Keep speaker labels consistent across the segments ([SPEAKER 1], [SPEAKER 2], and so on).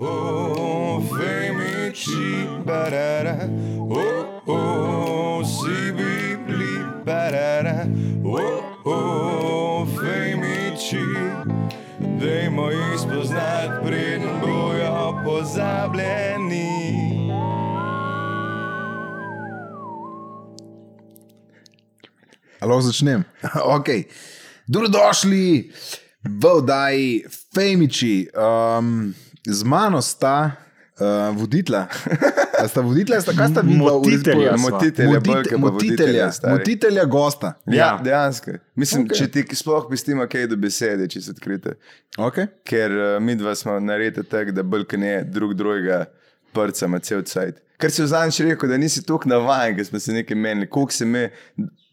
[SPEAKER 1] oh, vem me chibarara. Oh, oh, si bibli barara. Oh, oh, vem mi chi. Dajmo jih spoznat, preden bojo pozabljeni.
[SPEAKER 2] Alo, začnem. okay. Dobrodošli v oddaji Femiči. Um, z mano sta uh, voditla. A Sta voditla, sta kaj sta videla?
[SPEAKER 3] Motitelja sva.
[SPEAKER 2] motitelja,
[SPEAKER 1] Motitelja bolj, ke pa
[SPEAKER 2] motitelja,
[SPEAKER 1] voditelja, stari.
[SPEAKER 2] motitelja gosta.
[SPEAKER 1] Ja, ja.
[SPEAKER 3] Ja.
[SPEAKER 1] dejansko. Mislim,
[SPEAKER 2] Okej.
[SPEAKER 1] okay. če ti sploh pistima kaj do besede, če si odkrite.
[SPEAKER 2] Okay.
[SPEAKER 1] Ker uh, mi dva smo narejeni tako, da bolj kot ne drug drugega prcama cel cajt. Ker si vzameš rekel, da nisi tako navaden, ker smo se nekaj menili, koliko se mi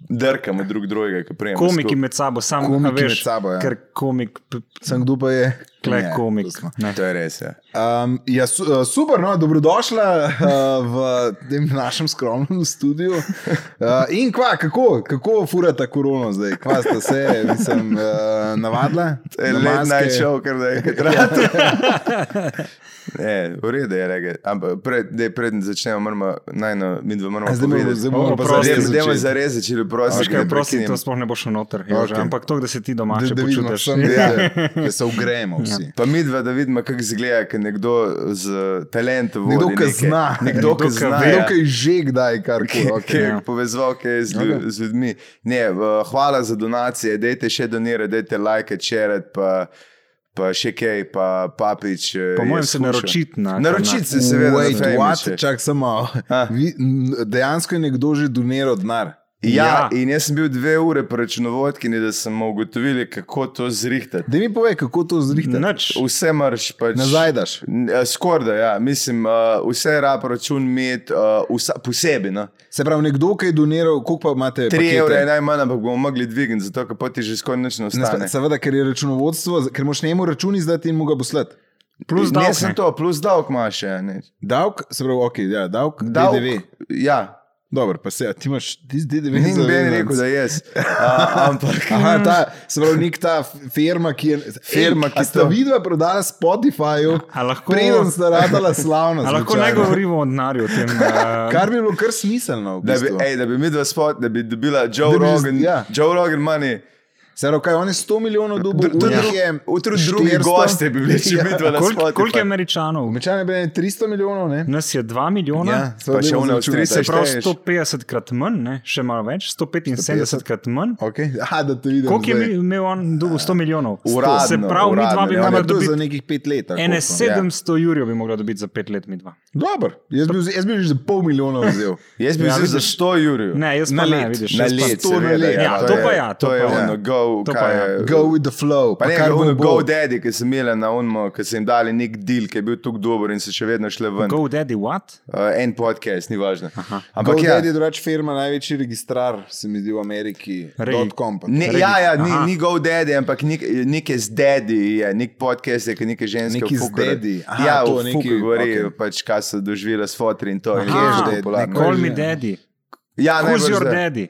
[SPEAKER 1] drkamo drug drugega, ki prejemamo.
[SPEAKER 3] Komiki med sabo, samo
[SPEAKER 2] Komiki
[SPEAKER 3] komiki veš,
[SPEAKER 2] med sabo, ja.
[SPEAKER 3] ker komik, p-
[SPEAKER 2] Sem kdo pa je?
[SPEAKER 3] kle
[SPEAKER 2] Ne,
[SPEAKER 3] komik.
[SPEAKER 2] to smo.
[SPEAKER 3] ne.
[SPEAKER 1] To je res. Ja.
[SPEAKER 2] Um, ja, su, uh, super, no, dobrodošla uh, v tem našem skromnem studiu. Uh, in kva, kako, kako furata korono zdaj? Kva ste se, mislim, uh, navadila?
[SPEAKER 1] E,
[SPEAKER 2] Na
[SPEAKER 1] Let
[SPEAKER 2] maske?
[SPEAKER 1] naj šel, ker da je hitrat.
[SPEAKER 3] Ja.
[SPEAKER 1] Ne, v redu je, rege. ampak pred, dej, predn začnemo, moramo, najno, mi dva moramo
[SPEAKER 2] A zdaj bomo-
[SPEAKER 1] povedati.
[SPEAKER 2] zdaj bomo
[SPEAKER 3] O,
[SPEAKER 2] pa
[SPEAKER 3] oprosti,
[SPEAKER 2] zares
[SPEAKER 1] Dajmo- Dajmo
[SPEAKER 2] začeli.
[SPEAKER 1] zarezati, če bi prosil.
[SPEAKER 3] Veš kaj, prosim, to sploh ne boš noter. Okay.
[SPEAKER 2] Okej.
[SPEAKER 3] Ampak to, da se ti doma še
[SPEAKER 2] da, da vidimo
[SPEAKER 3] počutiš.
[SPEAKER 2] vsem,
[SPEAKER 1] Ja.
[SPEAKER 2] da, da se ugremo vsi. Ja.
[SPEAKER 1] Pa mi dva, da vidimo, kako izgleda, ker nekdo z talentom.
[SPEAKER 2] Nekdo,
[SPEAKER 1] vodi
[SPEAKER 2] ki
[SPEAKER 1] nekaj.
[SPEAKER 2] zna.
[SPEAKER 1] Nekdo, ki
[SPEAKER 3] Nekdo, ki
[SPEAKER 1] zna.
[SPEAKER 3] ve.
[SPEAKER 1] ja.
[SPEAKER 2] Vedel, kaj je že kdaj, kar
[SPEAKER 1] ki,
[SPEAKER 2] koli.
[SPEAKER 1] ki
[SPEAKER 2] Okay.
[SPEAKER 1] je povezal, ki je z, lju, z ljudmi. Ne, v, hvala za donacije, dajte še donirati, dajte like, čerat, pa, pa še kaj, pa papič. eh,
[SPEAKER 3] Po
[SPEAKER 1] je
[SPEAKER 3] mojem se
[SPEAKER 1] skušal.
[SPEAKER 3] naročiti na-
[SPEAKER 1] Naročiti se, seveda,
[SPEAKER 2] Wait,
[SPEAKER 1] na
[SPEAKER 2] what?
[SPEAKER 1] Femiče.
[SPEAKER 2] Čak samo.
[SPEAKER 1] A.
[SPEAKER 2] Vi, n- dejansko je nekdo že doniral denar.
[SPEAKER 1] Ja,
[SPEAKER 3] Ja.
[SPEAKER 1] in jaz sem bil dve ure pri računovodkinji, da sem ugotovil, kako to zrihtati.
[SPEAKER 2] Da mi povej, kako to zrihte.
[SPEAKER 3] Nič.
[SPEAKER 1] Vse marš pač.
[SPEAKER 2] Nazaj daš.
[SPEAKER 1] N- eh, Skorda, ja. mislim, uh, vse je rab račun imeti uh, vsa- posebej. No.
[SPEAKER 2] Se pravi, nekdo, ki je doniral, koliko pa imate?
[SPEAKER 1] 3
[SPEAKER 2] pakete?
[SPEAKER 1] evre je najmanj, ampak bomo mogli dvigniti, zato ker pa ti že skoraj nič ne
[SPEAKER 2] Ne,
[SPEAKER 1] ostane.
[SPEAKER 2] spa- Seveda, ker je računovodstvo, ker moš njemu račun izdati in mu ga poslati.
[SPEAKER 3] Plus
[SPEAKER 1] Ne,
[SPEAKER 3] davek.
[SPEAKER 1] sem to, plus davek imaš še. Ne.
[SPEAKER 2] Davk, se pravi, ok, ja, davk,
[SPEAKER 1] Davek-
[SPEAKER 2] DDV.
[SPEAKER 1] Ja,
[SPEAKER 2] Dobro, pa se, ja, ti imaš, ti si DDV.
[SPEAKER 1] ni noben
[SPEAKER 2] zavezanc.
[SPEAKER 1] rekel, da jaz. A, ampak.
[SPEAKER 2] Aha, ta, se pravi, nek ta firma, ki je.
[SPEAKER 1] Firma, ki
[SPEAKER 2] A sta
[SPEAKER 1] to-
[SPEAKER 2] vidva prodala Spotifyju,
[SPEAKER 3] A lahko-
[SPEAKER 2] preden sta radala slavno.
[SPEAKER 3] A lahko ne govorimo o denarju, o tem, eh,
[SPEAKER 2] Kar bi bilo kar smiselno. V
[SPEAKER 1] Da bi,
[SPEAKER 2] bistvu.
[SPEAKER 1] ej, da bi mi dva spot, da bi dobila Joe
[SPEAKER 2] Da bi že-
[SPEAKER 1] Rogan,
[SPEAKER 2] ja.
[SPEAKER 1] Joe Rogan money.
[SPEAKER 2] Se pravi, kaj, on je 100 milijonov dobil,
[SPEAKER 1] Dr- tudi
[SPEAKER 2] unih
[SPEAKER 1] dru-
[SPEAKER 2] je
[SPEAKER 1] Utrud drugi
[SPEAKER 2] 400.
[SPEAKER 1] gosti Ja. bi bili, ja. če bi dva na
[SPEAKER 3] koliko-
[SPEAKER 1] spot.
[SPEAKER 3] Koliko je američanov?
[SPEAKER 2] Mečan je bil ene 300 milijonov, ne?
[SPEAKER 3] Nas je 2 milijona.
[SPEAKER 2] Ja,
[SPEAKER 1] Pa še
[SPEAKER 2] dajmo
[SPEAKER 1] one
[SPEAKER 2] izračunati.
[SPEAKER 1] Avstrijce.
[SPEAKER 3] Se pravi,
[SPEAKER 1] sešteješ.
[SPEAKER 3] 150 krat manj, ne? še malo več, 175 krat manj.
[SPEAKER 2] Okay. Aha, da te vidim.
[SPEAKER 3] Koliko je
[SPEAKER 2] zdaj.
[SPEAKER 3] mi- imel on, dolgo 100 milijonov?
[SPEAKER 1] Uradno,
[SPEAKER 3] se pravi, mi dva
[SPEAKER 1] uradno,
[SPEAKER 3] bi
[SPEAKER 1] ja,
[SPEAKER 2] Ja,
[SPEAKER 3] morala
[SPEAKER 2] to je za
[SPEAKER 3] dobiti.
[SPEAKER 2] nekih pet let. ali
[SPEAKER 3] Ene
[SPEAKER 2] koliko, no.
[SPEAKER 3] 700 jurjev bi mogla dobiti za 5 let, mi dva.
[SPEAKER 2] Dobro, jaz bi, vzel- jaz bi že za pol milijona vzel.
[SPEAKER 1] Jaz bi
[SPEAKER 3] Ja,
[SPEAKER 1] ja, vzel za
[SPEAKER 3] vidiš.
[SPEAKER 1] 100 jurjev.
[SPEAKER 3] Ne, jaz
[SPEAKER 2] Na
[SPEAKER 3] pa
[SPEAKER 2] let,
[SPEAKER 3] ne, vidiš.
[SPEAKER 1] Na
[SPEAKER 3] jaz pa
[SPEAKER 1] let,
[SPEAKER 2] sto na
[SPEAKER 1] seveda,
[SPEAKER 2] let.
[SPEAKER 3] Ja, to
[SPEAKER 1] je-
[SPEAKER 3] pa ja, to
[SPEAKER 1] To je
[SPEAKER 3] pa ja.
[SPEAKER 1] ono go,
[SPEAKER 3] To pa
[SPEAKER 1] kaj
[SPEAKER 3] ja.
[SPEAKER 1] je.
[SPEAKER 2] Go with the flow.
[SPEAKER 1] Pa ne,
[SPEAKER 2] kar
[SPEAKER 1] kar
[SPEAKER 2] bo,
[SPEAKER 1] ono
[SPEAKER 2] bo.
[SPEAKER 1] go daddy, ki sem imela na unmo, ki sem jim dali nek deal, ki je bil tako dober in so še vedno šle ven.
[SPEAKER 3] Go daddy, what?
[SPEAKER 1] Uh, en podcast, ni važno. Ampak ja,
[SPEAKER 2] GoDaddy je drugač firma, največji registrar, se mi zdi v Ameriki.
[SPEAKER 3] Rej.
[SPEAKER 2] .com. pa to.
[SPEAKER 1] Ne,
[SPEAKER 3] Regi-
[SPEAKER 1] ja, ja, ni,
[SPEAKER 3] Aha.
[SPEAKER 1] ni go daddy, ampak nek, nek je z daddy, je, nek podcast, je, ki neke ženske
[SPEAKER 2] Neki z
[SPEAKER 1] fukar-
[SPEAKER 2] daddy. Aha,
[SPEAKER 1] ja,
[SPEAKER 2] to
[SPEAKER 1] v
[SPEAKER 2] neki-
[SPEAKER 1] fuku govori,
[SPEAKER 2] okej.
[SPEAKER 1] okay. pač, kaj so doživela s fotri in to. in
[SPEAKER 3] Aha,
[SPEAKER 1] je že
[SPEAKER 3] daddy,
[SPEAKER 1] popularno.
[SPEAKER 2] neko-
[SPEAKER 3] Call me
[SPEAKER 2] Ja.
[SPEAKER 3] daddy.
[SPEAKER 1] Ja,
[SPEAKER 3] Who's
[SPEAKER 1] najbrž
[SPEAKER 3] your
[SPEAKER 1] da.
[SPEAKER 3] daddy?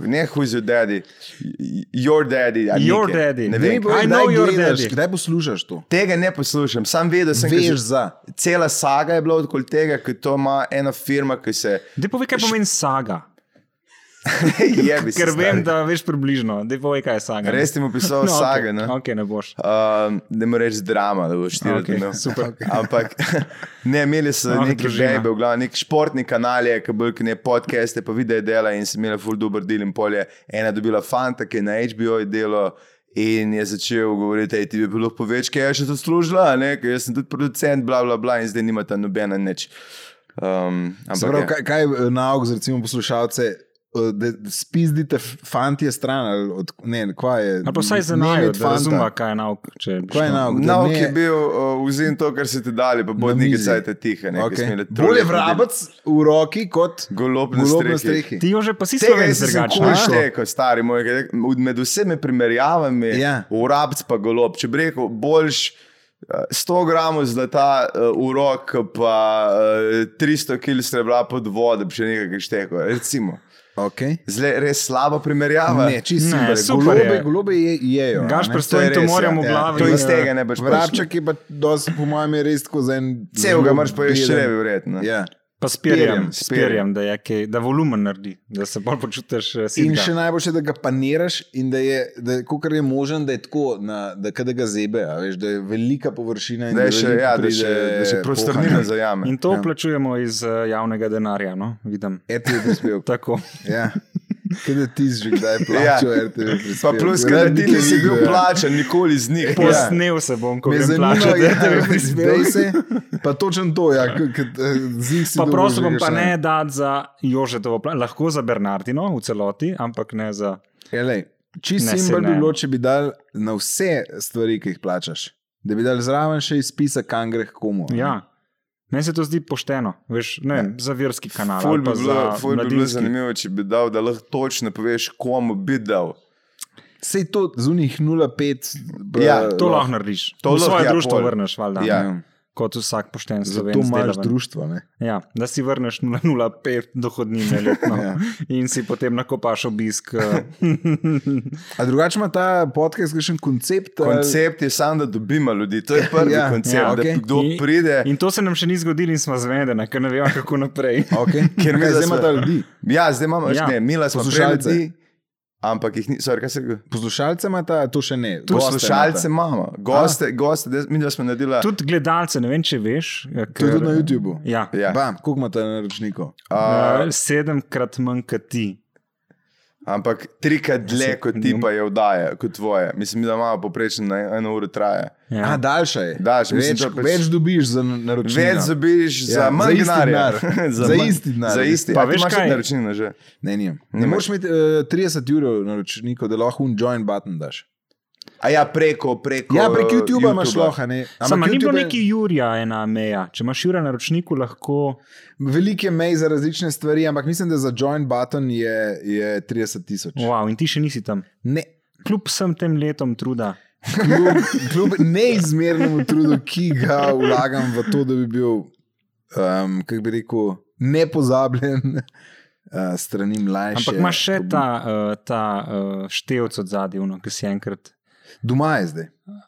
[SPEAKER 1] Ne, who's your daddy? Y- Your daddy. a
[SPEAKER 3] Your
[SPEAKER 1] nek je.
[SPEAKER 3] daddy.
[SPEAKER 1] Ne
[SPEAKER 2] Daj mi
[SPEAKER 1] vem.
[SPEAKER 2] povej, kdaj
[SPEAKER 3] I know your
[SPEAKER 2] gledaš,
[SPEAKER 3] daddy.
[SPEAKER 2] Kdaj poslušaš to?
[SPEAKER 1] Tega ne poslušam, sam vedel sem, da
[SPEAKER 2] Veš za.
[SPEAKER 1] cela saga je bila okoli tega, ker to ima ena firma, ki se
[SPEAKER 3] Dej povej, kaj pomeni saga.
[SPEAKER 1] je bila.
[SPEAKER 3] Ker vem, da veš približno. Dej povej, kaj je saga.
[SPEAKER 1] Res ti bom pisal no, sage.
[SPEAKER 3] Okay,
[SPEAKER 1] ne?
[SPEAKER 3] okay, ne boš.
[SPEAKER 1] Um, ne moreš reči drama, da boš štiri
[SPEAKER 3] Okej,
[SPEAKER 1] okay, dni.
[SPEAKER 3] super.
[SPEAKER 1] Ampak ne, imeli so
[SPEAKER 3] Ah,
[SPEAKER 1] oh, neki
[SPEAKER 3] družina.
[SPEAKER 1] žebe, v glavnem, nek športni kanal, je, ki bolj kot ne podcaste, pa videe dela in sem imel full dober del in polje. Ena dobila fanta, ki je na HBO je delo. In je začel govoriti, da ti bi bilo poveč, kaj je še zaslužila, a ne, ker jaz sem tudi producent, bla, bla, bla, in zdaj nimata nobena nič. Um,
[SPEAKER 2] Se pravi,
[SPEAKER 1] ampak,
[SPEAKER 2] kaj, kaj je nauk za recimo poslušalce? eh, Da da spizdite f- fantje stran, ali od, ne, kva je.
[SPEAKER 3] Ali pa vsaj za
[SPEAKER 2] ne
[SPEAKER 3] naj,
[SPEAKER 2] imeti
[SPEAKER 3] da
[SPEAKER 2] fanta.
[SPEAKER 3] razumem, kaj je nauk. če bi
[SPEAKER 2] Kaj je
[SPEAKER 3] šlo.
[SPEAKER 2] nauk? da
[SPEAKER 1] Nauk
[SPEAKER 2] ne-
[SPEAKER 1] je bil, uh, vzem to, kar si ti dali, pa bo
[SPEAKER 2] na
[SPEAKER 1] nekaj
[SPEAKER 2] mizi.
[SPEAKER 1] cajt tiha. Ne,
[SPEAKER 2] Okej. Bolje vrabec v roki kot
[SPEAKER 1] Golob na
[SPEAKER 2] golob na
[SPEAKER 1] strehi.
[SPEAKER 2] strehi.
[SPEAKER 3] Ti jo že pa si
[SPEAKER 1] Tega
[SPEAKER 3] slovenc
[SPEAKER 1] jaz nisem
[SPEAKER 3] drugačen.
[SPEAKER 1] nikoli
[SPEAKER 3] a?
[SPEAKER 1] štekel, stari moj. ker je- Med vsemi primerjavami,
[SPEAKER 2] Ja.
[SPEAKER 1] urabc pa golob. Če bi rekel, boljš eh, 100 gramov zlata eh, v rok, pa eh, 300 kg srebra pod vodo, bi še nekaj štekel. Recimo.
[SPEAKER 2] Okay.
[SPEAKER 1] Zle, res slaba primerjava.
[SPEAKER 2] Ne, čisto super.
[SPEAKER 3] Ne, super
[SPEAKER 2] Golobe,
[SPEAKER 3] je.
[SPEAKER 2] golobe je, jejo. a
[SPEAKER 3] Gašper
[SPEAKER 2] ne?
[SPEAKER 1] To je
[SPEAKER 3] Stojn to
[SPEAKER 1] res,
[SPEAKER 3] moramo
[SPEAKER 1] ja,
[SPEAKER 3] v
[SPEAKER 1] ja.
[SPEAKER 3] glavi.
[SPEAKER 1] To iz tega ne boš
[SPEAKER 2] Vrabček je pa, dosti, po mojem, je res tako za en.
[SPEAKER 1] Celega
[SPEAKER 2] zelo
[SPEAKER 1] moraš pojesti
[SPEAKER 2] beden-
[SPEAKER 1] črevi, verjetno.
[SPEAKER 2] Ja.
[SPEAKER 3] Pa s perjem,
[SPEAKER 1] Perjem,
[SPEAKER 3] s
[SPEAKER 1] s perjem.
[SPEAKER 3] perjem, da, je kaj- da volumen naredi, da se bolj počutiš eh,
[SPEAKER 2] In
[SPEAKER 3] sitno.
[SPEAKER 2] še najboljše, da ga paniraš in da je, da, kolikor je možen, da je tako, na, da, ke da ga zebe, a veš, da je velika površina in
[SPEAKER 1] Da je še,
[SPEAKER 2] veliko
[SPEAKER 1] ja, da
[SPEAKER 2] pride eh,
[SPEAKER 1] še, da še
[SPEAKER 2] pohanja.
[SPEAKER 1] prostornina zajame.
[SPEAKER 3] In to plačujemo iz eh, javnega denarja, no? vidim.
[SPEAKER 2] RTV prispevek.
[SPEAKER 3] Tako.
[SPEAKER 2] Ja. Kaj da ti že kdaj plačal
[SPEAKER 1] Ja.
[SPEAKER 2] RTV prispevek?
[SPEAKER 1] Pa plus,
[SPEAKER 2] Rad
[SPEAKER 1] ker
[SPEAKER 2] bi
[SPEAKER 1] ti
[SPEAKER 2] te
[SPEAKER 1] nisi bil
[SPEAKER 2] videl, ja.
[SPEAKER 1] plačan, nikoli z njih.
[SPEAKER 2] Ja.
[SPEAKER 3] Posnel se bom, ko
[SPEAKER 2] Me
[SPEAKER 3] grem
[SPEAKER 2] zanima,
[SPEAKER 3] plačati.
[SPEAKER 2] ja,
[SPEAKER 3] da bi
[SPEAKER 2] dej
[SPEAKER 3] prispel.
[SPEAKER 2] se, pa točno to, ja, zig si
[SPEAKER 3] Pa
[SPEAKER 2] dobil
[SPEAKER 3] prosim, bom
[SPEAKER 2] že
[SPEAKER 3] pa
[SPEAKER 2] kakšen-
[SPEAKER 3] ne dati za Jožetovo, pla- lahko za Bernardino v celoti, ampak ne za.
[SPEAKER 2] Ja, lej, Čist
[SPEAKER 3] Ne, se
[SPEAKER 2] simpel bi
[SPEAKER 3] ne.
[SPEAKER 2] bilo, če bi dal na vse stvari, ki jih plačaš. Da bi dal zraven še izpisa, kam gre komu.
[SPEAKER 1] Mhm.
[SPEAKER 2] ne?
[SPEAKER 3] Ja. Meni se to zdi pošteno, veš, ne, vem, za verski kanal.
[SPEAKER 1] Ja. Ful
[SPEAKER 3] ali
[SPEAKER 1] bi
[SPEAKER 3] pa
[SPEAKER 1] bilo,
[SPEAKER 3] za
[SPEAKER 1] ful bi bilo
[SPEAKER 3] mladinski.
[SPEAKER 1] zanimivo, če bi dal, da lahko točno poveš, komu bi dal.
[SPEAKER 2] Sej to zunih 0,5. b-
[SPEAKER 1] Ja,
[SPEAKER 3] To lahko narediš.
[SPEAKER 1] To
[SPEAKER 3] To v
[SPEAKER 1] lahko,
[SPEAKER 3] svoje
[SPEAKER 1] ja,
[SPEAKER 3] društvo
[SPEAKER 1] pol.
[SPEAKER 3] vrneš, valjda.
[SPEAKER 1] Ja.
[SPEAKER 3] ne, Kot vsak pošten
[SPEAKER 2] Zato
[SPEAKER 3] slovenc.
[SPEAKER 2] imaš
[SPEAKER 3] delaven.
[SPEAKER 2] društvo. Ne?
[SPEAKER 3] Ja, da si vrneš 0,05 dohodnine letno
[SPEAKER 2] Ja.
[SPEAKER 3] ja. in si potem nakopaš obisk. eh,
[SPEAKER 2] A drugače ima ta podcast kakšen koncept? eh, ali-
[SPEAKER 1] Koncept je sam, da dobimo ljudi. To je prvi
[SPEAKER 2] Ja,
[SPEAKER 1] ja, koncept,
[SPEAKER 3] ja,
[SPEAKER 1] ja, okay.
[SPEAKER 2] okej.
[SPEAKER 1] da kdo
[SPEAKER 3] in-
[SPEAKER 1] pride.
[SPEAKER 3] In to se nam še ni zgodilo in smo zvedeni, ker ne vemo, kako naprej.
[SPEAKER 2] Okay.
[SPEAKER 1] Ker mi
[SPEAKER 2] Ker mi
[SPEAKER 1] zdaj
[SPEAKER 2] zdaj ima
[SPEAKER 1] smo-
[SPEAKER 2] ta ljudi.
[SPEAKER 1] Ja, zdaj imamo,
[SPEAKER 3] Ja.
[SPEAKER 1] ja. ne, mila smo
[SPEAKER 2] Poslušalce.
[SPEAKER 1] preledi, ampak jih nismo, kaj se reče.
[SPEAKER 2] Poslušalce ima ta, to še ne. goste ima ta.
[SPEAKER 1] Poslušalce imamo, goste, goste, da- mi dva smo naredila.
[SPEAKER 3] Tudi gledalce, ne vem, če veš. eh,
[SPEAKER 2] To je
[SPEAKER 3] ker-
[SPEAKER 2] tudi na YouTubu.
[SPEAKER 3] Ja.
[SPEAKER 1] Ja.
[SPEAKER 2] Bam, koliko ima ta naročnikov?
[SPEAKER 1] A,
[SPEAKER 3] Eh, Sedemkrat manj kot ti.
[SPEAKER 1] ampak trikrat
[SPEAKER 2] Ja,
[SPEAKER 1] dlje kot ti pa je vdaja, kot tvoje. Mislim, da imamo poprečno na eno uro traja.
[SPEAKER 2] Ja. A,
[SPEAKER 3] Ja.
[SPEAKER 2] daljša je.
[SPEAKER 1] Daljša, mislim,
[SPEAKER 2] več,
[SPEAKER 1] da pač-
[SPEAKER 2] več dobiš za na- naročnino.
[SPEAKER 1] Več zabiš
[SPEAKER 2] Ja,
[SPEAKER 1] ja, za
[SPEAKER 2] za
[SPEAKER 1] manj
[SPEAKER 2] isti
[SPEAKER 1] denarja.
[SPEAKER 2] denar. Za
[SPEAKER 1] manj-
[SPEAKER 2] isti denar.
[SPEAKER 1] Za isti.
[SPEAKER 3] Pa
[SPEAKER 1] Pa veš,
[SPEAKER 3] veš kaj?
[SPEAKER 1] kaj je naročnina že.
[SPEAKER 2] Ne, nimam. ne
[SPEAKER 1] Nimaš.
[SPEAKER 2] moreš imeti uh, 30 jurov naročnikov, da lahko un join button daš.
[SPEAKER 1] A ja, preko, preko. eh,
[SPEAKER 2] Ja, prek YouTube
[SPEAKER 1] YouTubea.
[SPEAKER 2] imaš lahko. a ne. Ampak
[SPEAKER 3] Samo ni bilo
[SPEAKER 2] YouTube je-
[SPEAKER 3] neki Jurija, ena meja. Če imaš Jurija na ročniku, lahko.
[SPEAKER 2] Veliko je mej za različne stvari, ampak mislim, da za join button je, je 30 tisoč.
[SPEAKER 3] Wow, in ti še nisi tam.
[SPEAKER 2] Ne.
[SPEAKER 3] Kljub vsem tem letom truda.
[SPEAKER 2] Kljub, kljub neizmernemu trudu, ki ga vlagam v to, da bi bil, um, kako bi rekel, nepozabljen uh, strani mlajši.
[SPEAKER 3] Ampak imaš še ta, eh, ta eh, števc od zadnjega, ki si enkrat.
[SPEAKER 2] Doma je zdaj.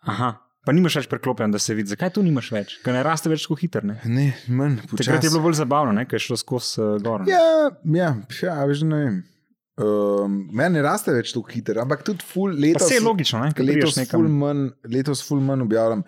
[SPEAKER 3] Aha, pa nimaš več preklopljen, da se vidi. Zakaj to nimaš več? Ker ne raste več tako hitro. ne?
[SPEAKER 2] Ne, manj
[SPEAKER 3] Takrat je
[SPEAKER 2] počasi.
[SPEAKER 3] bilo bolj zabavno, ne? ker je šlo skozi uh, gor. ne?
[SPEAKER 2] Ja, ja, ja, veš, ne vem. Um, meni ne raste več tako hitro, ampak tudi full
[SPEAKER 3] Pa
[SPEAKER 2] leta.
[SPEAKER 3] Vse je logično, ne? ker letos
[SPEAKER 2] Letos ful,
[SPEAKER 3] nekam.
[SPEAKER 2] manj, letos ful manj objavljam.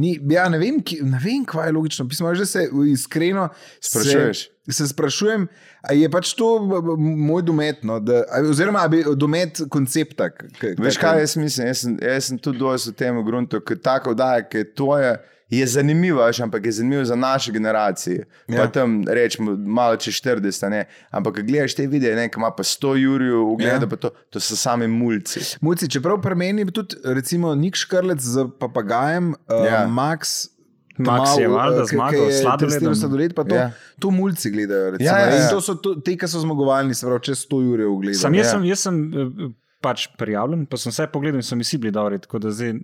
[SPEAKER 2] Ni, ja, ne vem, ki, ne vem, kva je logično. Pismo, že se iskreno se-
[SPEAKER 1] Sprašuješ?
[SPEAKER 2] Se sprašujem, ali je pač to b- b- moj domet, no, da, a- oziroma a bi, domet koncepta. k- k-
[SPEAKER 1] Veš
[SPEAKER 2] tako-
[SPEAKER 1] kaj jaz mislim? Jaz sem, jaz sem tudi dovolj v tem gruntu, ker tako vdaja, ker to je. Je zanimivo, veš, ampak je zanimivo za naše generacije. Ja. Pa
[SPEAKER 2] Ja.
[SPEAKER 1] tam rečemo, malo čez 40, a ne? ampak ko gledaš te videe, ne, ki ima pa 100 jurjev, ugleda
[SPEAKER 2] Ja.
[SPEAKER 1] ja. pa to, to so sami mulci.
[SPEAKER 2] Mujci, čeprav pri meni je tudi, recimo, Nik Škrlec z papagajem, ja.
[SPEAKER 1] Ja.
[SPEAKER 2] uh, Max. eh,
[SPEAKER 3] Max je valjda zmagal s sladoledom.
[SPEAKER 2] Sladoled, pa to, ja.
[SPEAKER 1] Ja.
[SPEAKER 2] to mulci gledajo. Recimo,
[SPEAKER 1] Ja, ja,
[SPEAKER 2] In
[SPEAKER 1] ja.
[SPEAKER 2] To so to, te, ki so zmagovalni, se pravi, čez 100 ur je ogledal.
[SPEAKER 3] Sam
[SPEAKER 1] ja.
[SPEAKER 3] jaz sem, jaz sem eh, pač prijavljen, pa sem vse pogledal in so mi vsi bili dobri. tako da zdaj-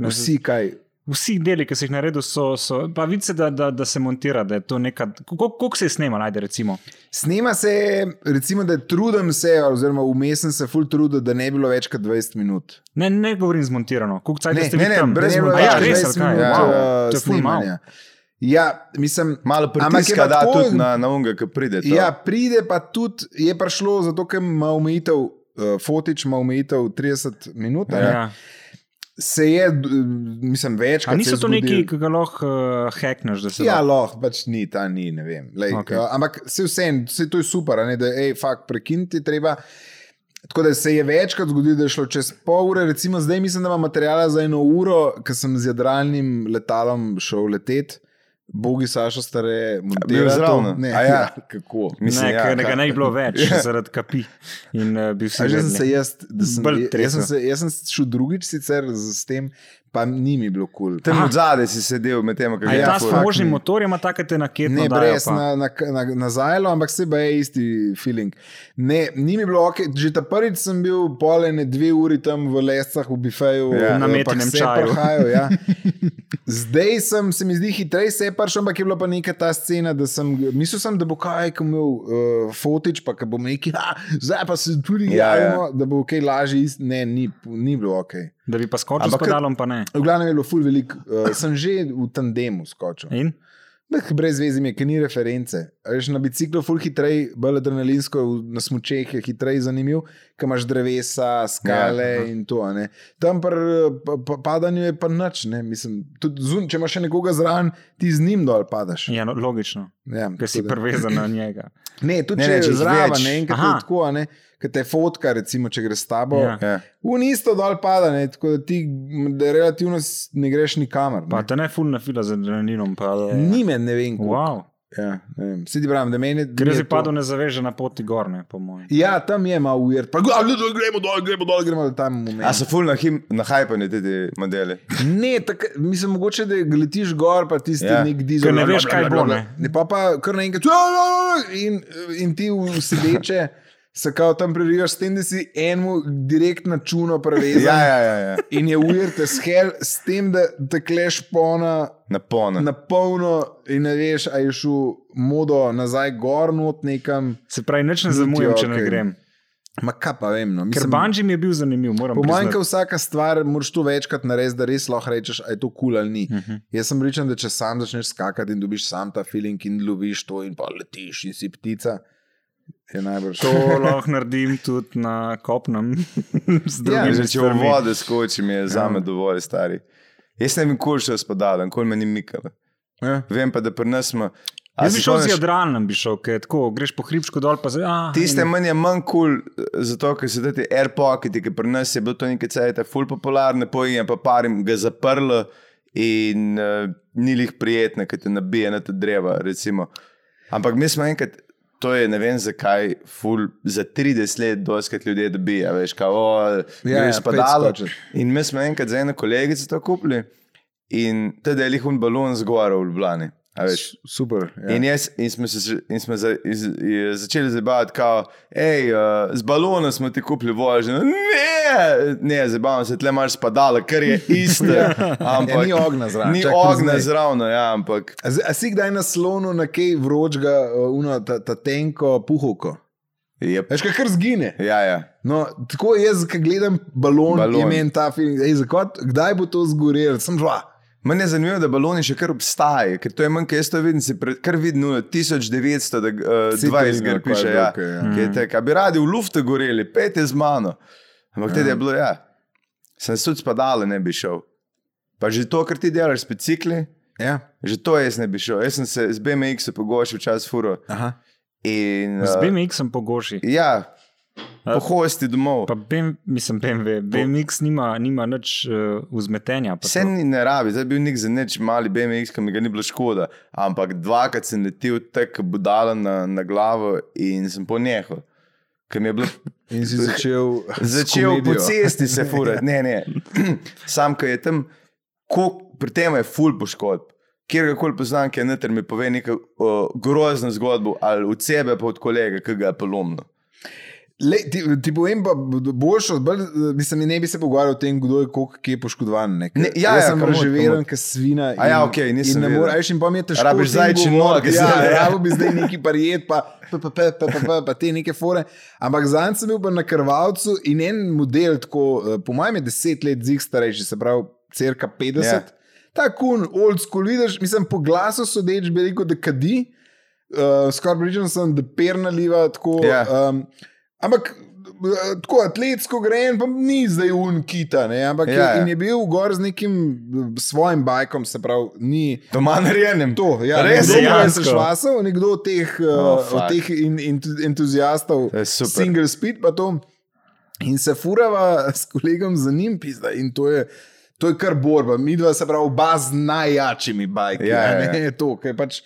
[SPEAKER 3] ne-
[SPEAKER 2] Vsi kaj.
[SPEAKER 3] Vsi deli, ki si jih naredil, so. so pa vidi se, da, da, da se montira, da je to neka. Koliko koliko se je snema, najde recimo?
[SPEAKER 2] Snema se, recimo, da trudim se, oziroma vmes sem se ful trudil, da ne bi bilo več kot 20 minut.
[SPEAKER 3] Ne, ne govorim zmontirano. Koliko cajt
[SPEAKER 2] Ne,
[SPEAKER 3] ste
[SPEAKER 2] ne,
[SPEAKER 3] vi
[SPEAKER 1] ne,
[SPEAKER 3] tam?
[SPEAKER 1] brez
[SPEAKER 2] Da ne bi bilo
[SPEAKER 1] montaže.
[SPEAKER 3] A
[SPEAKER 2] več kot
[SPEAKER 3] Ja, res,
[SPEAKER 2] 20 minut,
[SPEAKER 3] ali kaj.
[SPEAKER 1] ja.
[SPEAKER 3] Wow,
[SPEAKER 2] eh,
[SPEAKER 3] to je ful
[SPEAKER 2] snemanja. Ja, mislim,
[SPEAKER 1] Malo
[SPEAKER 2] je pa
[SPEAKER 1] pritiska da
[SPEAKER 2] tako-
[SPEAKER 1] tudi na, na unga, ki pride. To.
[SPEAKER 2] ja, pride pa tudi, je prišlo zato, ker ima omejitev, uh, fotič ima omejitev 30 minut. a ne.
[SPEAKER 3] Ja.
[SPEAKER 2] Se je, d- mislim, več
[SPEAKER 3] A
[SPEAKER 2] kot
[SPEAKER 3] niso to neki, ki ga lahko uh, hekneš, da se
[SPEAKER 2] Ja,
[SPEAKER 3] lahko-
[SPEAKER 2] lahko, pač ni, ta ni, ne vem. Lej, okay.
[SPEAKER 3] Okej.
[SPEAKER 2] uh, ampak se vsem, se to je super, a ne, da je fakt prekiniti treba. Tako da se je večkrat zgodilo, da je šlo čez pol ure, recimo zdaj mislim, da imam materijala za eno uro, ker sem z jadralnim letalom šel letet. Bogi Saša stare, montirali to.
[SPEAKER 1] zraven?
[SPEAKER 2] Ne,
[SPEAKER 1] A
[SPEAKER 2] ja,
[SPEAKER 1] ja.
[SPEAKER 2] kako.
[SPEAKER 1] mislim,
[SPEAKER 3] ne,
[SPEAKER 1] ja,
[SPEAKER 3] ker ga
[SPEAKER 1] kaj-
[SPEAKER 3] ne bi bilo več, zaradi kapi. In, uh,
[SPEAKER 2] Ja. A že sem se jaz, da sem,
[SPEAKER 3] Bolj
[SPEAKER 2] jaz, sem
[SPEAKER 3] tresel.
[SPEAKER 2] se, jaz sem šel drugič sicer z s tem, pa ni mi bilo kul. Cool.
[SPEAKER 1] Tam
[SPEAKER 3] Aha.
[SPEAKER 1] od zadaj si sedel med tem, kaj
[SPEAKER 3] A je
[SPEAKER 2] Ja,
[SPEAKER 3] ta s
[SPEAKER 2] fuck,
[SPEAKER 3] pomožnim
[SPEAKER 2] ni.
[SPEAKER 3] motorjem, a taka te naketno
[SPEAKER 2] Ne,
[SPEAKER 3] dajo
[SPEAKER 2] brez
[SPEAKER 3] pa?
[SPEAKER 2] na, na, na, na zajlo, ampak se pa je isti feeling. Ne, ni mi bilo ok, že ta prvič sem bil polene dve uri tam v lescah, v bifeju,
[SPEAKER 1] Ja.
[SPEAKER 3] Na
[SPEAKER 2] v
[SPEAKER 3] metenem čaju.
[SPEAKER 2] Prahaju, ja. Zdaj sem, se mi zdi, hitreje se je prišel, ampak je bila pa neka ta scena, da sem, mislil sem, da bo kaj, ko imel uh, fotič, pa ko bom neki, ha, zdaj pa se tudi
[SPEAKER 1] Ja, ja.
[SPEAKER 2] javimo, da bo kaj lažje, ist- ne, ni, ni bilo ok.
[SPEAKER 3] Da bi pa skočil s
[SPEAKER 2] Ampak-
[SPEAKER 3] pedalom, pa ne.
[SPEAKER 2] V glavnem je bilo ful velik, uh, sem že v tandemu skočil.
[SPEAKER 3] In?
[SPEAKER 2] Bah, brez vezi mi je, ker ni reference. A Veš, na biciklu je hitreje, bolj adrenalinsko, v- na smučeh je hitreje zanimiv, ker imaš drevesa, skale
[SPEAKER 1] Ja,
[SPEAKER 2] ja,
[SPEAKER 1] aha.
[SPEAKER 2] in to. a ne. Tam pri pa, pa, padanju je pa nič. ne, Mislim, tudi zun, če imaš še nekoga zraven, ti z njim dol padaš.
[SPEAKER 3] Ja, no, logično,
[SPEAKER 2] Ja,
[SPEAKER 3] ker si
[SPEAKER 2] tako da-
[SPEAKER 3] privezan na njega.
[SPEAKER 2] Ne, tudi
[SPEAKER 1] Ne,
[SPEAKER 2] ne,
[SPEAKER 1] ne,
[SPEAKER 2] če
[SPEAKER 1] če
[SPEAKER 2] je
[SPEAKER 1] jih
[SPEAKER 2] zraven,
[SPEAKER 1] več.
[SPEAKER 2] ne, enkrat
[SPEAKER 3] Aha.
[SPEAKER 2] je tako, a ne, ker te fotka, recimo, če greš s tabo,
[SPEAKER 3] Ja.
[SPEAKER 2] ja.
[SPEAKER 1] Ja.
[SPEAKER 2] v isto dol pada, ne, tako da ti m, da relativno s- ne greš nikamor.
[SPEAKER 3] Pa
[SPEAKER 2] Ne.
[SPEAKER 3] te ne ful nafila z adrenalinom. Pa, da-
[SPEAKER 2] Ni me, ne vem, kako.
[SPEAKER 3] Ja, Wow.
[SPEAKER 2] Ja, ne vem. Sedi pravim, da meni. da mi
[SPEAKER 3] Gre
[SPEAKER 2] je
[SPEAKER 3] za
[SPEAKER 2] to-
[SPEAKER 3] padlo nezaveže na poti gor, ne po mojem.
[SPEAKER 2] Ja, tam je malo ujer, pa glavno, da gremo dol, gremo dol, gremo do tam
[SPEAKER 1] A
[SPEAKER 2] moment.
[SPEAKER 1] so ful na, him, na hajpanju te, te modele.
[SPEAKER 2] Ne, tak, mislim, mogoče, da letiš gor, pa tisti
[SPEAKER 1] Ja.
[SPEAKER 2] ja. nek dizel.
[SPEAKER 3] Ker ne
[SPEAKER 2] bla,
[SPEAKER 3] veš,
[SPEAKER 2] bla,
[SPEAKER 3] kaj
[SPEAKER 2] bla, bla,
[SPEAKER 3] bo,
[SPEAKER 2] bla.
[SPEAKER 3] ne.
[SPEAKER 2] Ne pa pa kar naenkrat, "Ja, ja, ja," in, in ti v sedeče se kao tam prerivaš s tem, da si enemu direkt na čuno prevezan.
[SPEAKER 1] Ja, ja, ja. ja.
[SPEAKER 2] In je ujer te skel s tem, da te kleš pona
[SPEAKER 1] Na ponu.
[SPEAKER 2] na polno in ne veš, a je šel modo nazaj gor not nekam.
[SPEAKER 3] Se pravi, nič ne
[SPEAKER 2] Niti
[SPEAKER 3] zamujam, če ne
[SPEAKER 2] okej.
[SPEAKER 3] grem.
[SPEAKER 2] Ma kaj pa vem, no.
[SPEAKER 3] Ker banji mi je bil zanimiv, moram
[SPEAKER 2] Pomanjka
[SPEAKER 3] priznati.
[SPEAKER 2] vsaka stvar, moraš to večkrat narediti, da res lahko rečeš, ali je to kul cool ali ni.
[SPEAKER 3] Mhm.
[SPEAKER 2] Jaz sem pričan, da če sam začneš skakati in dobiš sam ta feeling in loviš to, in pa letiš in si ptica, je najbrž
[SPEAKER 3] To lahko naredim tudi na kopnem. Z
[SPEAKER 2] Ja,
[SPEAKER 3] Ja. drugimi
[SPEAKER 1] Že če v
[SPEAKER 3] stvarmi.
[SPEAKER 1] vode skočim, je za me dovolj stari. Jaz ne vem, kul še spadal, kul me ni mikalo.
[SPEAKER 2] Ja.
[SPEAKER 1] Vem pa, da pri nas smo. a
[SPEAKER 3] Jaz
[SPEAKER 1] se
[SPEAKER 3] bi šel z
[SPEAKER 1] spomniš-
[SPEAKER 3] jadralnim, bi šel, ker je tako greš po hribčku dol, pa zdaj.
[SPEAKER 1] Tiste meni je manj kul, cool, zato ker so ti AirPocketi, ki pri nas je bilo to nekaj cajt, ful popularne, pojem pa parim ga zaprlo in uh, ni lih prijetno, ker te nabije na ta dreva. Recimo. Ampak mi smo enkrat. To je ne vem zakaj, ful, za 30 let, doskrat ljudje dobijo, veš, kako
[SPEAKER 2] Ja,
[SPEAKER 1] je
[SPEAKER 2] ja,
[SPEAKER 1] spadalo.
[SPEAKER 2] spet skočiš.
[SPEAKER 1] In mi smo enkrat za eno kolegico to kupili, in teda je lihun balon zgoraj v Ljubljani. a veš.
[SPEAKER 2] super.
[SPEAKER 1] Ja. In,
[SPEAKER 2] Ja.
[SPEAKER 1] jaz, in smo, se, že- in smo za, iz, je začeli zabavati, kao, hej, uh, z balonom smo ti kupili vožnjo. Ne, ne zabavam se, tle imaš spadala, ker je isto.
[SPEAKER 2] Ja,
[SPEAKER 1] Ampak
[SPEAKER 2] ni ognja zraven,
[SPEAKER 1] Ni
[SPEAKER 2] čak
[SPEAKER 1] ognja
[SPEAKER 2] priznaj.
[SPEAKER 1] zraven, ja, ampak
[SPEAKER 2] A, z- a si kdaj naslonil na kaj vročega, uh, uno, ta, ta tenko puhovko?
[SPEAKER 1] je.
[SPEAKER 2] Veš, kaj kar zgine.
[SPEAKER 1] Ja, ja.
[SPEAKER 2] No, tako jaz, ki gledam
[SPEAKER 1] Balon.
[SPEAKER 2] balon, balon. je meni ta film, ej, zakot, kdaj bo to zgorelo, sem dva.
[SPEAKER 1] Mene je zanimivo, da baloni še kar obstajajo, ker to je manj, kaj jaz to vidim, si pred, kar vidim, no, 1920,
[SPEAKER 2] Citrino,
[SPEAKER 1] kar
[SPEAKER 2] kaj
[SPEAKER 1] eh, piše.
[SPEAKER 2] je
[SPEAKER 1] Ja,
[SPEAKER 2] dokaj, ja.
[SPEAKER 1] Ki
[SPEAKER 3] Mm.
[SPEAKER 1] je tek, a bi radi v luftu goreli, pete z mano. Ampak tedi je
[SPEAKER 3] Mm.
[SPEAKER 1] bilo, ja, sem se tudi spadal, ne bi šel. Pa že to, kar ti delaš s bicikli,
[SPEAKER 2] Ja.
[SPEAKER 1] že to jaz ne bi šel. Jaz sem se z BMX pogošil čas furo.
[SPEAKER 2] Aha.
[SPEAKER 1] In,
[SPEAKER 3] Z
[SPEAKER 1] eh,
[SPEAKER 3] BMX-om pogoši.
[SPEAKER 1] Ja, po hosti domov.
[SPEAKER 3] Pa BM, mislim, BMW, BMX nima, nima nič uh, vzmetenja. pa
[SPEAKER 1] Vse
[SPEAKER 3] to.
[SPEAKER 1] ni ne rabi, zdaj je bil nek za neč mali BMX, ki mi ga ni bilo škoda. Ampak dvakrat sem letel tek budala na, na glavo in sem ponehal. Ker mi je bilo
[SPEAKER 2] In si začel, s
[SPEAKER 1] začel po
[SPEAKER 2] komedijo.
[SPEAKER 1] cesti se furati, ne, ne. Sam, ki je tam, koliko- pri tem je ful poškodb. Kjer ga koli poznam, ki je noter, mi pove neko o, grozno zgodbo, ali od sebe, pa od kolega, ki ga je polomno.
[SPEAKER 2] Le, ti, ti povem, pa boljšo, bolj, mislim, ne bi se pogovarjal o tem, kdo je koliko kje poškodovan. Ne, ker
[SPEAKER 1] Ne, ja,
[SPEAKER 2] jaz
[SPEAKER 1] ja,
[SPEAKER 2] sem
[SPEAKER 1] komot,
[SPEAKER 2] preživelen,
[SPEAKER 1] komot.
[SPEAKER 2] kot svina.
[SPEAKER 1] A ja, okej, nisem
[SPEAKER 2] in ne
[SPEAKER 1] vedel.
[SPEAKER 2] moreš, veš, in pa mi je težko.
[SPEAKER 1] Rabiš
[SPEAKER 2] o tem
[SPEAKER 1] zajčji
[SPEAKER 2] govoriti.
[SPEAKER 1] noge
[SPEAKER 2] Ja,
[SPEAKER 1] zdaj, ja.
[SPEAKER 2] rabo bi zdaj neki parijet, pa, pa, pa, pa, pa, pa, pa, pa te neke fore. Ampak zanj sem bil pa na krvalcu in en model, tako, eh, po mojem, je deset let zig starejši, se pravi, crka 50.
[SPEAKER 1] Ja.
[SPEAKER 2] Ta kun, old school, vidiš, mislim, po glasu sodeč bi rekel, da kadi, uh, skoraj pričem sem, da perna liva, tako.
[SPEAKER 1] Ja.
[SPEAKER 2] Um, ampak eh, tako atletsko gre, in pa ni zdaj unkita, ne, ampak
[SPEAKER 1] Ja, ja.
[SPEAKER 2] ja, je, in je bil gor z nekim eh, svojim bajkom, se pravi, ni.
[SPEAKER 1] Doma narejenem.
[SPEAKER 2] To, ja,
[SPEAKER 1] Res
[SPEAKER 2] nekdo
[SPEAKER 3] dejansko.
[SPEAKER 2] je sešvasal, nekdo od teh,
[SPEAKER 1] Oh,
[SPEAKER 2] oh,
[SPEAKER 1] fuck.
[SPEAKER 2] od teh in, in, entuzijastov,
[SPEAKER 1] To je super.
[SPEAKER 2] single speed, pa to. In se furava s kolegom za njim, pizda. In to je, to je kar borba. Mi dva se pravi, oba z najjačimi bajki.
[SPEAKER 1] Ja,
[SPEAKER 2] Ja,
[SPEAKER 1] ja,
[SPEAKER 2] ne, to, kaj pač,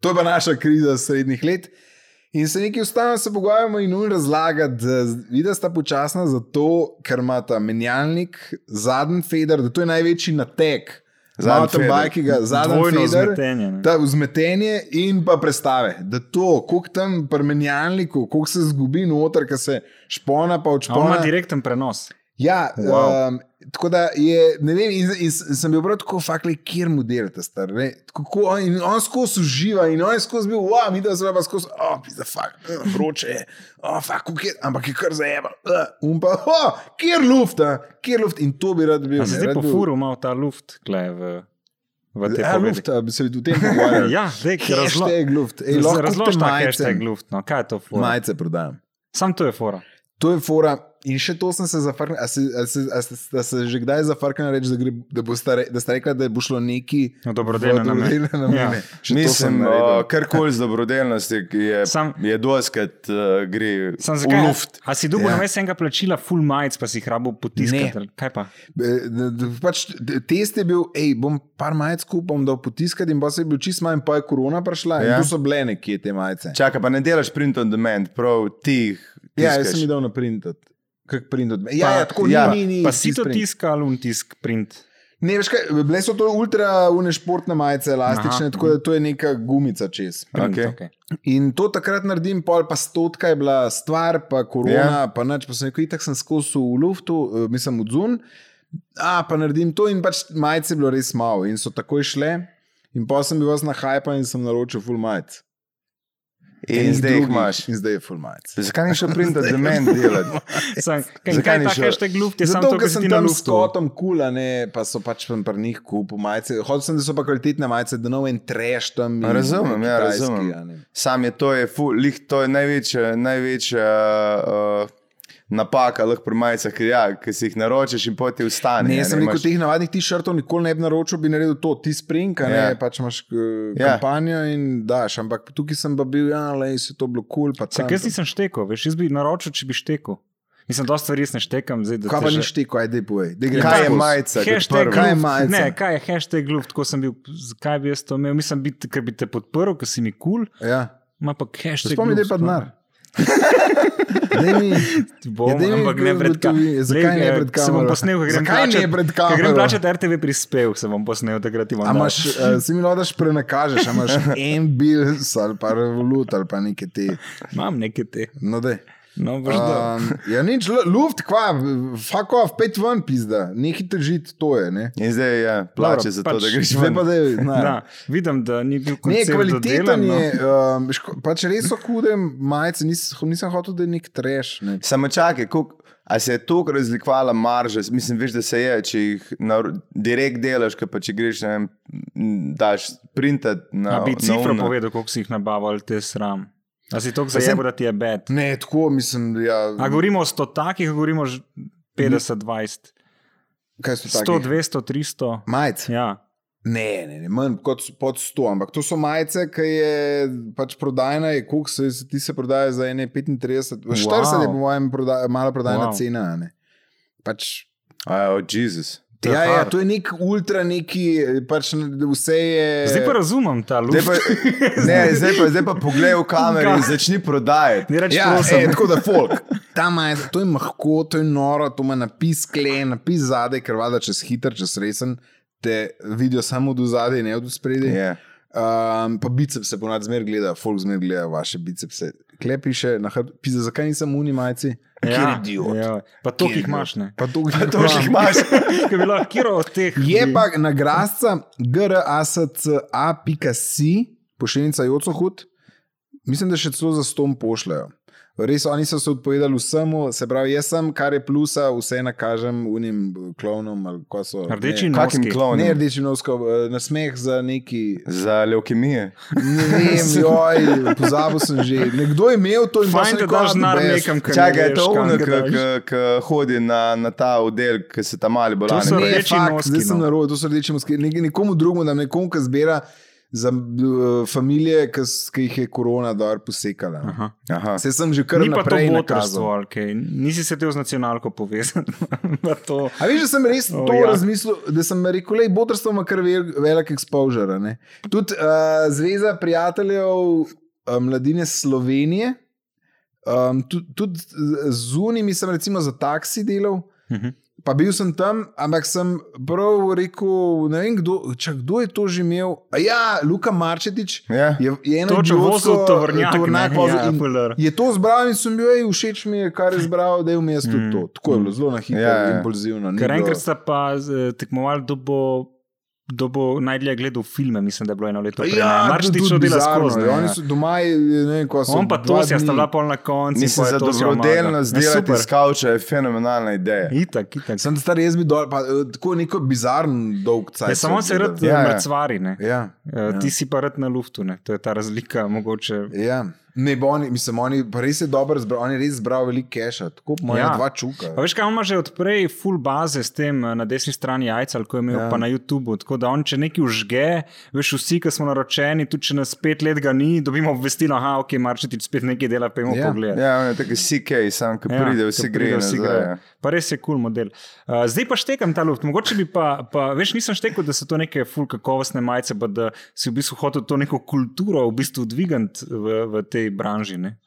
[SPEAKER 2] to je pa naša kriza srednjih let. In se nekaj ustavimo, se pogovarjamo in un razlaga, da vidiš, sta počasna zato, ker ima ta menjalnik, zadnji feder, da to je največji natek.
[SPEAKER 1] Zadnji
[SPEAKER 2] Zadnji
[SPEAKER 1] feder.
[SPEAKER 2] bajki, zadnji
[SPEAKER 3] Dvojno
[SPEAKER 2] feder,
[SPEAKER 3] vzmetenje, ne.
[SPEAKER 2] ta vzmetenje in pa predstave. Da to, koliko tam pri menjalniku, koliko se zgubi noter, ker se špona pa
[SPEAKER 3] A On
[SPEAKER 2] odšpona.
[SPEAKER 3] ima direkten prenos.
[SPEAKER 2] Ja, wow.
[SPEAKER 3] Wow.
[SPEAKER 2] um, tako da je, ne vem, in, in sem bil prav tako fakli, kjer mu delate, star. ne. Tako ko On, in on skozi uživa in on je skozi bil, wow, mi da se pa skozi, oh, pizda, fak, mm, vroče je, oh, fak, kako je, ampak je kar zajema, uh, um pa, oh, kjer luft, a, kjer luft in to bi rad bil.
[SPEAKER 3] A se
[SPEAKER 2] ne,
[SPEAKER 3] zdaj
[SPEAKER 2] rad
[SPEAKER 3] po
[SPEAKER 2] bil-
[SPEAKER 3] furu ima ta luft, klej v, v te
[SPEAKER 2] Ja,
[SPEAKER 3] povedi.
[SPEAKER 2] luft, a, bi se v tem pogovarjal.
[SPEAKER 3] Ja, zdaj ki razloži.
[SPEAKER 2] Hashtag luft, Ej, lahko
[SPEAKER 3] Razloži
[SPEAKER 2] kupite
[SPEAKER 3] ta
[SPEAKER 2] majice.
[SPEAKER 3] hashtag luft, no, kaj je to fora?
[SPEAKER 2] Majice prodajam.
[SPEAKER 3] Sam to je fora.
[SPEAKER 2] To je fora. In še to sem se zafrknil. A, se, a, se, a, se, a se že kdaj zafrknil reči, da, gre, da, bo stare, da sta rekla, da bo šlo neki
[SPEAKER 3] No, dobrodelne namene.
[SPEAKER 2] na mene.
[SPEAKER 3] Ja.
[SPEAKER 1] Mislim, uh, kar koli z dobrodelnosti je,
[SPEAKER 3] Sam-
[SPEAKER 1] je doskrat uh, gre
[SPEAKER 3] Sam
[SPEAKER 1] v
[SPEAKER 3] zakaj?
[SPEAKER 1] luft.
[SPEAKER 3] A si dobil
[SPEAKER 2] Ja.
[SPEAKER 3] ja. namesto enega plačila full majic, pa si jih rabo
[SPEAKER 2] Ne.
[SPEAKER 3] potiskati? ali Kaj pa?
[SPEAKER 2] Pač, E, d- test je bil, hej, bom par majic kupil, bom dal potiskati, in pa se je bil čist manj, pa je korona prišla.
[SPEAKER 1] Ja.
[SPEAKER 2] Ja. Tu so bile nekje te majice.
[SPEAKER 1] Čaka, pa ne delaš print on demand, prav ti. jih
[SPEAKER 2] Ja, jaz
[SPEAKER 1] tiskaš.
[SPEAKER 2] sem jih dal na printat. Kak printat? Ja,
[SPEAKER 1] Pa-
[SPEAKER 2] ja, tako
[SPEAKER 1] ja,
[SPEAKER 2] ni, ni, ni.
[SPEAKER 3] Pa si to
[SPEAKER 2] print.
[SPEAKER 3] tiska ali un tisk print?
[SPEAKER 2] Ne, veš kaj, bile so to ultra unešportne majice, elastične, Aha.
[SPEAKER 3] Aha.
[SPEAKER 2] tako da to je neka gumica čez.
[SPEAKER 3] print
[SPEAKER 1] Okej.
[SPEAKER 3] okej.
[SPEAKER 2] In to takrat naredim, pol pa stotka je bila stvar, pa
[SPEAKER 1] Ja.
[SPEAKER 2] korona, yeah. pa nič, pa sem rekel, itak sem skozi v luftu, eh, mislim, odzun. A pa naredim to in pač majice je bilo res malo in so takoj šle. In pa sem bil vas na hajpa in sem naročil full majic.
[SPEAKER 1] In, in
[SPEAKER 2] Enih
[SPEAKER 1] zdaj jih
[SPEAKER 2] drugih
[SPEAKER 1] imaš.
[SPEAKER 2] In zdaj je full majic.
[SPEAKER 1] Zakaj ne šel print on demand delati?
[SPEAKER 3] Sam- Kaj
[SPEAKER 1] Zakaj
[SPEAKER 3] kaj je
[SPEAKER 1] ni
[SPEAKER 3] ta
[SPEAKER 1] šel?
[SPEAKER 3] hashtag luft? Je samo
[SPEAKER 2] Zato,
[SPEAKER 3] to,
[SPEAKER 2] ker
[SPEAKER 3] kar si
[SPEAKER 2] sem
[SPEAKER 3] ti na
[SPEAKER 2] tam s
[SPEAKER 3] luftu.
[SPEAKER 2] kotom kula, ne, pa so pač tam pri njih kupu majice. Hodil sem, da so pa kvalitetne majice, da no en treš tam. in
[SPEAKER 1] Razumem, ja,
[SPEAKER 2] kitajski,
[SPEAKER 1] razumem.
[SPEAKER 2] a ne.
[SPEAKER 1] Sam je to, je ful, lih, to je največja, največja uh, napaka, lahko pri majicah, ker ja, ki si jih naročiš in potem ti ustane.
[SPEAKER 2] Ne,
[SPEAKER 1] a
[SPEAKER 2] jaz sem rekel,
[SPEAKER 1] ja, imaš-
[SPEAKER 2] teh navadnih t-shirtov nikoli ne bi naročil, bi naredil to, ti spring, a ne,
[SPEAKER 1] Ja.
[SPEAKER 2] yeah. pač imaš uh,
[SPEAKER 1] Ja.
[SPEAKER 2] yeah. kampanjo in daš, ampak tukaj sem pa bil, ja, le se to bilo kul, cool, pa
[SPEAKER 3] Sam,
[SPEAKER 2] tam.
[SPEAKER 3] jaz nisem štekel, veš, jaz bi naročil, če bi štekel. Mislim, da stvari res ne štekam. Zdaj, da
[SPEAKER 2] Kaj
[SPEAKER 3] te
[SPEAKER 2] pa
[SPEAKER 3] že-
[SPEAKER 2] ni šteko, ajde povej. daj gremo
[SPEAKER 1] Kaj je
[SPEAKER 2] skozi.
[SPEAKER 1] majica? kot
[SPEAKER 3] Hashtag
[SPEAKER 1] prvo?
[SPEAKER 2] Kaj je
[SPEAKER 3] luft.
[SPEAKER 2] majica?
[SPEAKER 3] Ne, kaj je hashtag luft, tako sem bil, zakaj bi jaz to imel? Mislim, biti- ker bi te podprl, ker si mi kul, cool,
[SPEAKER 2] Ja.
[SPEAKER 3] ima pa hashtag.
[SPEAKER 2] Spomni, da je pa
[SPEAKER 3] luft, no.
[SPEAKER 2] denar. Daj mi-
[SPEAKER 3] Bom,
[SPEAKER 2] Ja, daj mi
[SPEAKER 3] ampak ne pred
[SPEAKER 2] ugotovi,
[SPEAKER 3] kamero.
[SPEAKER 2] Zakaj ne pred kamero?
[SPEAKER 3] Se bom posnel, ko grem
[SPEAKER 2] Zakaj ne
[SPEAKER 3] plačat-
[SPEAKER 2] pred
[SPEAKER 3] ko Grem
[SPEAKER 2] kamero?
[SPEAKER 3] plačati RTV prispevek, se bom posnel, takrat imam.
[SPEAKER 2] A
[SPEAKER 3] dal.
[SPEAKER 2] imaš, eh, si mi lodaš prenakažeš, a imaš en bil ali pa revolut ali pa neke te.
[SPEAKER 3] Imam neke te.
[SPEAKER 2] No, daj.
[SPEAKER 3] No, boš dal.
[SPEAKER 2] Um, ja, nič, lu- luft, kva, fuck off, pet ven, pizda, nekaj težit, to je. Ne?
[SPEAKER 1] In zdaj je ja, plače
[SPEAKER 3] Dobro,
[SPEAKER 1] za to,
[SPEAKER 3] pač,
[SPEAKER 1] da greš
[SPEAKER 2] Zdaj
[SPEAKER 1] ven.
[SPEAKER 2] pa da je. na.
[SPEAKER 3] Da, vidim, da ni bil
[SPEAKER 2] Ne,
[SPEAKER 3] koncept
[SPEAKER 2] kvaliteten
[SPEAKER 3] dodelan, no.
[SPEAKER 2] je. Um, ško- pač res so hude majice, nis, nisem hotel, da je nek treš. Ne.
[SPEAKER 1] Samo čakaj, koliko- a se je toliko razlikovala marža? Mislim, veš, da se je, če jih na, direkt delaš, ke pa če greš, ne vem, m, daš printat na.
[SPEAKER 2] No,
[SPEAKER 3] A bi cifro
[SPEAKER 1] na uno.
[SPEAKER 3] povedal, koliko si jih nabavil, te sram. A si toliko
[SPEAKER 1] Pa
[SPEAKER 3] zajel,
[SPEAKER 1] sem-
[SPEAKER 3] da ti je bed.
[SPEAKER 2] ne, tako mislim. da Ja,
[SPEAKER 3] A govorimo o 100 takih, a govorimo že 50, 20,
[SPEAKER 2] kaj so
[SPEAKER 3] 100,
[SPEAKER 2] to?
[SPEAKER 3] 200, 300.
[SPEAKER 2] Majice.
[SPEAKER 3] Ja.
[SPEAKER 2] Ne, ne, ne, manj kot s- pod 100, ampak to so majice, ki je pač prodajna, je kuk, se, se- ti se prodaja za ene 35, wow. 40 je po
[SPEAKER 3] Wow.
[SPEAKER 2] mojem proda, mala prodajna wow.
[SPEAKER 3] Wow.
[SPEAKER 2] cena. a Ne. Pač
[SPEAKER 1] A, oh, Jezus.
[SPEAKER 3] To je
[SPEAKER 2] Ja, ja,
[SPEAKER 3] hard.
[SPEAKER 2] to je nek ultra, neki, pač vse je.
[SPEAKER 3] Zdaj pa razumem ta
[SPEAKER 1] Zdaj
[SPEAKER 3] luft.
[SPEAKER 1] pa, ne, zdaj pa, zdaj pa poglej v kamero in začni prodajati.
[SPEAKER 3] Ne reči,
[SPEAKER 2] Ja,
[SPEAKER 3] prosim.
[SPEAKER 2] e, tako da folk. Ta majica, to je mahko, to je noro, to ima napis kle, napis zadaj, ker vada čez hiter, čez resen, te vidijo samo do zadaj, ne od spredaj.
[SPEAKER 1] Yeah.
[SPEAKER 2] Um, pa bicepse ponad zmer gledajo, folk zmer gleda vaše bicepse. Kle piše, na hrbtu, pisa, zakaj nisem unimajci?
[SPEAKER 3] ja,
[SPEAKER 2] idiot.
[SPEAKER 3] Ja. Pa to,
[SPEAKER 2] Kjer
[SPEAKER 3] ki jih imaš, ne.
[SPEAKER 2] Pa to gre.
[SPEAKER 1] To že imaš.
[SPEAKER 3] Ki bi lahko kjer od teh.
[SPEAKER 2] Je pa nagrada grasca.si, pošiljnica Joco Hud. Mislim, da še celo za stom pošljajo. Res, oni so se odpovedali vsemu, se pravi, jaz sem, kar je plusa, vse nakažem unim klovnom ali ko so.
[SPEAKER 3] Rdeči
[SPEAKER 2] ne,
[SPEAKER 1] Kakim
[SPEAKER 3] noski.
[SPEAKER 1] klonom?
[SPEAKER 2] Ne, rdeči nosko, eh, nasmeh za neki.
[SPEAKER 1] Za leukemije.
[SPEAKER 2] Ne vem, joj, pozabil sem že. Nekdo je imel to in
[SPEAKER 3] Fajn, da daš denar nekam, kar
[SPEAKER 1] Čakaj,
[SPEAKER 3] ne
[SPEAKER 1] je
[SPEAKER 3] veš,
[SPEAKER 1] to
[SPEAKER 3] kam
[SPEAKER 1] ono,
[SPEAKER 3] ga daš.
[SPEAKER 1] ki hodi na, na ta oddelek, ki se tam mali bolani.
[SPEAKER 3] To so
[SPEAKER 1] preveč.
[SPEAKER 2] Ne,
[SPEAKER 3] Rdeči
[SPEAKER 2] fakt,
[SPEAKER 3] noski,
[SPEAKER 2] zdaj sem
[SPEAKER 3] no.
[SPEAKER 2] na robu, to so rdeči noski. Nek, nekomu drugemu, da nekomu, ki zbira za uh, družine, ki s- ki jih je korona dol posekala.
[SPEAKER 3] Aha.
[SPEAKER 1] Aha.
[SPEAKER 2] Vse sem že kar
[SPEAKER 3] Ni pa to
[SPEAKER 2] naprej
[SPEAKER 3] botrstvo,
[SPEAKER 2] nakazal.
[SPEAKER 3] ali kaj. nisi se te z nacionalko povezal. Pa to-
[SPEAKER 2] A veš, da sem res
[SPEAKER 3] O,
[SPEAKER 2] to
[SPEAKER 3] ja.
[SPEAKER 2] razmislil, da sem rekel, da je botrstvo ima kar vel- velik exposure. a ne. Tudi uh, Zveza eh, prijateljev uh, mladine Slovenije. Um, tudi tud zunaj, mislim, recimo za taksi delal,
[SPEAKER 3] Mhm.
[SPEAKER 2] pa bil sem tam, ampak sem prav rekel, ne vem, kdo, čak, kdo je to že imel. A ja, Luka Marčetič
[SPEAKER 1] Ja.
[SPEAKER 2] je, je eno
[SPEAKER 3] Točno
[SPEAKER 2] idiotsko,
[SPEAKER 3] vozil
[SPEAKER 2] eh,
[SPEAKER 3] tovornjak,
[SPEAKER 2] tovornjak
[SPEAKER 3] ne,
[SPEAKER 2] vozil
[SPEAKER 3] ja,
[SPEAKER 2] in
[SPEAKER 3] ful dobro.
[SPEAKER 2] Je to zbral in sem bil, ej, všeč mi je, kar je zbral, da je vmes tudi
[SPEAKER 3] Mm.
[SPEAKER 2] to. Tako je bilo zelo na hitro,
[SPEAKER 1] Ja, ja.
[SPEAKER 2] ja, impulzivno. ni
[SPEAKER 3] Ker
[SPEAKER 2] bilo-
[SPEAKER 3] enkrat sta pa eh, tekmovali, kdo bo, kdo bo najdlje gledal filme, mislim, da je bilo eno leto. prej, ne.
[SPEAKER 2] to je
[SPEAKER 3] Marštič
[SPEAKER 2] Ja, tudi
[SPEAKER 3] odela
[SPEAKER 2] bizarno, ja.
[SPEAKER 3] skozi. ne.
[SPEAKER 2] Oni so doma, je- ne vem, ko so.
[SPEAKER 3] On pa
[SPEAKER 2] dva
[SPEAKER 3] to se je
[SPEAKER 2] dni-
[SPEAKER 3] stavila pol na koncu.
[SPEAKER 1] Mislim, da dobrodelno zdelati iz
[SPEAKER 3] skala.
[SPEAKER 1] kavča je fenomenalna ideja.
[SPEAKER 3] Itak, itak.
[SPEAKER 2] Sem star, jaz bi dol, pa eh, tako neko bizarn dolg cajt.
[SPEAKER 3] Ja, samo se rad
[SPEAKER 1] Ja,
[SPEAKER 3] ja,
[SPEAKER 1] ja.
[SPEAKER 3] mrcvari, ne.
[SPEAKER 2] Ja,
[SPEAKER 3] Ja. Ti si pa rad na luftu, ne. to je ta razlika. Mogoče.
[SPEAKER 2] ja. Ne, bo oni, mislim, oni pa res je dobro zbral, oni res zbral veliko keša, tako moja
[SPEAKER 3] Ja.
[SPEAKER 2] ja. dva čuka.
[SPEAKER 3] Pa veš, kaj on ima že odprej, full baze s tem eh, na desni strani jajca, ali ko je imel ja.
[SPEAKER 2] Ja.
[SPEAKER 3] pa na YouTubu. Tako da on, če nekaj užge, veš, vsi, ki smo naročeni, tudi če nas pet let ga ni, dobimo obvestilo, aha, ok, marčetič spet nekaj dela, pojmo ja.
[SPEAKER 2] Ja.
[SPEAKER 3] pogled.
[SPEAKER 1] Ja, on je tako CK, sam, ki
[SPEAKER 3] Ja,
[SPEAKER 1] pride,
[SPEAKER 3] ko
[SPEAKER 1] vsi
[SPEAKER 3] pride,
[SPEAKER 1] gre,
[SPEAKER 3] vsi
[SPEAKER 1] nazaj,
[SPEAKER 3] grejo.
[SPEAKER 1] ja.
[SPEAKER 3] Pa res je kul cool model. Uh, zdaj pa štekam ta luft. Mogoče bi pa, pa veš, nisem štekal, da so to neke full kakovostne majice, pa da si v bistvu hotel to neko kulturo v bistvu dvigant v, v tej branži. Ne?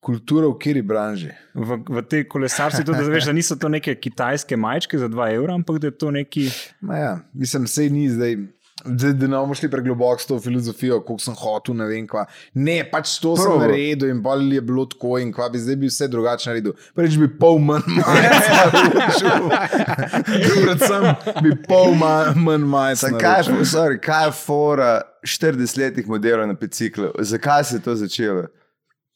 [SPEAKER 2] Kultura v kiri branži.
[SPEAKER 3] V, v tej kolesarstvu, tudi, da, veš, da niso to neke kitajske majčke za 2 evra, ampak da je to neki.
[SPEAKER 2] Ma Ja, mislim, sej ni zdaj. Zdaj, da ne bomo šli pregloboko s to filozofijo, koliko sem hotel, ne vem kva. Ne, pač to Prvo.
[SPEAKER 1] Probaj.
[SPEAKER 2] sem naredil in bolj je bilo tako in kva bi zdaj bil vse drugače naredil. Prvič bi pol manj majca naročil. Predvsem bi pol ma- manj majca
[SPEAKER 1] Sam, kaj, je
[SPEAKER 2] naročil.
[SPEAKER 1] fo- sorry, kaj je fora 40-letnih modelov na biciklu? Zakaj se je to začelo?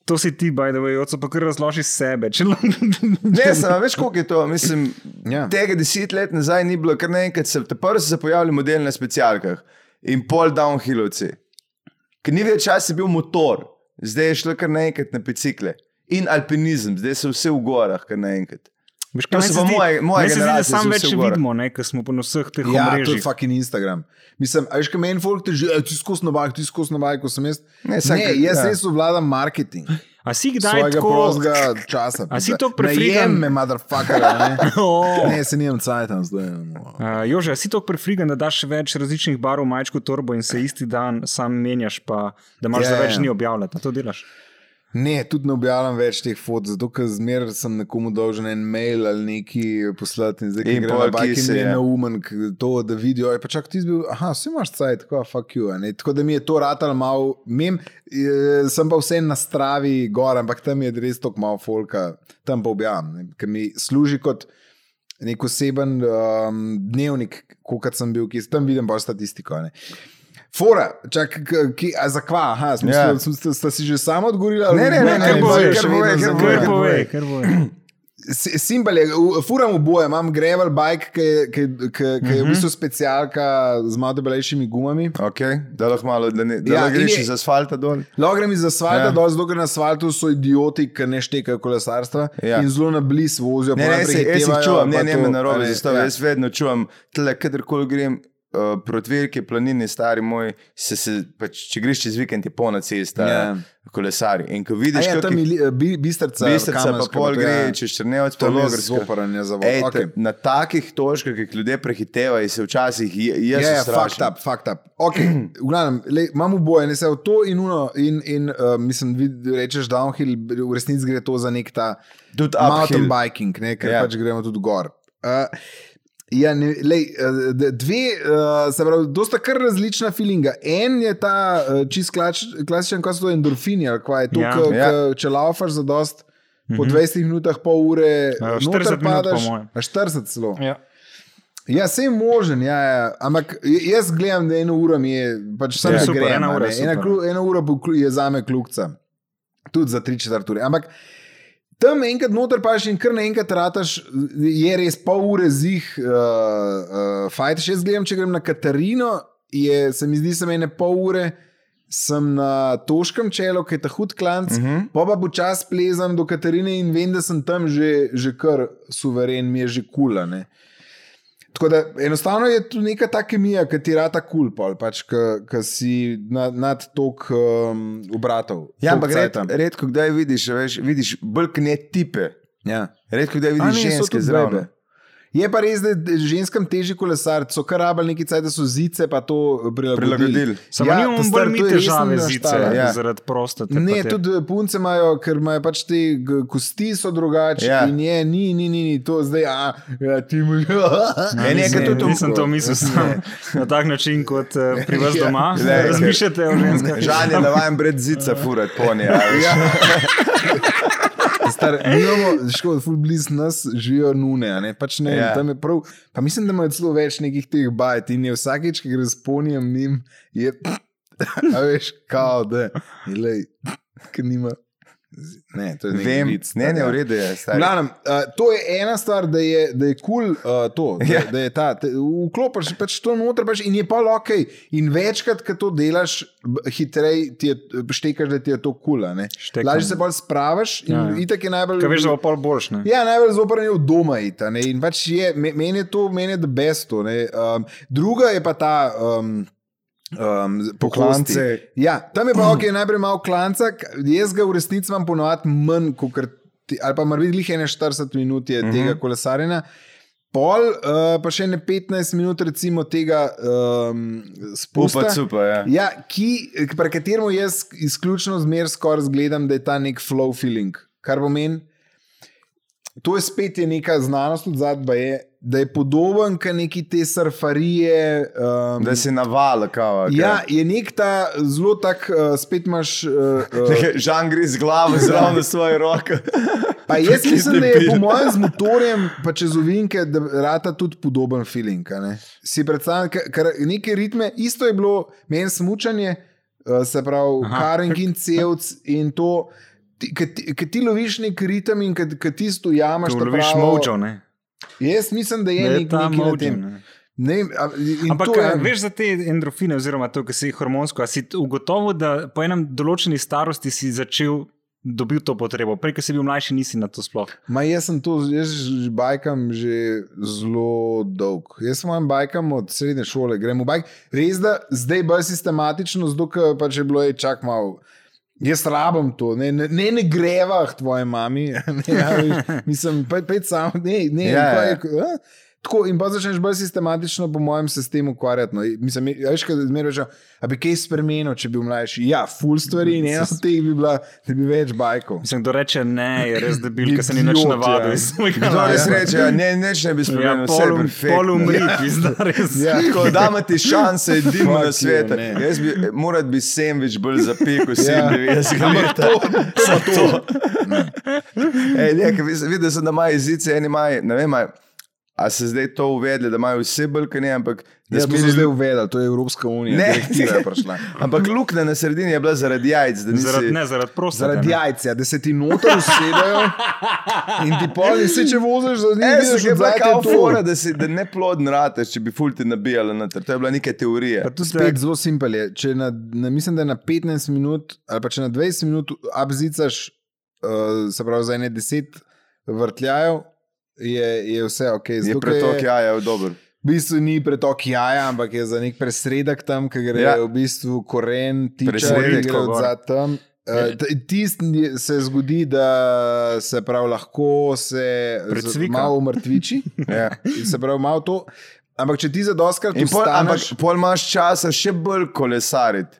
[SPEAKER 3] To si ti, by the way, oče, pa kar razloži sebe. Če lahko-
[SPEAKER 1] Ne, samo veš, koliko je to. Mislim, ja.
[SPEAKER 2] Ja.
[SPEAKER 1] Tega deset let nazaj ni bilo, ker naenkrat se, ta prvi so se pojavili modeli na specialkah in pol downhillovci. Ker ni več čas je bil motor, zdaj je šlo kar naenkrat na bicikle. In alpinizem, zdaj so vse v gorah, kar naenkrat.
[SPEAKER 3] Veš,
[SPEAKER 1] To
[SPEAKER 3] meni
[SPEAKER 1] so
[SPEAKER 3] se
[SPEAKER 1] pa
[SPEAKER 3] zdi-
[SPEAKER 1] moje- moje
[SPEAKER 3] meni se zdi, da
[SPEAKER 1] generacije so
[SPEAKER 3] Sam več
[SPEAKER 1] vse v gorah.
[SPEAKER 3] vidimo, ne, ker smo po vseh teh
[SPEAKER 2] Ja, to je
[SPEAKER 3] omrežjih.
[SPEAKER 2] fucking Instagram. Mislim, a veš, kaj meni folk teži, "Ej, ti skozi nabaj, ti skozi nabaj, ko sem jaz.
[SPEAKER 1] Ne,
[SPEAKER 2] Ne,
[SPEAKER 1] samo
[SPEAKER 2] ne
[SPEAKER 1] ker-
[SPEAKER 2] jaz
[SPEAKER 1] ja.
[SPEAKER 2] res obvladam marketing.
[SPEAKER 3] A si kdaj
[SPEAKER 2] svojega
[SPEAKER 3] tako
[SPEAKER 2] prostega časa.
[SPEAKER 3] A si to prefrigan?
[SPEAKER 2] prefrigan? Ne, motherfucker, a ne.
[SPEAKER 3] Oh.
[SPEAKER 2] Ne, se nimam cajt tam zdaj.
[SPEAKER 3] Uh, Jože, a si tako prefrigan, da daš več različnih barov, majčko, torbo in se isti dan sam menjaš, pa da imaš
[SPEAKER 2] Ja,
[SPEAKER 3] za več
[SPEAKER 2] ja.
[SPEAKER 3] dni objavljati. A To delaš.
[SPEAKER 2] Ne, tudi ne objavljam več teh fotov, zato ker zmeraj sem nekomu dolžen en mail ali neki poslati. In zdaj,
[SPEAKER 1] In
[SPEAKER 2] ki gre
[SPEAKER 1] pol
[SPEAKER 2] na bajk,
[SPEAKER 1] kise,
[SPEAKER 2] mi je
[SPEAKER 1] ja.
[SPEAKER 2] neumen, k- to, da vidijo, "Ej, pa čak ti zbil, aha, vsi imaš cajt, tako, fuck you. a Ne? Tako da mi je to ratal mal, mem, e, sem pa vse na stravi gor, ampak tam je res tako malo folka, tam pa objavljam, ne, ker mi služi kot nek oseben um, dnevnik, kot sem bil, ki tam vidim pa statistiko. a Ne. Fora, čak, k- ki, a za kva, aha, smo,
[SPEAKER 1] Ja.
[SPEAKER 2] yeah. smo, smo, sta si že sama odgovorila? ali-
[SPEAKER 1] Ne, ne, ne,
[SPEAKER 2] Ne,
[SPEAKER 1] kar
[SPEAKER 2] ne,
[SPEAKER 1] povej,
[SPEAKER 2] ne,
[SPEAKER 1] kar
[SPEAKER 2] še
[SPEAKER 1] povej,
[SPEAKER 2] vedno
[SPEAKER 1] kar
[SPEAKER 2] za Ja,
[SPEAKER 1] povej,
[SPEAKER 3] Kar
[SPEAKER 2] kva.
[SPEAKER 3] povej, kar povej.
[SPEAKER 2] Si- Simbal je, u- furam oboje, imam gravel bike, ki je- ki je- ki je- ki je v
[SPEAKER 1] Mhm.
[SPEAKER 2] bistvu specialka z malo debelejšimi gumami.
[SPEAKER 1] Okay, da lahko malo, da ne da
[SPEAKER 2] Ja,
[SPEAKER 1] ja,
[SPEAKER 2] in
[SPEAKER 1] greš
[SPEAKER 2] je-
[SPEAKER 1] iz asfalta dol.
[SPEAKER 2] Lahko grem iz asfalta,
[SPEAKER 1] Ja.
[SPEAKER 2] ja. dol, zato ker na asfaltu so idioti, ki ne štekajo kolesarstva
[SPEAKER 1] Ja.
[SPEAKER 2] ja. in zelo na blizu vozijo.
[SPEAKER 1] Ne,
[SPEAKER 2] pol
[SPEAKER 1] ne, jaz, se- jaz jih
[SPEAKER 2] prehitevajo,
[SPEAKER 1] čuvam,
[SPEAKER 2] pa
[SPEAKER 1] ne, ne,
[SPEAKER 2] to,
[SPEAKER 1] me
[SPEAKER 2] a
[SPEAKER 1] narobe
[SPEAKER 2] ne,
[SPEAKER 1] zastavlja.
[SPEAKER 2] ja.
[SPEAKER 1] Jaz vedno čuvam, tle, kadarkoli grem. Uh, proti veliki planini, stari moj, se, se, pač, če greš čez vikend, je polna cesta,
[SPEAKER 2] Ja.
[SPEAKER 1] yeah. kolesari. In ko vidiš,
[SPEAKER 2] A Ja,
[SPEAKER 1] kako
[SPEAKER 2] tam je li- bi- bistrca,
[SPEAKER 1] Bistrica pa
[SPEAKER 2] Kamensko,
[SPEAKER 1] pol
[SPEAKER 2] to
[SPEAKER 1] gre,
[SPEAKER 2] je-
[SPEAKER 1] če štrnevec pa
[SPEAKER 2] To je
[SPEAKER 1] logr.
[SPEAKER 2] zopranje za
[SPEAKER 1] Ej,
[SPEAKER 2] vodo.
[SPEAKER 1] okay.
[SPEAKER 2] Okay.
[SPEAKER 1] Na takih točkah, ki jih ljudje prehitevajo, se včasih je, jaz
[SPEAKER 2] Ja, ja,
[SPEAKER 1] strašim.
[SPEAKER 2] fakt up, fakt up. Okay. V glavnem, lej, imam oboje, ne se v to in uno, in, in uh, mislim, vi rečeš downhill, v resnici gre to za nek ta
[SPEAKER 1] Tudi
[SPEAKER 2] mountain
[SPEAKER 1] uphill.
[SPEAKER 2] biking, ne, ker
[SPEAKER 1] Ja.
[SPEAKER 2] ja. pač gremo tudi gor. Uh, ja, ne, lej, uh, d- dve, uh, se pravi, dosta kar različna feelinga. En je ta uh, čist klač, klasičen, kot so to endorfini, ali kaj je to,
[SPEAKER 3] Ja. Mhm.
[SPEAKER 2] ja.
[SPEAKER 1] Ja.
[SPEAKER 2] če laufaš za dost. Po 20 minutah, pol ure,
[SPEAKER 3] Ja,
[SPEAKER 2] noter
[SPEAKER 3] 40 minut, po
[SPEAKER 2] padaš,
[SPEAKER 3] mojem.
[SPEAKER 2] a 40 celo.
[SPEAKER 3] Ja.
[SPEAKER 2] Ja, sej možen, ja, ja. ampak j- jaz gledam, da eno uro mi je, pač samo
[SPEAKER 1] Ja,
[SPEAKER 2] ja,
[SPEAKER 3] super,
[SPEAKER 2] grem,
[SPEAKER 3] ena
[SPEAKER 2] a
[SPEAKER 3] ura
[SPEAKER 2] ne.
[SPEAKER 3] je
[SPEAKER 2] ena,
[SPEAKER 3] super.
[SPEAKER 2] klu, ena ura bo klu- je za me kljukca, tudi za tri četrt ure. Ampak tam enkrat noter paš in kar naenkrat rataš, je res pol ure zih, uh, uh, fajn. Še jaz gledam, če grem na Katarino, je, se mi zdi, sem ene pol ure. Sem na Toškem čelu, ki je ta hud klanc, uh
[SPEAKER 1] Mhm.
[SPEAKER 2] -huh. pa pa počasi plezam do Katarine in vem, da sem tam že, že kar suveren, mi je že kula. Ne. Tako da enostavno je tu neka ta kemija, ki ti rata kul, cool pač, ki si na, nad tok um, obratov.
[SPEAKER 1] Ja, ampak
[SPEAKER 2] red
[SPEAKER 1] red, redko kdaj vidiš, a veš, vidiš bolj kne tipe.
[SPEAKER 2] Ja.
[SPEAKER 1] Redko kdaj
[SPEAKER 2] A
[SPEAKER 1] vidiš
[SPEAKER 2] ne, so
[SPEAKER 1] ženske
[SPEAKER 2] tudi
[SPEAKER 1] zraven.
[SPEAKER 2] bebe. Je pa res, da je ženskam težje kolesariti, so kar rabili neki cajt, da so zice pa to prilagodili.
[SPEAKER 1] Prilagodili.
[SPEAKER 3] Samo ja, nimamo
[SPEAKER 2] ta
[SPEAKER 3] bolj
[SPEAKER 2] stvar,
[SPEAKER 3] mi
[SPEAKER 2] to je resna
[SPEAKER 3] težave z zice,
[SPEAKER 2] naštala.
[SPEAKER 1] Ja.
[SPEAKER 3] ja. zaradi prostate. pa
[SPEAKER 2] Ne,
[SPEAKER 3] te-
[SPEAKER 2] tudi punce imajo, ker imajo pač te g- kosti so drugačne.
[SPEAKER 1] Ja.
[SPEAKER 2] Ja. In je, ni, ni, ni, ni to zdaj, a ja, ti mu je.
[SPEAKER 1] Ja, ne,
[SPEAKER 3] Mislim,
[SPEAKER 1] ker tudi to-
[SPEAKER 3] Nisem to mislil sam na tak način, kot eh, pri vas
[SPEAKER 2] Ja.
[SPEAKER 3] doma.
[SPEAKER 1] Glej, ker-
[SPEAKER 3] Razmišljate o ženskah.
[SPEAKER 1] Žan je navaden bred zica, furat ponje. a veš.
[SPEAKER 2] Star, mi imamo, škoda, ful bliz nas živijo nune, a ne, pač ne,
[SPEAKER 1] Ja.
[SPEAKER 2] ja. tam je prav. Pa mislim, da imajo celo več nekih teh bajt in je vsakeč, ki gre s ponijem njim, je, a veš, kao, da, ilej, ki nima. z- Ne, to je nek
[SPEAKER 1] Vem,
[SPEAKER 2] vic,
[SPEAKER 1] ne, ne,
[SPEAKER 2] ja.
[SPEAKER 1] v redu je.
[SPEAKER 2] V
[SPEAKER 1] stari.
[SPEAKER 2] Glavnem, uh, to je ena stvar, da je kul da je cool, uh, to, da,
[SPEAKER 1] Ja.
[SPEAKER 2] ja. da je ta. Te, vklopiš pač to noter pač in je pa ok. In večkrat, ko to delaš, hitreje ti je, štekaš, da ti je to kul.
[SPEAKER 3] Štekam.
[SPEAKER 2] Cool, Lažje se bolj spraviš in
[SPEAKER 3] Ja,
[SPEAKER 2] ja,
[SPEAKER 3] ja.
[SPEAKER 2] itak je najbolj.
[SPEAKER 3] Kaj veš, da bo pol boljš. ne?
[SPEAKER 2] Ja, najbolj zoprn je od doma. Ita, ne, in pač je, me- meni je to, meni je da besto. Um, druga je pa ta. Um, Um, z- po
[SPEAKER 1] Poklance.
[SPEAKER 2] kosti. Ja, tam je pa ok, najprej malo klanca, k- jaz ga v resnici imam ponovadi manj, kot ti, ali pa morda jih 41 minut je tega kolesarjenja, pol uh, pa še ne 15 minut recimo tega um,
[SPEAKER 1] Upa,
[SPEAKER 2] spusta.
[SPEAKER 1] cupa, ja.
[SPEAKER 2] Ja, ki, pri katerem jaz izključno zmeraj skoraj zgledam, da je ta nek flow feeling. Kar pomeni, to je spet je neka znanost od zadnja, da je podoben kot neki te surfarije. Um,
[SPEAKER 1] Da si naval, kao. okej.
[SPEAKER 2] Ja, je nek ta zelo tak, uh, spet imaš. Uh, uh,
[SPEAKER 1] Čakaj, Žan gre z glavo zraven na svoje roke.
[SPEAKER 2] pa jaz
[SPEAKER 1] Ki
[SPEAKER 2] mislim, da je
[SPEAKER 1] debil.
[SPEAKER 2] po mojem z motorjem, pa čez ovinke, da rata tudi podoben feeling. a ne. Si predstavljam, ka- ker neke ritme, isto je bilo meni smučanje, uh, se pravi,
[SPEAKER 3] Aha.
[SPEAKER 2] karing in cevc in to. Ker ti loviš nek ritem in ker ti stojamaš,
[SPEAKER 3] Ko loviš mojo, ne?
[SPEAKER 2] Jaz mislim, da je,
[SPEAKER 3] Da
[SPEAKER 2] je
[SPEAKER 3] je
[SPEAKER 2] nek,
[SPEAKER 3] ta
[SPEAKER 2] nekaj
[SPEAKER 3] mojo,
[SPEAKER 2] na tem.
[SPEAKER 3] ne.
[SPEAKER 2] Ne, vem, a, in
[SPEAKER 3] Ampak
[SPEAKER 2] to, je-
[SPEAKER 3] eh, veš za te endorfine, oziroma to, kar si hormonsko, a si t- ugotovil, da po enem določeni starosti si začel dobil to potrebo. Prej, ko si bil mlajši, nisi na to sploh.
[SPEAKER 2] Ma jaz sem to, jaz ž- bajkam že zelo dolg. Jaz sem mojim bajkam od srednje šole, grem v bajk. Res da zdaj bolj sistematično, zato ker pač je bilo, je čak malo. Jaz rabim to, ne, ne, ne, ne greva k tvoji mami. Ne, ja, veš, mislim, pet, pet sam, ne, ne.
[SPEAKER 1] Ja,
[SPEAKER 2] kaj,
[SPEAKER 1] ja.
[SPEAKER 2] je- a? Tako, in pa začneš bolj sistematično, po mojem, se s tem ukvarjati. No. Mislim, a veš, kaj zmeraj rečeš, a bi kaj spremenil, če bi bil mlajši. Ja, full stvari in ena od teh bi bila, da bi več bajkov.
[SPEAKER 3] Mislim, kdo reče ne, je res debil, ker se ni
[SPEAKER 2] Idiot,
[SPEAKER 3] nič
[SPEAKER 2] ja.
[SPEAKER 3] navadil iz svojega
[SPEAKER 1] To res
[SPEAKER 3] lajfa.
[SPEAKER 1] reče, ja, ne, neč ne bi
[SPEAKER 3] Ja,
[SPEAKER 1] spremenil, vse je
[SPEAKER 3] polum-
[SPEAKER 1] perfektno. Ja.
[SPEAKER 3] polumri, pizda, res.
[SPEAKER 2] Ja.
[SPEAKER 1] Ko damo ti šanse, edino na
[SPEAKER 2] Fuck you,
[SPEAKER 1] svetu.
[SPEAKER 2] ne.
[SPEAKER 1] Jaz bi, morat bi sandvič bolj zapekel,
[SPEAKER 2] Ja.
[SPEAKER 1] 97 let. Samo to. Ej, ne, ker vis- Videl sem, da imajo jezice, eni imajo, ne vem, imajo- a se zdaj to uvedli, da imajo vse bolj, ker ne, ampak da
[SPEAKER 2] Ja, to
[SPEAKER 1] smo
[SPEAKER 2] so
[SPEAKER 1] imeli
[SPEAKER 2] zdaj uvedli, to je Evropska unija,
[SPEAKER 1] Ne.
[SPEAKER 2] direktiva je prišla.
[SPEAKER 1] Ampak luknja na sredini je bila zaradi jajc. da nisi-
[SPEAKER 3] Zaradi, ne, zaradi prostate.
[SPEAKER 2] Zaradi ja.
[SPEAKER 3] ne.
[SPEAKER 2] jajca, da se ti noter usedajo in ti poli se, če voziš za njim,
[SPEAKER 1] Ne,
[SPEAKER 2] vidiš,
[SPEAKER 1] se je
[SPEAKER 2] da
[SPEAKER 1] E, bila
[SPEAKER 2] je
[SPEAKER 1] kao
[SPEAKER 2] to
[SPEAKER 1] fora, da, si, da ne plodn rateš, če bi fulti nabijala noter. To je bila neka teorija.
[SPEAKER 3] Pa tudi,
[SPEAKER 2] Spet zelo simpel je. Če na, na, mislim, da je na 15 minut ali pa če na 20 minut abzicaš, uh, se pravi za ene 10 vrtljajev, je, je vse ok.
[SPEAKER 1] Je
[SPEAKER 2] zato, ker
[SPEAKER 1] pretok jaja, dober.
[SPEAKER 2] V bistvu ni pretok jaja, ampak je za nek presredek tam, ki gre
[SPEAKER 1] Ja.
[SPEAKER 2] ja. v bistvu koren, tiče, ki
[SPEAKER 1] Presredek,
[SPEAKER 2] gre
[SPEAKER 3] ko
[SPEAKER 2] od
[SPEAKER 3] gor. Ja.
[SPEAKER 2] zadaj tam. Eh, t- Tisti se zgodi, da se prav lahko se z-
[SPEAKER 3] Precvika.
[SPEAKER 2] malo umrtviči,
[SPEAKER 1] Ja.
[SPEAKER 2] in se pravi malo to. Ampak če ti za doskrat
[SPEAKER 1] In Pol, ampak
[SPEAKER 2] ustaneš,
[SPEAKER 1] pol imaš časa še bolj kolesariti,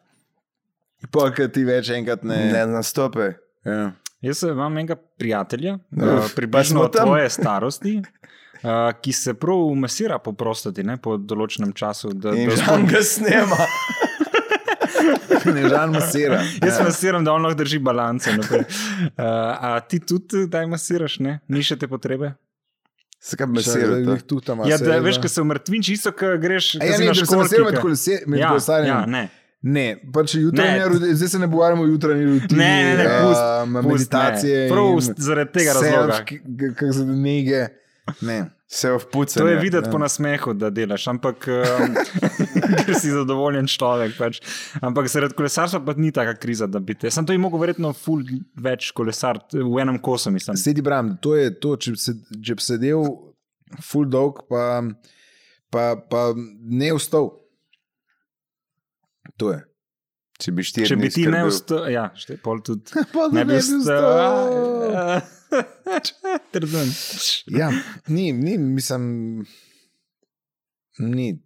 [SPEAKER 2] pol, ker ti več enkrat ne.
[SPEAKER 1] ne nastope.
[SPEAKER 2] Ja.
[SPEAKER 3] Jaz eh, imam enega prijatelja,
[SPEAKER 1] Ja.
[SPEAKER 3] eh, približno
[SPEAKER 1] smo tam.
[SPEAKER 3] tvoje starosti, eh, ki se prav umasira po prostati, ne, po določenem času. Da,
[SPEAKER 1] In
[SPEAKER 3] da
[SPEAKER 1] žan ga snema.
[SPEAKER 2] Ne Ja, žal masira.
[SPEAKER 3] Jaz masiram, da on lahko drži balance. Uh, a ti tudi, da masiraš, ne? Ni še te potrebe?
[SPEAKER 1] Se kaj mesira.
[SPEAKER 2] tu tam.
[SPEAKER 3] ja, da veš, ko se umrtvinči, isto, ko greš.
[SPEAKER 2] Ja, ne, da se masira med kolesarjem.
[SPEAKER 3] Ja, ja,
[SPEAKER 2] Ja,
[SPEAKER 3] ne.
[SPEAKER 2] Ne, pač jutranja,
[SPEAKER 3] Ne.
[SPEAKER 2] rut- zdaj se ne pogovarjamo o jutranji rutini.
[SPEAKER 3] Ne, ne, ne,
[SPEAKER 2] eh,
[SPEAKER 3] pust, pust,
[SPEAKER 2] meditacije.
[SPEAKER 3] ne. Prav
[SPEAKER 2] in
[SPEAKER 3] ust- zaradi tega
[SPEAKER 2] self-
[SPEAKER 3] razloga.
[SPEAKER 2] k- k- Kako se nege. Ne.
[SPEAKER 1] Se vpuca.
[SPEAKER 3] To je
[SPEAKER 2] ja.
[SPEAKER 3] videti po nasmehu, da delaš, ampak um, ker si zadovoljen človek. Pač. Ampak zaradi kolesarstva pa ni taka kriza, da bi te. Sam to je mogel verjetno ful več kolesar v enem kosu, mislim.
[SPEAKER 2] Sedi bram, to je to, če bi, se, če bi sedel full dog, pa, pa, pa ne vstal. To je.
[SPEAKER 1] Če bi štiri.
[SPEAKER 3] Če bi ti ne
[SPEAKER 1] ustavil.
[SPEAKER 3] vstal, ja, šte, pol tudi.
[SPEAKER 2] Pa
[SPEAKER 3] Ne bi
[SPEAKER 2] vstal.
[SPEAKER 3] vstal. Trden.
[SPEAKER 2] Ja, ni, ni, mislim, ni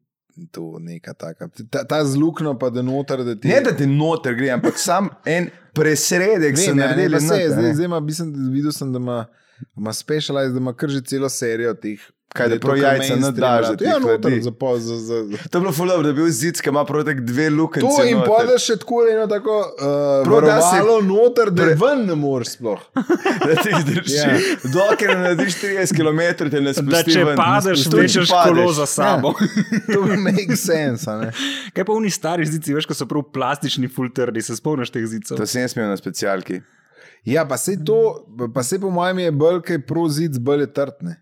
[SPEAKER 2] to neka taka. Ta, ta zlukno pa da noter, da ti
[SPEAKER 1] Ne, da ti noter gre, ampak sam en presredek
[SPEAKER 2] Vem,
[SPEAKER 1] se
[SPEAKER 2] ja, ne,
[SPEAKER 1] naredi.
[SPEAKER 2] pa se, zdaj, zdaj ima, mislim, da- videl sem, da ima, ima specialized, da ima kar že celo serijo teh.
[SPEAKER 1] Kaj, da
[SPEAKER 2] je to
[SPEAKER 1] prav
[SPEAKER 2] kar
[SPEAKER 1] jajca
[SPEAKER 2] mainstream
[SPEAKER 1] not daš, da
[SPEAKER 2] rad.
[SPEAKER 1] ti
[SPEAKER 2] Ja,
[SPEAKER 1] jih
[SPEAKER 2] noter,
[SPEAKER 1] ladi.
[SPEAKER 2] za pol, za, za, za.
[SPEAKER 1] To je bilo fulano, da je bil zid, ki ima prav tako dve luknjice.
[SPEAKER 2] To in
[SPEAKER 1] noter.
[SPEAKER 2] podaš še tako eno tako uh,
[SPEAKER 1] Prav, da se-
[SPEAKER 2] varovalo noter, da
[SPEAKER 1] Pre-
[SPEAKER 2] ven ne moreš sploh.
[SPEAKER 1] da ti drži.
[SPEAKER 2] Ja.
[SPEAKER 1] Yeah. Dokler ne narediš 30 km, te ne
[SPEAKER 3] Da
[SPEAKER 1] spusti.
[SPEAKER 3] če
[SPEAKER 1] ven,
[SPEAKER 3] padeš,
[SPEAKER 1] Tudi če
[SPEAKER 3] vlečeš
[SPEAKER 1] padeš.
[SPEAKER 3] kolo za sabo.
[SPEAKER 2] To make sense, a ne?
[SPEAKER 3] Kaj pa oni stari zici, veš, ko so prav plastični fulterni, se spomniš teh zicov?
[SPEAKER 1] To sem jaz imel na specialki.
[SPEAKER 2] Ja, pa se to, pa se po mojem je bolj kaj prozid, bolj je trtne.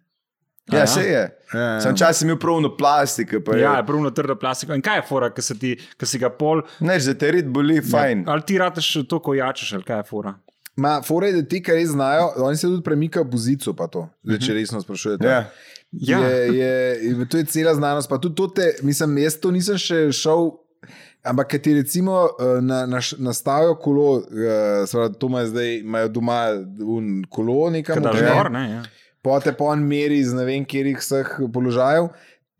[SPEAKER 1] Ja,
[SPEAKER 3] Aja.
[SPEAKER 1] ja, se je.
[SPEAKER 2] Ja,
[SPEAKER 1] Sam čas sem imel pravno plastiko.
[SPEAKER 3] Ja,
[SPEAKER 1] Ja.
[SPEAKER 3] je pravno trda plastika. In kaj je fora, ki si, ki si ga pol,
[SPEAKER 1] Neč, da te rit
[SPEAKER 3] Ja.
[SPEAKER 1] boli, fajn.
[SPEAKER 3] ali ti rateš to, ko jačeš, ali kaj je fora?
[SPEAKER 2] Ma, fore, da ti, kar res znajo, oni se tudi premikajo po zicu, pa to, zdaj, če resno sprašujete.
[SPEAKER 1] Ja.
[SPEAKER 3] Ja.
[SPEAKER 2] Je, je, to je cela znanost. Pa tudi to, te, mislim, jaz to nisem še šel. Ampak, ki ti recimo eh, na, na, nastavijo kolo, seveda, to imajo zdaj imajo doma un kolo, nekam,
[SPEAKER 3] Kaj daš
[SPEAKER 2] ne,
[SPEAKER 3] gor, ne? Ja.
[SPEAKER 2] pote po en meri iz ne vem, kjerih vseh položajev.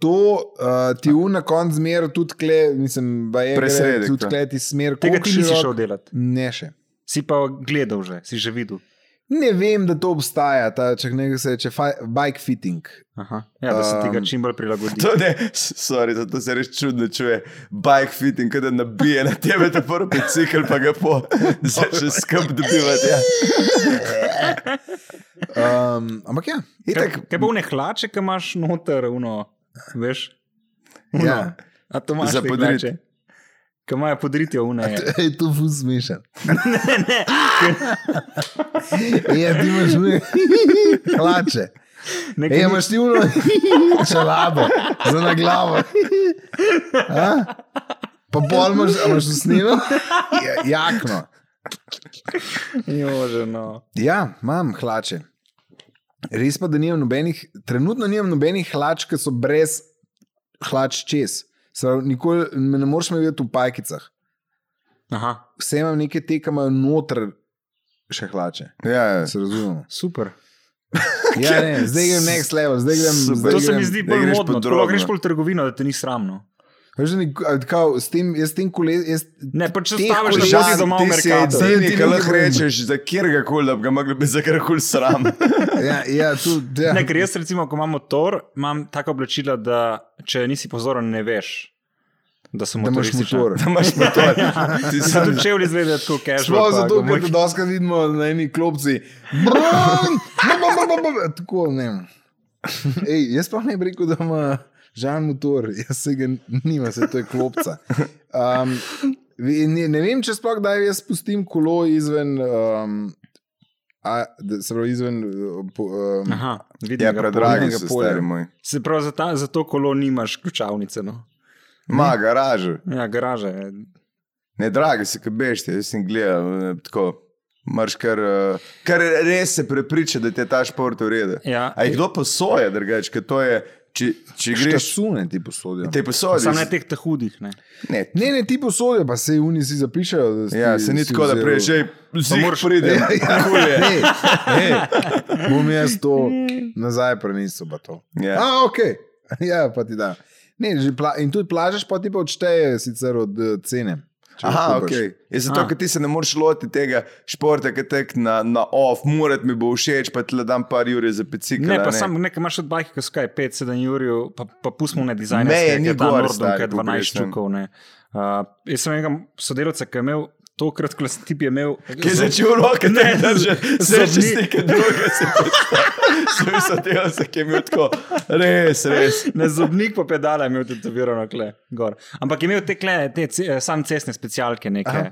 [SPEAKER 2] To uh, ti v na koncu zmer tudi kle, mislim, da je
[SPEAKER 1] Presredek,
[SPEAKER 2] tudi
[SPEAKER 1] to.
[SPEAKER 2] kle ti smer,
[SPEAKER 3] Tega
[SPEAKER 2] koliko
[SPEAKER 3] ti nisi
[SPEAKER 2] širok-
[SPEAKER 3] šel delati.
[SPEAKER 2] Ne še.
[SPEAKER 3] Si pa gledal že, si že videl.
[SPEAKER 2] Ne vem, da to obstaja, ta, če nekaj se reče, fi, bike fitting.
[SPEAKER 3] Aha. Ja, da se tega
[SPEAKER 2] Um,
[SPEAKER 3] čim bolj prilagodi.
[SPEAKER 1] To ne, s- sorry, za to se res čudno čuje. Bike fitting, kada nabije na tebe ta prvi bicikl, pa ga po začneš skrb dobivati. Ja.
[SPEAKER 2] Um, ampak ja,
[SPEAKER 1] Itak,
[SPEAKER 3] Kaj, kaj pa vne hlače, ki imaš noter, uno, veš? Uno.
[SPEAKER 2] Ja.
[SPEAKER 3] A to imaš
[SPEAKER 1] Za
[SPEAKER 3] za
[SPEAKER 1] podrit.
[SPEAKER 3] podritje. Kaj imajo podritje vne?
[SPEAKER 2] je to fuz smešen. Ja, ti imaš ne, hlače.
[SPEAKER 3] Nekaj
[SPEAKER 2] Ej,
[SPEAKER 1] ja,
[SPEAKER 3] ni-
[SPEAKER 2] imaš ti uno, čelabo, za na glavo. A? Pa pol imaš, a imaš usnjeno, Ja, jakno.
[SPEAKER 3] Jože, no.
[SPEAKER 2] Ja, imam hlače. Res pa, da nimam nobenih, trenutno nimam nobenih hlač, ki so brez hlač čez. Se pravi, nikoli me ne moreš me videti v pajkicah.
[SPEAKER 3] Aha,
[SPEAKER 2] Vse imam neke te, ki imajo noter še hlače.
[SPEAKER 1] Ja,
[SPEAKER 2] Se razumemo.
[SPEAKER 3] super.
[SPEAKER 2] Ja, ne, zdaj grem next level, zdaj grem.
[SPEAKER 1] Super.
[SPEAKER 2] Zdaj
[SPEAKER 3] To se
[SPEAKER 2] grem,
[SPEAKER 3] mi zdi
[SPEAKER 1] da
[SPEAKER 3] bolj
[SPEAKER 1] greš
[SPEAKER 3] modno.
[SPEAKER 1] pod
[SPEAKER 3] Ko
[SPEAKER 1] drobno.
[SPEAKER 3] greš pol trgovino, da te ni no. sramno.
[SPEAKER 2] Veš, da nik- a, kao, s tem, jaz s tem kolesom.
[SPEAKER 3] Ne, pa če
[SPEAKER 2] Teh
[SPEAKER 3] staviš
[SPEAKER 2] koležan,
[SPEAKER 3] na vodi doma v
[SPEAKER 1] ti si
[SPEAKER 3] merkatu.
[SPEAKER 2] edini,
[SPEAKER 1] edini, ki
[SPEAKER 2] ki lahko
[SPEAKER 1] lahko
[SPEAKER 2] rečeš,
[SPEAKER 1] rečeš, za kjer koli, da bi ga mogli biti za kjer koli sram.
[SPEAKER 2] Ja, ja, tu, ja.
[SPEAKER 3] Ne, ker jaz recimo, ko imam motor, imam taka oblačila, da če nisi pozoren, ne veš, da sem
[SPEAKER 2] da imaš motor.
[SPEAKER 1] Da imaš
[SPEAKER 3] Ja.
[SPEAKER 1] motor. Ti
[SPEAKER 3] Se
[SPEAKER 1] sam
[SPEAKER 3] tudi čevlji izgledajo tako casual.
[SPEAKER 2] Sploh
[SPEAKER 3] pa
[SPEAKER 2] zato,
[SPEAKER 3] gumovki.
[SPEAKER 2] ker te doskrat vidimo na eni klopci. Brum, brum, brum, brum, brum, Ja, Tako, ne. vem. Ej, jaz pa ne bi rekel, da ima žan motor, jaz se ga nima, se to je klopca. Um, vi- ne, ne vem, če sploh da jaz spustim kolo izven. Um, A, da, se pravi, izven. uh, po- Um,
[SPEAKER 3] Aha, vidim.
[SPEAKER 1] Ja,
[SPEAKER 3] ga
[SPEAKER 1] predragi
[SPEAKER 3] polnega
[SPEAKER 1] so,
[SPEAKER 3] polja.
[SPEAKER 1] stari moj.
[SPEAKER 3] Se pravi, za, ta, za to kolo nimaš ključavnice. No?
[SPEAKER 1] Ma, garaže.
[SPEAKER 3] Ja, garaže. je.
[SPEAKER 1] Ne, dragi si, kaj bešte, jaz sem gledal eh, tako. Marš kar, eh, kar res se prepriča, da ti je ta šport v redu.
[SPEAKER 3] Ja.
[SPEAKER 1] A jih kdo posoja, drugač, ker to je, če, če greš,
[SPEAKER 2] Štasune ti posodijo.
[SPEAKER 1] te posodiš.
[SPEAKER 3] Sam ne teh teh hudih. Ne.
[SPEAKER 1] Ne,
[SPEAKER 2] Ne, ne, ti posodijo, pa se oni si zapišajo. da si-
[SPEAKER 1] ja, se ni
[SPEAKER 2] si
[SPEAKER 1] tako, da
[SPEAKER 2] vzel.
[SPEAKER 1] prej že
[SPEAKER 3] moraš-
[SPEAKER 1] moraš priti.
[SPEAKER 2] Ja, ja,
[SPEAKER 1] je.
[SPEAKER 2] ne, ne, bom jaz to nazaj prenesel. pa To.
[SPEAKER 1] Ja.
[SPEAKER 2] A, ok, ja, pa ti da. Ne, že pla in tudi plažeš, pa ti pa odšteje sicer od eh, cene. če jo
[SPEAKER 1] Aha,
[SPEAKER 2] kupiš.
[SPEAKER 1] ok. Je zato,
[SPEAKER 3] Ah.
[SPEAKER 1] ker ti se ne moreš loti tega športa, ki tek na, na off, morat mi bo všeč, pa ti le dam par ur za pecik.
[SPEAKER 3] Ne, pa sam nekaj imaš od bajka, ko skaj 5-7 ur, pa, pa pustimo ne dizajn.
[SPEAKER 1] Meje ni gor, stari,
[SPEAKER 3] je
[SPEAKER 1] ko
[SPEAKER 3] 12
[SPEAKER 1] greš, ne.
[SPEAKER 3] štukov. ne. Uh, jaz sem enega sodelavca, ki je imel tokrat, ko sem tip je imel.
[SPEAKER 1] Ki je začel roke
[SPEAKER 3] Ne,
[SPEAKER 1] ne držati,
[SPEAKER 3] z-
[SPEAKER 1] se reče
[SPEAKER 3] zobni-
[SPEAKER 1] z neke druge, se pravi, so tega, se je imel tako, res, res.
[SPEAKER 3] Na zobnik pa pedala je imel tetovirano kle. Gor. Ampak je imel te kle, te ce- eh, sam cestne specialke, neke,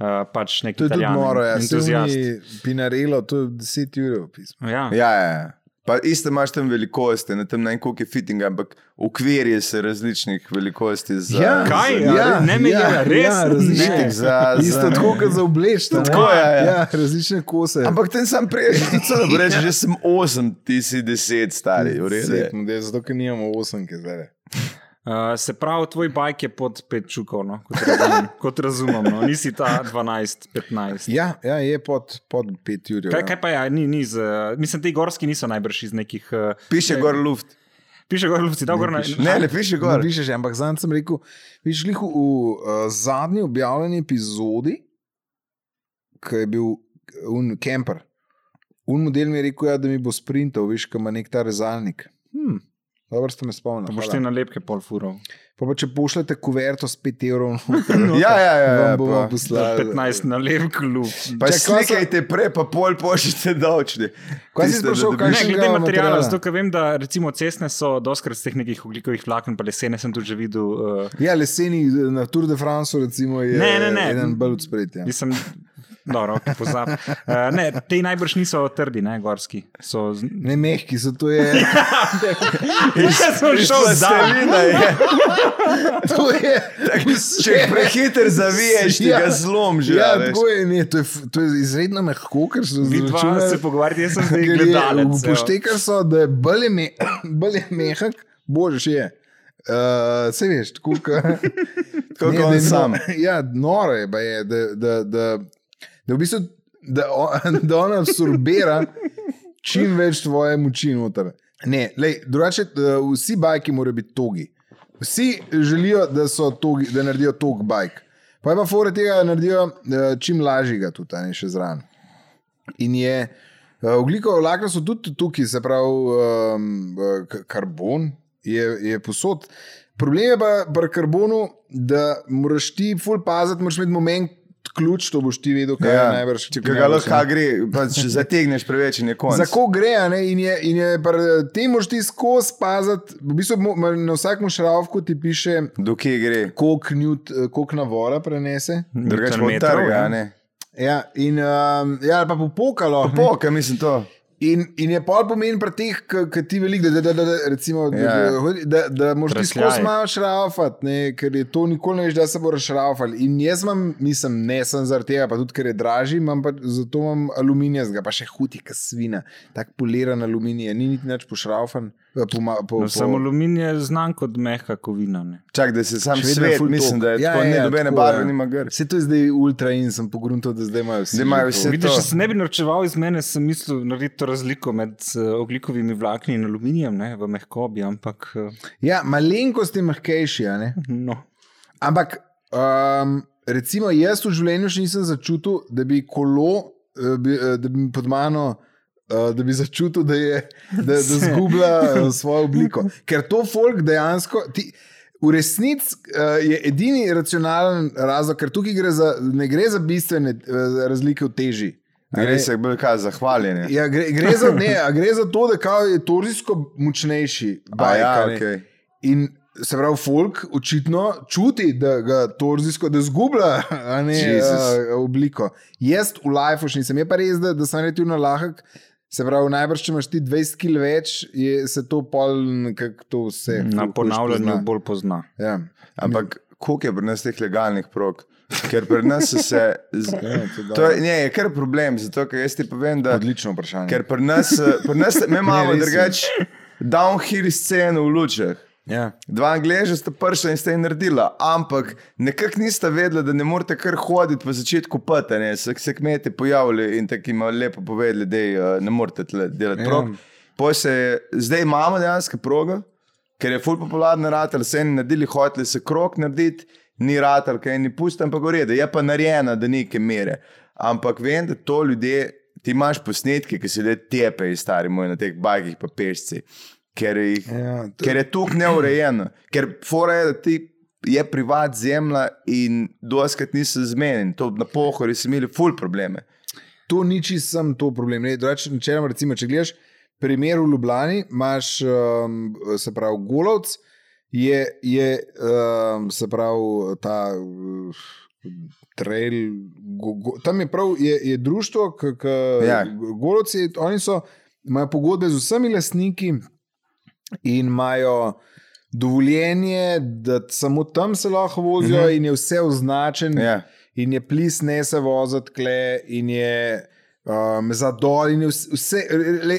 [SPEAKER 3] uh, pač
[SPEAKER 2] To
[SPEAKER 3] neke
[SPEAKER 2] je tudi noro, ja, se
[SPEAKER 3] entuzijast.
[SPEAKER 2] oni pinarelo, to je 10 ur.
[SPEAKER 3] Ja.
[SPEAKER 1] Ja, ja. ja. Pa isto imaš tam velikosti, na tem najmanj koliko je fitting, ampak ukvirje se različnih velikosti. Za,
[SPEAKER 2] Ja,
[SPEAKER 3] Kaj?
[SPEAKER 1] Za,
[SPEAKER 3] Ja, ne me gleda,
[SPEAKER 2] Ja,
[SPEAKER 3] res?
[SPEAKER 1] Itak
[SPEAKER 2] različne,
[SPEAKER 3] Ne.
[SPEAKER 1] za,
[SPEAKER 2] isto
[SPEAKER 1] za,
[SPEAKER 2] tako kot za obleč.
[SPEAKER 1] Tako, ja, ja.
[SPEAKER 2] ja, različne kose.
[SPEAKER 1] Ampak ten sam prej, da bi
[SPEAKER 2] Ja.
[SPEAKER 1] rekel, že sem 8, ti si 10 stari, v redu. je.
[SPEAKER 2] Sedem, da je zato, ker nimamo 8, ki zdaj.
[SPEAKER 3] Uh, Uh, se pravi, tvoj bajk je pod 5 čukov, no? kot razumem. kot razumem no? Nisi ta 12, 15.
[SPEAKER 2] Ja, ja, je pod, pod ja. 5 ur.
[SPEAKER 1] Ja.
[SPEAKER 3] Kaj, kaj pa je, ni, ni z, eh, mislim, ti gorski niso najbrž iz nekih. eh,
[SPEAKER 1] Piše
[SPEAKER 3] ne,
[SPEAKER 1] gor luft.
[SPEAKER 3] Piše gor, luci, da gor na
[SPEAKER 1] Ne, ne piše gor.
[SPEAKER 2] Pišeš, No, ampak zanj sem rekel, viš lihu v uh, zadnji objavljeni epizodi, ki je bil un kemper. Un model mi je rekel, ja, da mi bo sprintal, viš, ki ima nek ta rezalnik. Hm, dobro ste me
[SPEAKER 3] Pa
[SPEAKER 2] spomnili.
[SPEAKER 3] boš
[SPEAKER 2] hvala.
[SPEAKER 3] ti na lepke pol furov.
[SPEAKER 2] Pa, pa če pošljete kuverto s 5 evrov,
[SPEAKER 1] Ja, ja, ja. ja
[SPEAKER 2] vam bomo
[SPEAKER 1] pa.
[SPEAKER 3] Za
[SPEAKER 2] poslali.
[SPEAKER 3] 15 na lep klub.
[SPEAKER 1] Pa
[SPEAKER 2] Čakaj, kaj so-
[SPEAKER 1] slikajte prej, pa pol pošljite davčni.
[SPEAKER 2] Kaj si
[SPEAKER 1] Tiste,
[SPEAKER 2] sprašal,
[SPEAKER 1] da dobiš-
[SPEAKER 2] kaj
[SPEAKER 3] Ne, glede
[SPEAKER 2] Kakšnega
[SPEAKER 3] materijala,
[SPEAKER 2] materiala?
[SPEAKER 3] zato ker vem, da recimo cestne so doskrat iz teh nekih oglikovih vlaken, pa lesene sem tudi že videl. Uh,
[SPEAKER 2] Ja, leseni eh, na Tour de France recimo, je
[SPEAKER 3] Ne, ne, ne.
[SPEAKER 2] eden bolj ja. od spredja.
[SPEAKER 3] nisem, dobro, okay, pozabil. Uh, ne, te najbrž niso trdi, ne, gorski. So, z...
[SPEAKER 2] Ne mehki, zato je.
[SPEAKER 3] Jaz sem šel za.
[SPEAKER 1] Zelina je.
[SPEAKER 2] To je
[SPEAKER 1] Če jih prehiter zaviješ, ti ga zlom že. a
[SPEAKER 2] Ja,
[SPEAKER 1] veš.
[SPEAKER 2] tako je, ne, to, je, f- to je izredno mehko, ker so
[SPEAKER 3] Vi dva se pogovarjate, jaz sem zdaj gledalec.
[SPEAKER 1] ja.
[SPEAKER 3] ja. evo.
[SPEAKER 2] Upoštekar so, da je bolj je me, bolj je mehak, božeš je. Uh, se veš, tako kot
[SPEAKER 1] Tako kot
[SPEAKER 2] da
[SPEAKER 1] on
[SPEAKER 2] je
[SPEAKER 1] sam.
[SPEAKER 2] no- Ja, noro je, baje, je da, da, da, da, v bistvu, da, on, da ona absorbira čim več tvoje moči noter. Ne, lej, drugače, eh, vsi bajki morajo biti togi. Vsi želijo, da, so togi, da naredijo tog bajk. Pa je pa fore tega, da naredijo eh, čim lažjega tudi, a ne še zraven. In je eh, ogljikov vlakna so tudi tukaj, se pravi, um, karbon je, je posod. Problem je pa pri karbonu, da moraš ti ful paziti, moraš imeti moment ključ, to boš ti vedel, kaj ja, je najbrž.
[SPEAKER 1] če ga
[SPEAKER 2] najbrž, ne.
[SPEAKER 1] lahko gre, pa če zategneš preveč, je konec.
[SPEAKER 2] Za ko gre, a ne? in je, in je pri tem moš ti skozi paziti, v bistvu mo- ma- na vsakem šravku ti piše,
[SPEAKER 1] Do kje gre?
[SPEAKER 2] koliko newt- eh, koliko navora prenese.
[SPEAKER 1] Drugač bo
[SPEAKER 3] Newton metrov,
[SPEAKER 1] trga,
[SPEAKER 3] ja.
[SPEAKER 1] a ne.
[SPEAKER 2] Ja, in um, ja, ali pa popokalo. ne.
[SPEAKER 1] Poka, mislim to.
[SPEAKER 2] In, in je pol pomen pri teh, ki ti veliko, da, da, da, da, recimo, da,
[SPEAKER 1] Ja, ja.
[SPEAKER 2] da, da, da moraš ti
[SPEAKER 3] Trsljaj.
[SPEAKER 2] skozi malo šraufati, ne, ker je to nikoli ne veš, da se bo rašraufal. In jaz imam, mislim, ne sem zaradi tega, pa tudi ker je dražji, imam pa, zato imam aluminijskega, pa še huti, kot svina, tako poliran aluminij, ni niti več pošraufan. eh, Poma, po,
[SPEAKER 3] No, samo aluminij je znan kot mehka kovina. Ne.
[SPEAKER 1] Čak, da se sam
[SPEAKER 2] Še vedno je
[SPEAKER 1] svet,
[SPEAKER 2] ful
[SPEAKER 1] mislim,
[SPEAKER 2] tog.
[SPEAKER 1] da je tako, ne nobene
[SPEAKER 2] tako,
[SPEAKER 1] barve
[SPEAKER 2] ja.
[SPEAKER 1] nima gr.
[SPEAKER 2] Saj to je zdaj ultra in sem pogrunil, da zdaj imajo vsi.
[SPEAKER 1] Zdaj imajo
[SPEAKER 2] to.
[SPEAKER 1] vse
[SPEAKER 3] Vidiš,
[SPEAKER 1] to.
[SPEAKER 3] če se ne bi norčeval iz mene, sem mislil narediti to razliko med eh, ogljikovimi vlakni in aluminijem ne, v mehkobi, ampak eh,
[SPEAKER 2] Ja, malenkost je mehkejši, a ne?
[SPEAKER 3] no.
[SPEAKER 2] Ampak, um, recimo, jaz v življenju še nisem začutil, da bi kolo, eh, bi, eh, da bi pod mano. eh, Da bi začutil, da je da, da zgubila eh, svojo obliko. Ker to folk dejansko, ti, v resnici eh, je edini racionalen razlog, ker tukaj gre za, ne gre za bistvene eh, razlike v teži. a ne.
[SPEAKER 1] Res je bil kaj zahvaljen. je.
[SPEAKER 2] Ja, gre, gre, za, ne, a gre za to, da kao je torijsko močnejši.
[SPEAKER 1] A
[SPEAKER 2] Bajk,
[SPEAKER 1] ja,
[SPEAKER 2] a ne.
[SPEAKER 1] okej.
[SPEAKER 2] In se pravi, folk očitno čuti, da ga torijsko, da zgublja a ne,
[SPEAKER 1] Jesus.
[SPEAKER 2] a, obliko. Jaz v lifeu še nisem, je pa res, da, da sem relativno lahek. Se pravi, najbrž, če imaš ti 20 kg več, je, se to pol, kako to vse.
[SPEAKER 3] na
[SPEAKER 2] ful hujš
[SPEAKER 3] ponavljanju
[SPEAKER 2] pozna.
[SPEAKER 3] bolj pozna.
[SPEAKER 2] Ja.
[SPEAKER 1] Ampak koliko je pri nas teh legalnih prog? Ker pri nas so se. Z...
[SPEAKER 2] Ja, to je
[SPEAKER 1] To
[SPEAKER 2] dobro.
[SPEAKER 1] je, ne, je kar problem, zato ker jaz ti povem, da.
[SPEAKER 2] Odlično vprašanje.
[SPEAKER 1] Ker pri nas, eh, pri nas mi imamo
[SPEAKER 2] res je.
[SPEAKER 1] drugače downhill sceno v lučah.
[SPEAKER 2] ja.
[SPEAKER 1] Dva angleža sta prišla in sta jih naredila, ampak nekako nista vedela, da ne morete kar hoditi po začetku pata. Ne? Se, se kmete pojavili in tako jim lepo povedali, da eh, ne morete tle delati
[SPEAKER 2] Ja.
[SPEAKER 1] prog. Pol se je- Zdaj imamo dejansko progo, ker je ful popularna ratelj, se eni naredili, hoteli se krok narediti, ni ratelj, kaj ni pusta, ampak ureda, je pa narejena do neke mere. Ampak vem, da to ljudje, ti imaš posnetke, ki se ljudje tepejo, stari moj, na teh bajkih pa pešci, ker jih
[SPEAKER 2] Ja, to-
[SPEAKER 1] ker je tukaj neurejeno, ker fora je, da ti je privat zemlja in doskrat niso zmeden. To na pohori so imeli ful probleme.
[SPEAKER 2] To ni čisto sem to problem. Ne, drugače, načeloma, recimo, če gledaš primer v Ljubljani, imaš, um, se pravi, Golovc, je, je um, se pravi, ta uh, trail, go, go, tam je prav, je, je društvo, ki
[SPEAKER 1] Ja.
[SPEAKER 2] ja. Golovci, oni so, imajo pogodbe z vsemi lastniki in imajo. Dovoljenje, da samo tam se lahko vozijo, mm
[SPEAKER 1] Mhm.
[SPEAKER 2] -hmm. in je vse označeno,
[SPEAKER 1] Ja.
[SPEAKER 2] in je plis ne se voziti kle, in je um, zadol, in je vse. vse le,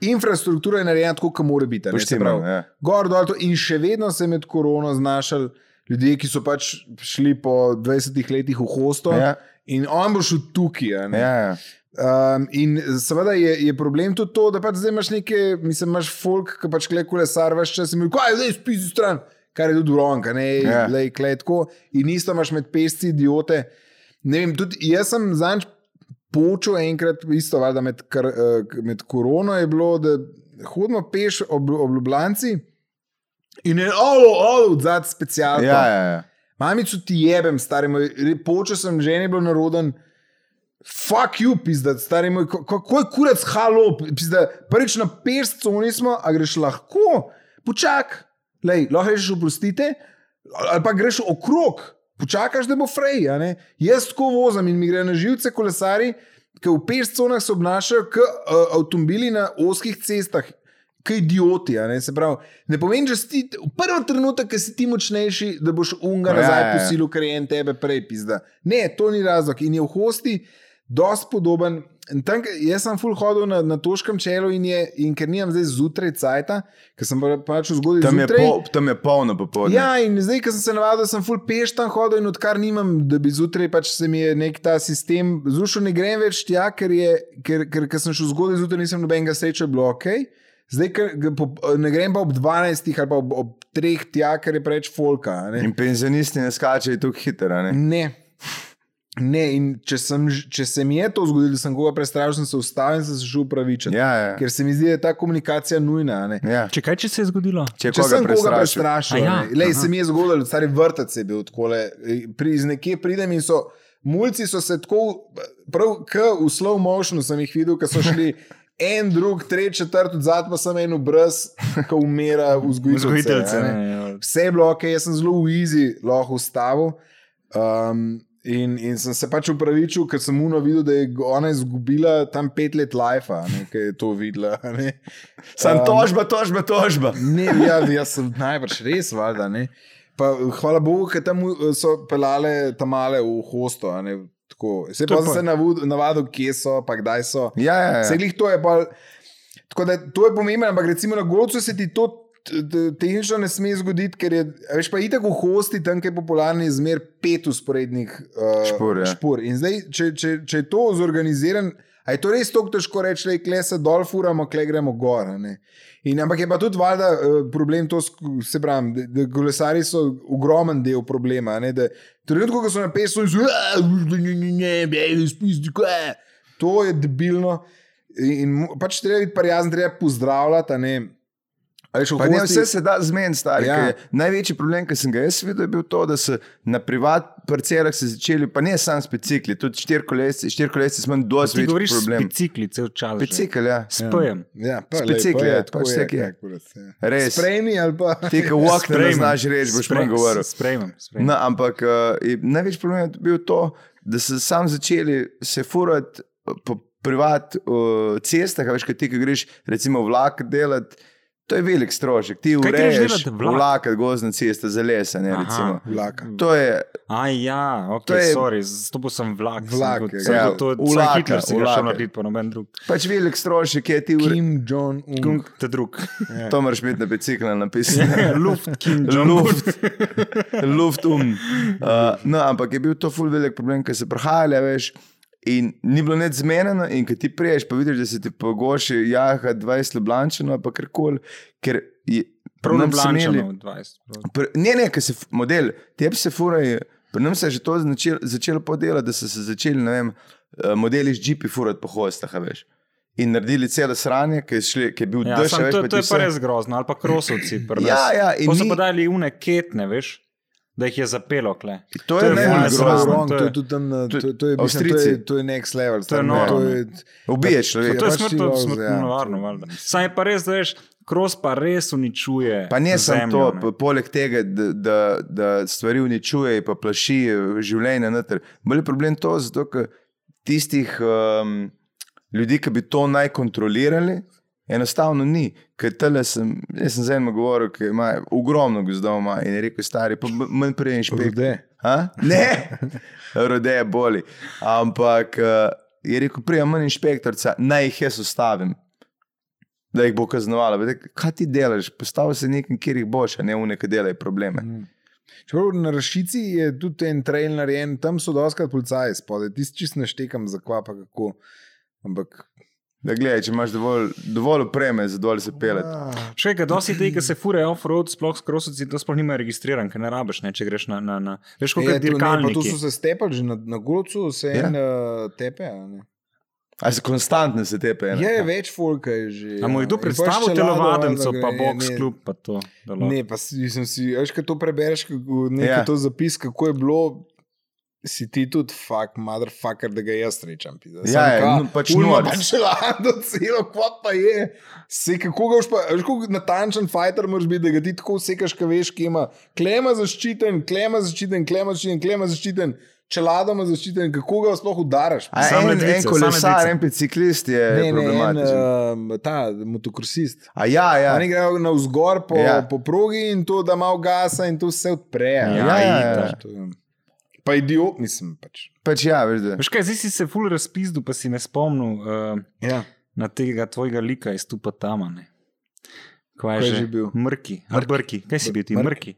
[SPEAKER 2] infrastruktura je narejena tako, kot mora biti. a ne, se
[SPEAKER 1] Poštimano,
[SPEAKER 2] pravi,
[SPEAKER 1] ja.
[SPEAKER 2] Gor dol to in še vedno se je med korono znašel ljudje, ki so pač šli po 20 letih v hosto.
[SPEAKER 1] Ja.
[SPEAKER 2] In on bo šel tukaj. a ne.
[SPEAKER 1] Ja, ja.
[SPEAKER 2] Um, in seveda je, je problem tudi to, da pač zdaj imaš neke, mislim, imaš folk, ki pač kle kolesar, veš, če si mi rekel, aj zdaj spiš stran, kar je tudi vronka, ne,
[SPEAKER 1] Ja.
[SPEAKER 2] yeah. lej, kle tako. In isto imaš med pesci, idiote. Ne vem, tudi jaz sem zanč počel enkrat, isto valjda med, kar, eh, k- med korono je bilo, da hodimo peš ob, ob Ljubljanci in je olo, olo, odzad
[SPEAKER 1] Ja,
[SPEAKER 2] specialno.
[SPEAKER 1] ja, ja.
[SPEAKER 2] Mamico ti jebem, stari moj, re- počel sem že ne bil naroden. Fuck you, pizda, stari moj, ko- kako je kurac halo, pizda, prvič na pešcu nismo, a greš lahko, počak, lej, lahko rečeš oprostite, ali pa greš okrog, počakaš, da bo frej, a ne. Jaz tako vozim in mi gre na živce kolesari, ki v pešconah se obnašajo kot uh, avtomobili na oskih cestah. Kaj idioti, a ne? Se pravi, ne pomeni, da si ti v prvem trenutku, ki si ti močnejši, da boš unga
[SPEAKER 1] Ja,
[SPEAKER 2] nazaj
[SPEAKER 1] ja, ja.
[SPEAKER 2] posilil, ker je en tebe prej pizda. Ne, to ni razlog. In je v hosti dosti podoben. In Tam, ke- jaz sem full hodil na, na toškem čelu in, je, in ker nimam zdaj zjutraj cajta, ker sem pa- pač zgodaj
[SPEAKER 1] Tam, je
[SPEAKER 2] zjutraj.
[SPEAKER 1] po, tam je polno popoldne.
[SPEAKER 2] Ja, in zdaj, ko sem se navadil, da sem full peš tam hodil, in odkar nimam, da bi zjutraj pač se mi je nek ta sistem zrušil, ne grem več tja, ker, je, ker, ker, ker sem šel zgodaj zjutraj, nisem nobenega sreča, bilo ok. Zdaj, ker, ker po, ne grem pa ob 12 ali pa ob, ob 3 tja, ker je preveč folka. a Ne?
[SPEAKER 1] In penzionisti ne skačejo tako hitro. a ne?
[SPEAKER 2] Ne. Ne, in če, sem, ž- če se mi je to zgodilo, da sem koga prestrašil, sem se ustavil in sem se šel upravičiti.
[SPEAKER 1] Ja, ja.
[SPEAKER 2] Ker se mi zdi, da je ta komunikacija nujna. a ne.
[SPEAKER 1] ja.
[SPEAKER 3] Če kaj, če se je zgodilo?
[SPEAKER 1] Če,
[SPEAKER 2] Če sem koga
[SPEAKER 1] prestrašil.
[SPEAKER 2] prestrašil,
[SPEAKER 3] A ja,
[SPEAKER 2] ja, Lej,
[SPEAKER 3] aha.
[SPEAKER 2] se mi je zgodilo, stari vrtec je bil odkole, pri, iz nekje pridem in so, mulci so se tako, prav k v slow motionu sem jih videl, ko so šli en, drug, tretji, četrti, zadnji pa sem en obraz, ko umira vzgojitelj.
[SPEAKER 3] Vzgojiteljce. ja.
[SPEAKER 2] Vse je bilo ok, jaz sem zelo v izi, lahko ustavil. Um, in, in sem se pač upravičil, ker sem uno videl, da je ona izgubila tam pet let lajfa, ki je to videla. a Ne.
[SPEAKER 1] Sam
[SPEAKER 2] Um,
[SPEAKER 1] tožba, tožba, tožba.
[SPEAKER 2] Ne, ja, jaz sem najbrž res, valjda. ne. Pa, hvala Bogu, ker tam eh, so pelale tam male v hosto. a ne, tako. Saj
[SPEAKER 3] To je
[SPEAKER 2] pa sem
[SPEAKER 3] pa-
[SPEAKER 2] se navud- navadil, kje so, pa kdaj so.
[SPEAKER 1] Ja, ja, ja.
[SPEAKER 2] Vse glih to je pa. Tako da to je pomembno, ampak recimo na Golcu se ti to t- t- tehnično ne sme zgoditi, ker je, a veš pa itak v hosti, tam kjer je popularni zmer pet usporednih uh,
[SPEAKER 1] Špor, ja.
[SPEAKER 2] špor. In zdaj, če, če, če je to zorganiziran, a je to res tako težko reči, da kle se dol furamo, kle gremo gor. a ne. In, ampak je pa tudi valjda eh, problem to, sk- se pravi, da, da kolesari so ogromen del problema. a Ne, da, trenutko, ko so na pesku in so, ne, ne, ne, ne, spusti, kaj. To je debilno. In mu- pač treba biti prijazen, treba pozdravljati. a Ne, A veš, v
[SPEAKER 1] Pa ne,
[SPEAKER 2] hosti-
[SPEAKER 1] vse se da zmeniti, stari.
[SPEAKER 2] Ja.
[SPEAKER 1] Ja. Največji problem, ki sem ga jaz videl, je bil to, da so na privat parcelah se začeli, pa ne samo s bicikli, tudi štirikolesci, štirikolesci smo imeli dosti
[SPEAKER 3] Ti govoriš
[SPEAKER 1] več
[SPEAKER 3] s
[SPEAKER 1] problem.
[SPEAKER 3] bicikli cel čas. že.
[SPEAKER 1] Bicikl, ja.
[SPEAKER 3] S P-jem.
[SPEAKER 2] Ja, pa,
[SPEAKER 1] S
[SPEAKER 2] lej,
[SPEAKER 1] bicikli,
[SPEAKER 2] pa
[SPEAKER 1] ja,
[SPEAKER 2] tako
[SPEAKER 1] pač tako je.
[SPEAKER 2] ja, kurac, ja.
[SPEAKER 1] Res.
[SPEAKER 2] Sprejmi ali pa.
[SPEAKER 1] Ti, ki walk ne znaš reči, boš manj govoril.
[SPEAKER 3] Sprejemam.
[SPEAKER 1] No, ampak uh, največ problem je bil to, da so sam začeli se furati eh, po privat uh, cestah, a veš, kaj ti, ki greš, recimo vlak delati. To je velik strošek, ti
[SPEAKER 3] Kaj greš
[SPEAKER 1] ureješ
[SPEAKER 3] delat vlak?
[SPEAKER 1] vlak, gozdna cesta za lesa. Ne,
[SPEAKER 3] Aha.
[SPEAKER 1] recimo.
[SPEAKER 2] Vlaka.
[SPEAKER 1] to je
[SPEAKER 3] A ja, ok,
[SPEAKER 1] To je-
[SPEAKER 3] sorry, stopil sem vlak.
[SPEAKER 2] Vlak,
[SPEAKER 3] sem,
[SPEAKER 2] ja.
[SPEAKER 3] sem,
[SPEAKER 1] Ja,
[SPEAKER 3] ja, to,
[SPEAKER 1] vlaka,
[SPEAKER 3] vlaka, Hitler si ga
[SPEAKER 1] vlaka.
[SPEAKER 3] šel narediti, pa noben drug.
[SPEAKER 1] pač velik strošek, je ti ureješ.
[SPEAKER 2] Kim Jong-un.
[SPEAKER 3] Kung te drug.
[SPEAKER 1] To moraš imeti na biciklu napisano.
[SPEAKER 3] Luft, Kim Jong-un.
[SPEAKER 1] Ja. Luft, luft um. Uh, no, ampak je bil to ful velik problem, ker se prihajali, a veš. In ni bilo nič zmenjeno, in ko ti priješ, pa vidiš, da se ti pogoši jaha 20 ljubljančanov, pa kar koli. Ker je
[SPEAKER 3] Prav
[SPEAKER 1] nam so imeli-
[SPEAKER 3] Ljubljančanov 20. prav.
[SPEAKER 1] Pri- Ne, ne, ker se f- model, tebi se furaj, pri nas je že to začel, začelo podelati, da so se začeli, ne vem, eh, modeli z džipi furati po hostah, a veš. In naredili celo sranje, ki je, šli, ki je bil
[SPEAKER 3] Ja,
[SPEAKER 1] dež, a
[SPEAKER 3] sam,
[SPEAKER 1] veš,
[SPEAKER 3] to,
[SPEAKER 1] pa
[SPEAKER 3] to
[SPEAKER 1] ti
[SPEAKER 3] je pa
[SPEAKER 1] vse-
[SPEAKER 3] res grozno, ali pa krosovci. pri nas.
[SPEAKER 1] Ja, ja, in
[SPEAKER 3] Pa so
[SPEAKER 1] mi-
[SPEAKER 3] pa dali une ketne, veš, da jih je zapelo. Kle.
[SPEAKER 1] To je
[SPEAKER 3] ful
[SPEAKER 1] najbolj
[SPEAKER 3] nesramno,
[SPEAKER 1] grozno.
[SPEAKER 2] Wrong,
[SPEAKER 3] To
[SPEAKER 2] to
[SPEAKER 3] je,
[SPEAKER 2] je tudi tam, na-
[SPEAKER 1] to-
[SPEAKER 2] to- to je mislim, to
[SPEAKER 1] Avstrijci.
[SPEAKER 2] je- to je next level. To
[SPEAKER 3] noro,
[SPEAKER 2] to
[SPEAKER 3] ne.
[SPEAKER 2] je
[SPEAKER 1] Ubiješ človeka.
[SPEAKER 3] to je
[SPEAKER 2] pač ti
[SPEAKER 3] smrtno,
[SPEAKER 2] vozi, ja.
[SPEAKER 3] smrtno varno. valjda. Saj je pa res, da veš, kros pa res uničuje.
[SPEAKER 1] Pa ne samo
[SPEAKER 3] zemljo,
[SPEAKER 1] to,
[SPEAKER 3] ne.
[SPEAKER 1] ne. poleg tega, da, da, da stvari uničuje in pa plaši eh, življenje noter. Bolj je problem to, zato ker tistih um, ljudi, ki bi to naj kontrolirali, enostavno ni. Ker tele sem, jaz sem z enim govoril, ki ima ogromno gozdov ima in je rekel, stari, pa b- manj prej inšpektor.
[SPEAKER 2] Rude.
[SPEAKER 1] A? Ne, rodeje boli. Ampak eh, je rekel, prijem manj inšpektorca, naj jih jaz ustavim. da jih bo kaznovala. Veš, Kaj ti delaš? Postavi se nekam, kjer jih boš, a ne v neke delajo probleme.
[SPEAKER 2] Čeprav na Rašici je tudi en trail narejen, tam so doskrat policaji spodaj, tisti čist neštekam za kva, pa kako. Ampak.
[SPEAKER 1] Da gledaj, če imaš dovolj, dovolj opreme, za dol se peleti.
[SPEAKER 3] Še enkrat, dosti teh, ki se furajo off-road, sploh s krosovci, to sploh nimajo registriran, ker ne rabiš, ne, če greš na. na, na.
[SPEAKER 1] E,
[SPEAKER 2] Je,
[SPEAKER 3] Veš, kot je
[SPEAKER 2] to ne, pa
[SPEAKER 3] dirkalnik.
[SPEAKER 2] tu so se stepali, že na, na Gulcu se
[SPEAKER 1] Ja.
[SPEAKER 2] en uh, tepe. a ne.
[SPEAKER 1] A se konstantno se tepe. ne?
[SPEAKER 2] Je več folka je že.
[SPEAKER 3] A mu je
[SPEAKER 2] ja. In
[SPEAKER 3] kdo
[SPEAKER 2] pol
[SPEAKER 3] predstavil
[SPEAKER 2] ščelado,
[SPEAKER 3] telovadnico,
[SPEAKER 2] enega
[SPEAKER 3] pa
[SPEAKER 2] gre,
[SPEAKER 3] box
[SPEAKER 2] ne,
[SPEAKER 3] klub, pa to. da lahko-
[SPEAKER 2] Ne, pa si, sem si, veš, ko to prebereš, kako
[SPEAKER 1] Ja.
[SPEAKER 2] ja. to zapis, kako je bilo, si ti tudi, fuck, motherfucker, da ga jaz srečam.
[SPEAKER 1] Ja, ja, no, pač norec.
[SPEAKER 2] pač lado celo, kva pa je. Se, kako ga boš pa, veš, kako natančen fighter moraš biti, da ga ti tako sekaš, ka veš, ki ima klema zaščiten, klema zaščiten, klema zaščiten, klema zaščiten, čeladoma zaščiten, kako ga sploh udaraš.
[SPEAKER 1] A
[SPEAKER 3] Same
[SPEAKER 1] en,
[SPEAKER 3] dvice,
[SPEAKER 1] en
[SPEAKER 3] same
[SPEAKER 1] kolesar,
[SPEAKER 3] dvice.
[SPEAKER 1] en biciklist je
[SPEAKER 2] Ne, ne, en, eh,
[SPEAKER 1] problematičen.
[SPEAKER 2] uh, ta motokrosist.
[SPEAKER 1] A ja, ja.
[SPEAKER 2] Oni grejo na vzgor po,
[SPEAKER 1] Ja.
[SPEAKER 2] ja. po progi in to, da malo gasa in to se odpre.
[SPEAKER 3] Ja,
[SPEAKER 1] Ja, ja, ja.
[SPEAKER 2] itak, to je- Pa idiot, mislim. Pač.
[SPEAKER 1] Pač ja, veš, da.
[SPEAKER 3] Veš kaj, zdaj si se ful razpizdu, pa si ne spomnil uh,
[SPEAKER 2] Ja.
[SPEAKER 3] na tega tvojega lika iz Tupa Tamane. Kaj je
[SPEAKER 2] Kaj je
[SPEAKER 3] že
[SPEAKER 2] že bil?
[SPEAKER 3] Mrki. Mrki. Brki. Kaj si bil ti? Mrki.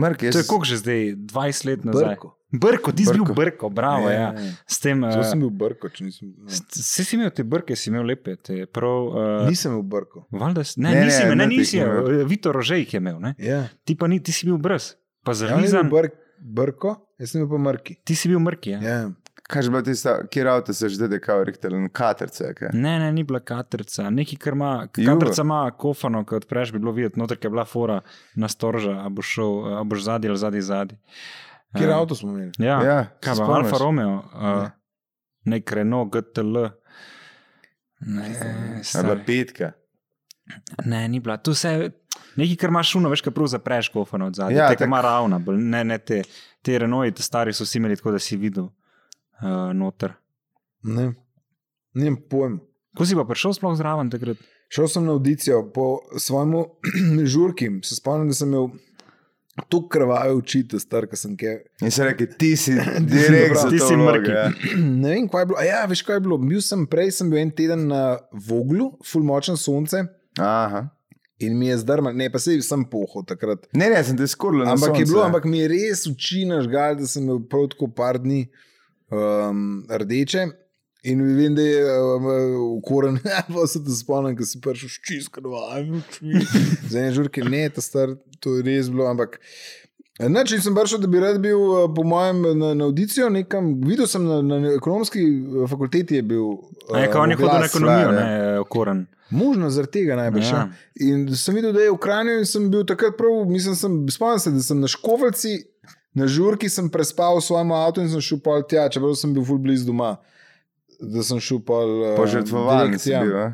[SPEAKER 1] Mrk, jaz,
[SPEAKER 3] To je koliko že zdaj? 20 let nazaj.
[SPEAKER 2] Brko.
[SPEAKER 3] Brko, ti si bil
[SPEAKER 1] Brko.
[SPEAKER 3] brko, bravo. Ja, ja. S tem,
[SPEAKER 2] Zato
[SPEAKER 3] uh,
[SPEAKER 2] sem bil brko, če nisem. No.
[SPEAKER 3] si, si imel te brke, si imel lepe. Te, prav, uh,
[SPEAKER 2] Nisem bil brko.
[SPEAKER 3] Valjda, s- ne,
[SPEAKER 1] Ne, ne,
[SPEAKER 3] ne, nisi, imel, ne,
[SPEAKER 1] Mrkih
[SPEAKER 3] nisi,
[SPEAKER 1] je imel.
[SPEAKER 3] imel. Vito Rožej jih je imel, ne?
[SPEAKER 2] Ja.
[SPEAKER 3] ti pa ni, ti si bil brez, pa
[SPEAKER 2] Ja, on je
[SPEAKER 3] zrnizan,
[SPEAKER 2] bil brk, brko, jaz sem bil pa mrki.
[SPEAKER 3] ti si bil mrki. Ja? Ja.
[SPEAKER 2] Ja.
[SPEAKER 1] kaj že bilo tisto, kjer avto se že zdaj kao rektel, katerce. kaj?
[SPEAKER 3] Ne, ne, ni bila katerca, nekaj, kar ima,
[SPEAKER 1] Ju.
[SPEAKER 3] katerca ima kofano, ko odpreš, bi bilo videti, noter ker je bila fora na storža, a boš šel, a boš zadnji ali zadnji zadnji.
[SPEAKER 2] Kjer avto smo imeli?
[SPEAKER 3] Ja, ja
[SPEAKER 1] Ja,
[SPEAKER 3] kaj
[SPEAKER 1] se
[SPEAKER 3] pa
[SPEAKER 1] spomniš? Ja.
[SPEAKER 3] Alfa Romeo, uh, nek Renault GTL. Ne,
[SPEAKER 1] A je Ja, bila
[SPEAKER 3] E, stari.
[SPEAKER 1] petka.
[SPEAKER 3] ne, ni bila. Tu se nekaj, kar imaš šuno, veš, kaj prav zapreš kofano od zadnje.
[SPEAKER 1] Ja,
[SPEAKER 3] Ja, te,
[SPEAKER 1] tak-
[SPEAKER 3] kar ima ravna, bolj. ne, ne te, te Renault, te stari so vsi imeli tako, da si videl uh, noter.
[SPEAKER 2] Ne. Nijem pojma.
[SPEAKER 3] Ko si pa prišel sploh zraven takrat?
[SPEAKER 2] Šel sem na audicijo po svojemu žurki, se spomnim, da sem imel tu krvave oči, te star, ki sem kaj.
[SPEAKER 1] In se reče, ti si direkt za
[SPEAKER 3] Ti
[SPEAKER 1] to
[SPEAKER 3] si
[SPEAKER 1] vlogo,
[SPEAKER 3] mrki.
[SPEAKER 1] ja.
[SPEAKER 2] ne vem, kaj je bilo. A Ja, veš, kaj je bilo. Bil sem prej, sem bil en teden na Voglu, fulmočen sonce
[SPEAKER 1] Aha.
[SPEAKER 2] in mi je zdrmal, ne pa sej sem pohod takrat.
[SPEAKER 1] Ne, ne, sem te skuril na
[SPEAKER 2] Ampak je
[SPEAKER 1] sonce.
[SPEAKER 2] bilo,
[SPEAKER 3] ja.
[SPEAKER 2] ampak mi je res oči nažgal, da sem imel prav tako par dni um, rdeče. In vem, da je um, ukoren, pa se ti spomnim, ko si prišel s čiskanjem očmi. Za ene žurke ne, ta star, to je res bilo, ampak. Ne, če sem prišel, da bi rad bil, eh, po mojem, na, na audicijo, nekam, videl sem na, na ekonomski eh, fakulteti, je bil.
[SPEAKER 3] A je
[SPEAKER 2] eh,
[SPEAKER 3] kot on je hodil na
[SPEAKER 2] oglas,
[SPEAKER 3] ekonomijo,
[SPEAKER 2] ja,
[SPEAKER 3] ne, eh, okoren.
[SPEAKER 2] Možno zaradi tega najbrž.
[SPEAKER 3] Ja.
[SPEAKER 2] Ja. In sem videl, da je v Kranju in sem bil takrat prav, mislim, sem, spomnim se, da sem na Škovalci, na Žurki sem prespal v svojem avtu in sem šel pol tja, čeprav sem bil ful blizu doma. Da sem šel pol. eh,
[SPEAKER 1] Požrtvovan
[SPEAKER 2] direkt
[SPEAKER 1] si
[SPEAKER 2] tja.
[SPEAKER 1] bil, a?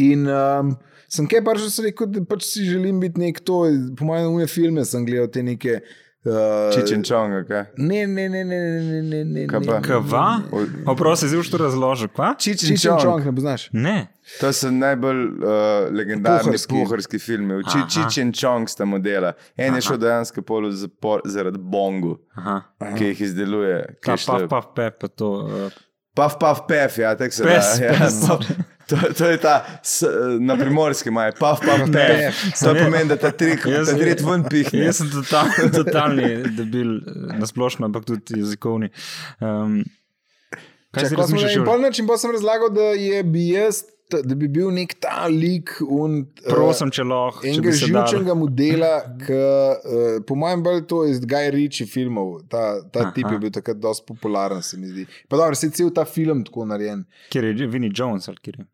[SPEAKER 2] In um, sem kaj pač sem rekel, da pač si želim biti nek to, po mojem, umne filme sem gledal te neke. Uh,
[SPEAKER 1] Čičenčonga, kaj?
[SPEAKER 2] Ne, ne, ne, ne, ne, ne, ne, ne.
[SPEAKER 1] Kaj pa?
[SPEAKER 2] ne.
[SPEAKER 3] Kva?
[SPEAKER 1] O-
[SPEAKER 3] Oprosti, zdaj boš to razložil, kva?
[SPEAKER 1] Čičenčong.
[SPEAKER 2] Čičenčong, ne poznaš.
[SPEAKER 3] Ne.
[SPEAKER 1] To so najbolj uh, legendarni
[SPEAKER 2] Puharski.
[SPEAKER 1] puharski filmi.
[SPEAKER 3] Aha.
[SPEAKER 1] Čič in Čong sta modela. En je
[SPEAKER 3] Aha.
[SPEAKER 1] šel dejansko polo zapor zaradi bongu,
[SPEAKER 3] Aha.
[SPEAKER 1] ki jih izdeluje.
[SPEAKER 3] Ta paf, paf, pe, pa to. Uh,
[SPEAKER 1] Paf, paf, pef, ja, tako se da.
[SPEAKER 3] Pes,
[SPEAKER 1] ja.
[SPEAKER 3] pes.
[SPEAKER 1] To, to je ta, s, na primorskem imajo, paf, paf,
[SPEAKER 3] Ne.
[SPEAKER 1] pef. To pomeni, da ta trik,
[SPEAKER 3] Jaz-
[SPEAKER 1] ta trik ven pihne.
[SPEAKER 3] jaz sem total, totalni debil, eh, na splošno, ampak tudi jezikovni. Um, kaj
[SPEAKER 2] Čakaj, ko
[SPEAKER 3] si
[SPEAKER 2] smo
[SPEAKER 3] razmišljaš?
[SPEAKER 2] že- in
[SPEAKER 3] Jure?
[SPEAKER 2] pol noč In pa sem razlagal, da, je, bi jaz, t- da bi bil nek ta lik un,
[SPEAKER 3] Prosim, če lahko. če
[SPEAKER 2] eh, enega
[SPEAKER 3] bi se dalo.
[SPEAKER 2] živčnega modela, ki uh, po mojem bolj to iz Guy Ritchie filmov. Ta, ta
[SPEAKER 3] Aha.
[SPEAKER 2] tip je bil takrat dosti popularen, se mi zdi. Pa dobro, se je cel ta film tako narejen.
[SPEAKER 3] Kjer je Vinnie Jones ali kjer je.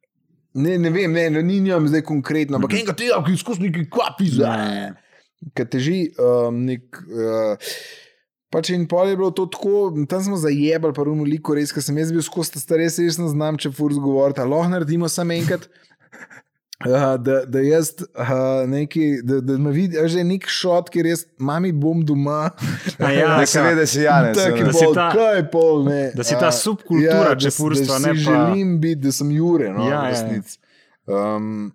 [SPEAKER 2] Ne, ne vem, ne, ne, ni njim zdaj konkretno,
[SPEAKER 3] Mhm.
[SPEAKER 2] ampak enega tega, ki izkušnja neki kvapi za.
[SPEAKER 3] Ne.
[SPEAKER 2] ki teži um, nek. Uh, Pač in pol je bilo to tako, tam smo zajebali, pa runo liko res, ker sem jaz bil skozi ta star, jaz res ne znam, če furz govoriti, ali lahko naredimo samo enkrat. Uh, da, da jaz uh, neki, da, da me vidi, a že nek šot, ker jaz mami bom doma.
[SPEAKER 3] A ja,
[SPEAKER 1] Da se ve, da si Janez.
[SPEAKER 2] Tako je
[SPEAKER 1] ono.
[SPEAKER 3] da si
[SPEAKER 2] pol,
[SPEAKER 3] ta-
[SPEAKER 2] kaj je pol, ne.
[SPEAKER 3] da si ta
[SPEAKER 2] A,
[SPEAKER 3] subkultura
[SPEAKER 2] ja, da si- da
[SPEAKER 3] čepurstva, ne pa-
[SPEAKER 2] si Želim biti, da sem Jure, no,
[SPEAKER 3] Ja,
[SPEAKER 2] ja,
[SPEAKER 3] ja,
[SPEAKER 2] v
[SPEAKER 3] ja.
[SPEAKER 2] resnici. Um,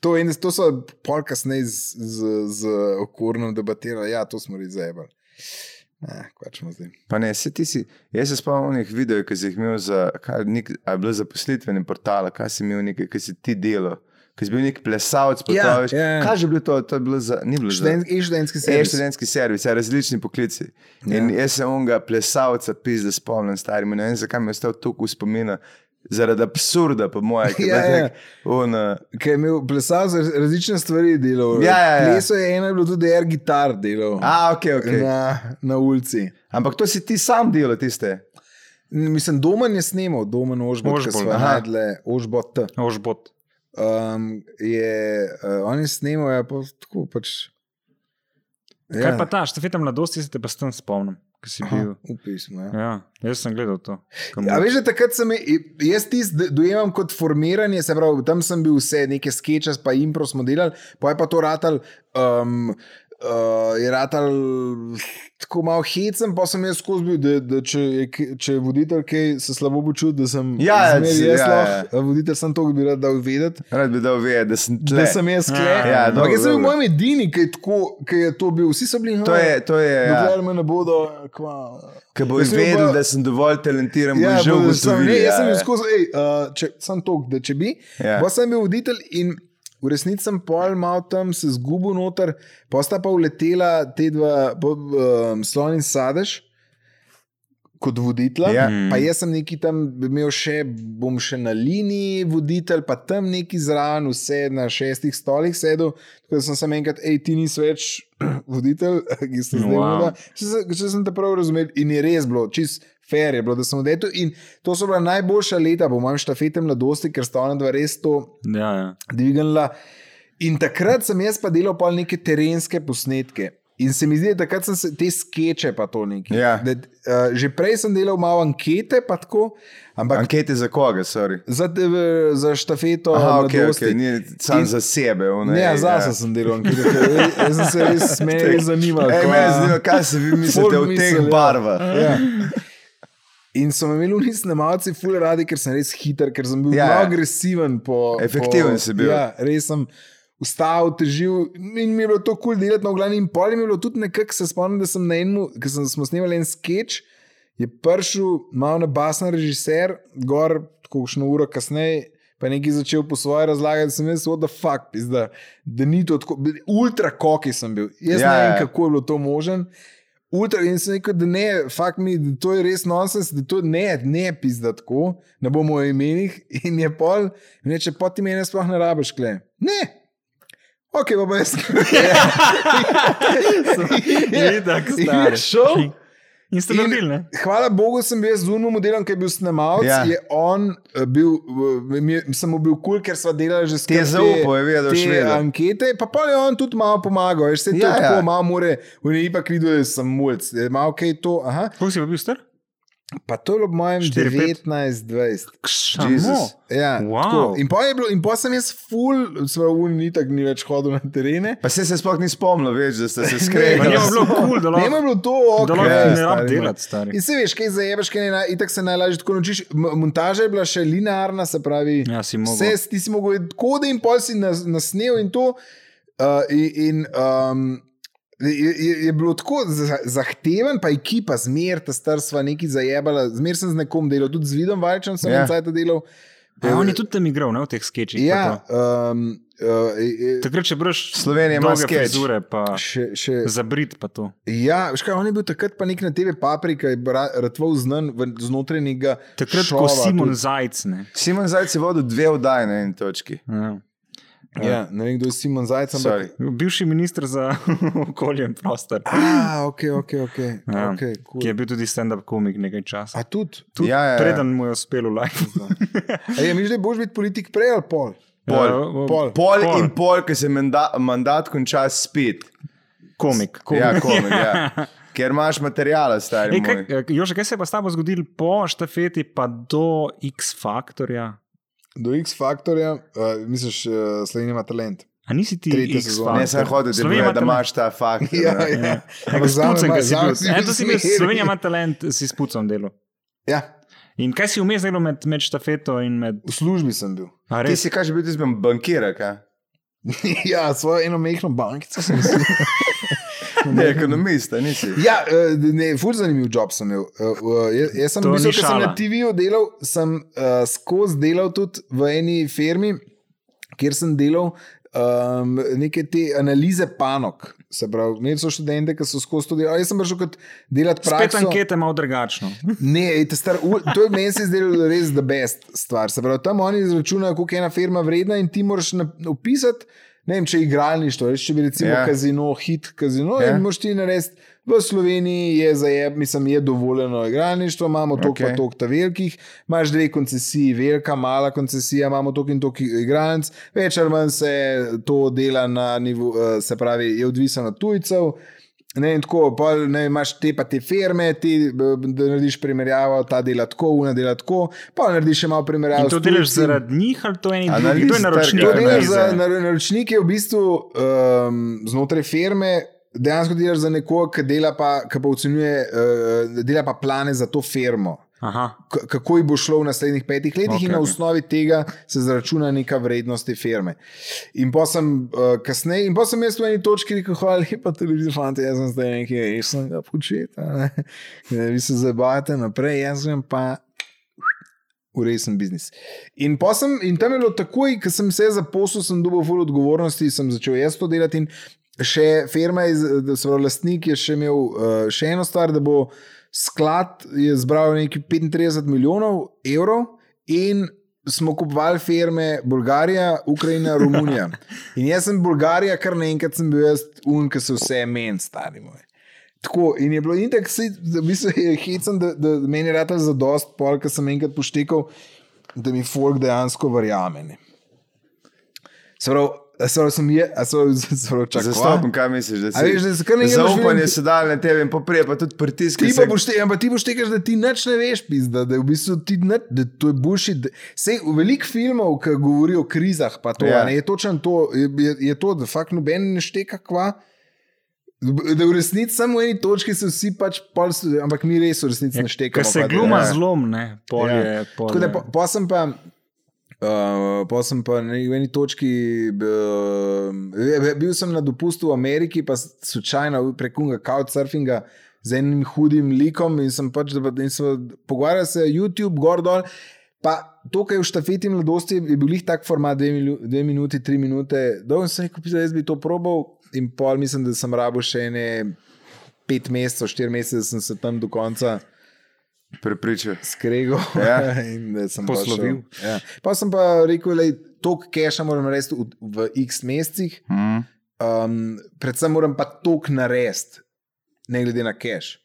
[SPEAKER 2] to, in, to so pol kasneje z, z, z okornom debatirali, ja, to smo res zebali. Eh, kvačemo zdaj.
[SPEAKER 1] Pa ne, se ti si. Jaz se spomnim onih videov, ki si jih imel za, kaj, nek, a je bilo zaposlitveni portal, kaj si imel nekaj, ki si ti delal. Ki si bil nek plesalec, pa
[SPEAKER 2] Ja,
[SPEAKER 1] ja, veš,
[SPEAKER 2] ja, ja.
[SPEAKER 1] ja. kaj je že bilo to, to je bilo za, ni bilo za.
[SPEAKER 2] Študent, in študentski
[SPEAKER 1] Je
[SPEAKER 2] servis. Ja.
[SPEAKER 1] študentski servis, ja, različni poklici. In jaz se onega plesalca pizda spomnim, starim, ne vem, zakaj mi je ostal tukaj v spominu. Zaradi absurda, po mojem, ki je
[SPEAKER 2] Ja,
[SPEAKER 1] bil
[SPEAKER 2] ja.
[SPEAKER 1] nek on, uh,
[SPEAKER 2] Ki je imel plesal za različne stvari, delal.
[SPEAKER 1] Ja, ja, ja.
[SPEAKER 2] Plesal je eno, je bilo tudi air gitar delal.
[SPEAKER 1] A, ok, ok. Na.
[SPEAKER 2] Na, na ulici.
[SPEAKER 1] Ampak to si ti sam delal, tiste.
[SPEAKER 2] N- Mislim, Domen je snimal, Domen Ožbot, ki
[SPEAKER 3] Ožbolt,
[SPEAKER 2] smo ga
[SPEAKER 1] aha.
[SPEAKER 2] najdle, Ožbot.
[SPEAKER 3] Ožbot.
[SPEAKER 2] Um, je, uh, on je snimal, je pa tako pač.
[SPEAKER 3] Ja. Kaj pa ta, štafeta mladosti, se te pa s tem spomnim, ki si bil.
[SPEAKER 2] Upismo, ja.
[SPEAKER 3] Ja, jaz sem gledal to. Ko
[SPEAKER 2] Ja,
[SPEAKER 3] mu-
[SPEAKER 2] veš, da takrat sem i- jaz tisti d- dojemam kot formiranje, se pravi, tam sem bil vse, neke skeče, pa impro smo delali, pa je pa to ratal. Um, Uh, je ratal tako malo hecen, pa sem jaz skozi bil, da, da če, je, k- če je voditelj kaj se slabo počuti, da sem
[SPEAKER 1] Ja, ja,
[SPEAKER 2] zmeraj
[SPEAKER 1] c-
[SPEAKER 2] jaz
[SPEAKER 1] ja,
[SPEAKER 2] lahko, eh, voditelj sem to, ki bi rad dal vedeti.
[SPEAKER 1] Rad bi dal vedeti, da sem tle.
[SPEAKER 2] Da sem jaz
[SPEAKER 3] Ja,
[SPEAKER 2] klej.
[SPEAKER 1] ja, dobro,
[SPEAKER 2] jaz sem bil
[SPEAKER 1] dobro.
[SPEAKER 2] moj edini, ki je, tako, ki je to bil. Vsi so bili.
[SPEAKER 1] To je, to je.
[SPEAKER 2] Ja.
[SPEAKER 1] Ja.
[SPEAKER 2] Dokler me ne bodo, kva.
[SPEAKER 1] Ki bo
[SPEAKER 2] Jaz sem bil
[SPEAKER 1] izvedel,
[SPEAKER 2] pa-
[SPEAKER 1] da sem dovolj talentiran,
[SPEAKER 2] Ja,
[SPEAKER 1] da že
[SPEAKER 2] bo- sem,
[SPEAKER 1] ugotovil.
[SPEAKER 2] ne, jaz sem
[SPEAKER 1] ja,
[SPEAKER 2] bil
[SPEAKER 1] ja.
[SPEAKER 2] skozi, ej, uh, če, sem to, da če bi.
[SPEAKER 1] Ja.
[SPEAKER 2] Ja. Pa sem bil voditelj in v resnici sem pol mal tam se zgubil noter, pa sta pa uletela te dva, bo- um, slon in sadež. Kot voditelj,
[SPEAKER 1] Ja.
[SPEAKER 2] ja. pa jaz sem neki tam imel še, bom še na liniji, voditelj, pa tam neki zraven, vse na šestih stolih sedel. Tako da sem samo enkrat, hej, ti nisi več voditelj, ki si zdaj
[SPEAKER 3] Wow.
[SPEAKER 2] wow. Če, se- če sem te prav razumel, in je res bilo, čist fair je bilo, da sem odetel. In to so bila najboljša leta, po mojem štafetem mladosti, ker sta ona dva res to
[SPEAKER 3] ja, ja.
[SPEAKER 2] dvignila. In takrat sem jaz pa delal pa neke terenske posnetke. In se mi zdi, da takrat sem se, te skeče pa to nekaj.
[SPEAKER 1] Ja.
[SPEAKER 2] Da, uh, že prej sem delal malo ankete, pa tako, ampak
[SPEAKER 1] Ankete za koga, sorry.
[SPEAKER 2] za, TV za štafeto.
[SPEAKER 1] Aha, ok,
[SPEAKER 2] mladosti.
[SPEAKER 1] okay. ni sam
[SPEAKER 2] In-
[SPEAKER 1] za sebe. One,
[SPEAKER 2] Ne, ja, zase sem delal, ker jaz sem se res smejal, res zanimal.
[SPEAKER 1] Ej,
[SPEAKER 2] kva-
[SPEAKER 1] me zanima, kaj se vi mislite o
[SPEAKER 2] Folk
[SPEAKER 1] teh
[SPEAKER 2] ja. misel, ja.
[SPEAKER 1] barvah.
[SPEAKER 2] Ja. In so me imeli v snemalci ful radi, ker sem res hiter, ker sem bil
[SPEAKER 1] Ja,
[SPEAKER 2] ja,
[SPEAKER 1] ja.
[SPEAKER 2] malo agresiven. Po,
[SPEAKER 1] Efektiven
[SPEAKER 2] po,
[SPEAKER 1] si bil.
[SPEAKER 2] Ja, res sem vstal, težil in mi je bilo to kul cool delati na glavni. In pol je mi je bilo tudi nekako, se spomnim, da sem na enem, ker sem, smo snemali en sketch, je prišel malo na basen režiser, gor, tako še eno uro kasneje. Pa je nekaj začel po svoje razlagati, da sem jaz, what the fuck, pizda, da ni to tako, ultra koki sem bil.
[SPEAKER 1] Ja,
[SPEAKER 2] Jaz ja, ne vem,
[SPEAKER 1] ja.
[SPEAKER 2] kako je bilo to možen. Ultra in sem rekel, da ne, fakt mi, da to je res nonsens, da to ne, ne pizda tako, ne bomo o imenih. In je pol, in reče, pa ti meni sploh ne rabiš, kle. Ne, ok, pa brez.
[SPEAKER 3] Itak, star.
[SPEAKER 2] šel.
[SPEAKER 3] In ste
[SPEAKER 2] In-
[SPEAKER 3] naredili, ne?
[SPEAKER 2] Hvala Bogu, sem bil jaz z unom modelom, ki je bil snemalec.
[SPEAKER 1] Ja.
[SPEAKER 2] Ja. Je on eh, bil, eh, mi je- sem mu bil kul, cool, ker sva delala že
[SPEAKER 1] Ti
[SPEAKER 2] skupaj.
[SPEAKER 1] je zaupal, je vedel, da boš
[SPEAKER 2] te
[SPEAKER 1] vedel.
[SPEAKER 2] ankete, pa pa je on tudi malo pomagal, veš,
[SPEAKER 1] Ja,
[SPEAKER 2] se ja,
[SPEAKER 1] ja.
[SPEAKER 2] to ja. tako malo more, v njej pa videl, da sem mulc, da je malo kaj to, aha,
[SPEAKER 3] Koliko si pa bil star?
[SPEAKER 2] pa to je bilo po mojem
[SPEAKER 3] Štiri, pet.
[SPEAKER 2] 19-20.
[SPEAKER 1] Jezus.
[SPEAKER 3] Samo.
[SPEAKER 2] Ja,
[SPEAKER 3] Wow.
[SPEAKER 2] tako. in pa je bilo, in pa sem jaz full, sva v njej tako ni več hodil na terene.
[SPEAKER 1] Pa se se sploh ni spomnil več, da ste se
[SPEAKER 3] Pa
[SPEAKER 1] skregali.
[SPEAKER 3] Njemu je bilo kul, da
[SPEAKER 2] Ne, ima
[SPEAKER 3] lahko
[SPEAKER 2] bilo to, ok,
[SPEAKER 3] da lahko
[SPEAKER 1] ja,
[SPEAKER 2] stari
[SPEAKER 3] ne rabim
[SPEAKER 2] moj.
[SPEAKER 3] delati, stari.
[SPEAKER 2] In se veš, kaj zajebeš, kaj ne, na- itak se najlažje tako naučiš. M- Montaža je bila še linearna, se pravi,
[SPEAKER 3] Ja, si mogel.
[SPEAKER 2] vse si- ti si mogel videti kode in pol si nas- nasnel in to. Uh, in, in, um, Je, je, je bilo tako za- zahteven, pa ekipa, zmer ta starstva nekaj zajebala, zmer sem z nekom delal, tudi z vidom, vajčem sem
[SPEAKER 1] Ja.
[SPEAKER 2] yeah. cajt delal.
[SPEAKER 3] Ja, on je tudi tam igral, ne v teh sketchih. pa
[SPEAKER 2] Ja,
[SPEAKER 3] to.
[SPEAKER 2] um, uh, e- e,
[SPEAKER 3] Takrat, če brš
[SPEAKER 1] Slovenija ima
[SPEAKER 3] dolge
[SPEAKER 1] sketch.
[SPEAKER 3] frizure, pa
[SPEAKER 2] še, še,
[SPEAKER 3] zabrit pa to.
[SPEAKER 2] ja, veš kaj, on je bil takrat pa nek na TV paprika, je bil ra- ratval znan v- znotraj nekega.
[SPEAKER 3] Takrat,
[SPEAKER 2] šova,
[SPEAKER 3] ko Simon
[SPEAKER 2] tudi.
[SPEAKER 3] Zajc, ne.
[SPEAKER 1] Simon Zajc je vodil dve oddaje na eni točki.
[SPEAKER 3] Ja.
[SPEAKER 2] Ja, ne vem, kdo je Simon Zajec, ampak
[SPEAKER 1] Sorry.
[SPEAKER 3] Bivši minister za okolje in prostor,
[SPEAKER 2] Ah, ok, ok. okay.
[SPEAKER 3] Ja,
[SPEAKER 2] Ja. okay cool.
[SPEAKER 3] ki je bil tudi stand-up komik nekaj časa.
[SPEAKER 2] A tudi?
[SPEAKER 3] Tudi
[SPEAKER 1] Ja, ja, ja.
[SPEAKER 3] Preden mu je uspelo lajko.
[SPEAKER 2] A je, misliš, da boš biti politik prej ali pol?
[SPEAKER 3] Ja,
[SPEAKER 1] Pol.
[SPEAKER 2] Pol.
[SPEAKER 1] Pol in pol, ki se menda, mandat konča spet.
[SPEAKER 3] komik. komik.
[SPEAKER 1] Ja, komik, ja. Ker imaš materijala, stari.
[SPEAKER 2] E,
[SPEAKER 3] Ej,
[SPEAKER 1] moj.
[SPEAKER 3] kaj, eh, Jože, kaj se je pa s tabo zgodilo po štafeti, pa do X faktorja?
[SPEAKER 2] Do X faktorja, uh, misliš, uh, Slovenija ima talent.
[SPEAKER 3] A nisi ti
[SPEAKER 2] Tretja
[SPEAKER 3] X
[SPEAKER 2] sezona.
[SPEAKER 3] faktor?
[SPEAKER 1] Ne, sem hodil, ti
[SPEAKER 3] Slovenija
[SPEAKER 1] povedal, da
[SPEAKER 3] ima
[SPEAKER 1] imaš ta fakt. no.
[SPEAKER 2] ja.
[SPEAKER 3] Ampak spucen, ki si bil. E, to si bil, Slovenija
[SPEAKER 2] ima.
[SPEAKER 3] ima talent, si spucen delo.
[SPEAKER 2] Ja,
[SPEAKER 3] In kaj si vmes delal med, med štafeto in med...
[SPEAKER 2] v službi sem bil.
[SPEAKER 3] A
[SPEAKER 1] Ti
[SPEAKER 3] res?
[SPEAKER 1] si, kaj že bil, ti si bil bankirek, a?
[SPEAKER 2] ja, svojo eno mehko bankico sem si.
[SPEAKER 1] Ne, ekonomist, a nisi.
[SPEAKER 2] Ja, eh, ne, fur zanimiv job sem imel. Eh, eh, Jaz, jaz sem,
[SPEAKER 3] To
[SPEAKER 2] v bistvu,
[SPEAKER 3] ni
[SPEAKER 2] ker sem
[SPEAKER 3] šala.
[SPEAKER 2] na TV-ju delal, sem uh, skozi delal tudi v eni firmi, kjer sem delal um, neke te analize panog. Se pravi, ne so študente, ki so skozi to delali. Jaz sem prišel kot delati
[SPEAKER 3] Spet
[SPEAKER 2] prakso.
[SPEAKER 3] ankete malo drugačno.
[SPEAKER 2] Ne, ej, ta star, u- to je meni se zdelo res the best stvar. Se pravi, tam oni izračunajo, koliko je ena firma vredna in ti moraš na- opisati, ne vem, če je igralništvo, veš, če bi recimo
[SPEAKER 1] Ja.
[SPEAKER 2] yeah. kazino, hit kazino,
[SPEAKER 1] Ja.
[SPEAKER 2] yeah. in moraš ti narediti. V Sloveniji je zajeb, mislim, je dovoljeno igralništvo, imamo toliko okay.
[SPEAKER 1] Okej.
[SPEAKER 2] in toliko ta velikih, imaš dve koncesiji, velika, mala koncesija, imamo toliko in toliko igralnic, več ali manj se to dela na nivo, eh, se pravi, je odvisno od tujcev. Ne, in tako, pol, ne, imaš te pa te firme, ti b- b- da narediš primerjavo, ta dela tako, una dela tako, pa narediš še malo primerjavo.
[SPEAKER 3] In to
[SPEAKER 2] s
[SPEAKER 3] delaš
[SPEAKER 2] tujci.
[SPEAKER 3] zaradi njih, ali to je eni
[SPEAKER 1] Analiz
[SPEAKER 3] drugi, kdo je naročnik?
[SPEAKER 1] trga,
[SPEAKER 2] To delaš
[SPEAKER 1] analize.
[SPEAKER 2] za nar- naročnike, v bistvu um, znotraj firme. Dejansko delaš za nekoga, ki dela pa, ki pa ocenjuje, uh, dela pa plane za to firmo.
[SPEAKER 3] Aha,
[SPEAKER 2] k- kako ji bo šlo v naslednjih petih letih, okay.
[SPEAKER 1] Okej.
[SPEAKER 2] in na osnovi tega se zračuna neka vrednost te firme. In potem sem uh, kasneje, in potem sem jaz v eni točki rekel, hvala lepa, televizijo, fanti, jaz sem zdaj nekaj resnega početa, ne? vi se zabavate naprej, jaz sem pa. V resen biznis. In, pol sem, in tam je bilo takoj, ko sem se zaposlil, sem dobil ful odgovornosti, sem začel jaz to delati. In še firma, iz, se pravi, lastnik je še imel uh, še eno stvar, da bo sklad je zbral nekaj 35 milijonov evrov in smo kupovali firme Bolgarija, Ukrajina, Romunija. In jaz sem Bolgarija, kar naenkrat sem bil jaz un, ki se vse meni, stari moj. Tako, in je bilo in tako, da bi se hecam, da, da meni rata za dost, pol, ker sem enkrat poštekal, da mi folk dejansko verjame. ne. Se pravi, a se pravi, sem je, a se pravi, se pravi, čakaj.
[SPEAKER 1] Zastopim, kaj misliš, da
[SPEAKER 2] A
[SPEAKER 1] si.
[SPEAKER 2] veš, da se kar nekaj
[SPEAKER 1] Zaupanje
[SPEAKER 2] doživljam-
[SPEAKER 1] se da na tebe in poprej, pa tudi pritisk. ki
[SPEAKER 2] Ti
[SPEAKER 1] se-
[SPEAKER 2] pa boš te, ampak ti boš tekaš, da ti nič ne veš, pizda, da je v bistvu ti nič, da to je boljši. Sej v veliko filmov, ki govorijo o krizah, pa to
[SPEAKER 1] Ja.
[SPEAKER 2] yeah. ne, je točno to, je, je, je to, da fakt noben ne šteka kva. Da v resnici samo v eni točki se vsi pač pol, s- ampak mi res v resnici ne štekamo.
[SPEAKER 3] ker se
[SPEAKER 2] kva, da-
[SPEAKER 3] gluma
[SPEAKER 1] ja.
[SPEAKER 3] zlom, ne, polje.
[SPEAKER 2] Ja.
[SPEAKER 3] Ja.
[SPEAKER 2] Tako
[SPEAKER 3] polje.
[SPEAKER 2] da, po, po sem pa. Uh, po sem pa na eni- v eni točki, uh, bil sem na dopustu v Ameriki, pa s- slučajno preko unga couchsurfinga z enim hudim likom in sem pač, da pa- in sem pogovarjal se YouTube, gor dol. Pa to, kar je v štafeti mladosti, je bil jih tak format, dve, milu, dve minuti, tri minute. Dolgo sem rekel, da jaz bi to probal in pol mislim, da sem rabo še ene pet mesecev, štiri mesece, da sem se tam do konca
[SPEAKER 1] Prepričal.
[SPEAKER 2] skregal
[SPEAKER 1] Ja.
[SPEAKER 2] in da sem
[SPEAKER 3] Poslovil.
[SPEAKER 2] Pa, šel. ja. pa sem pa rekel, da toliko keša moram narediti v, v x mesecih,
[SPEAKER 1] Mm.
[SPEAKER 2] um, predvsem moram pa toliko narediti, ne glede na keš.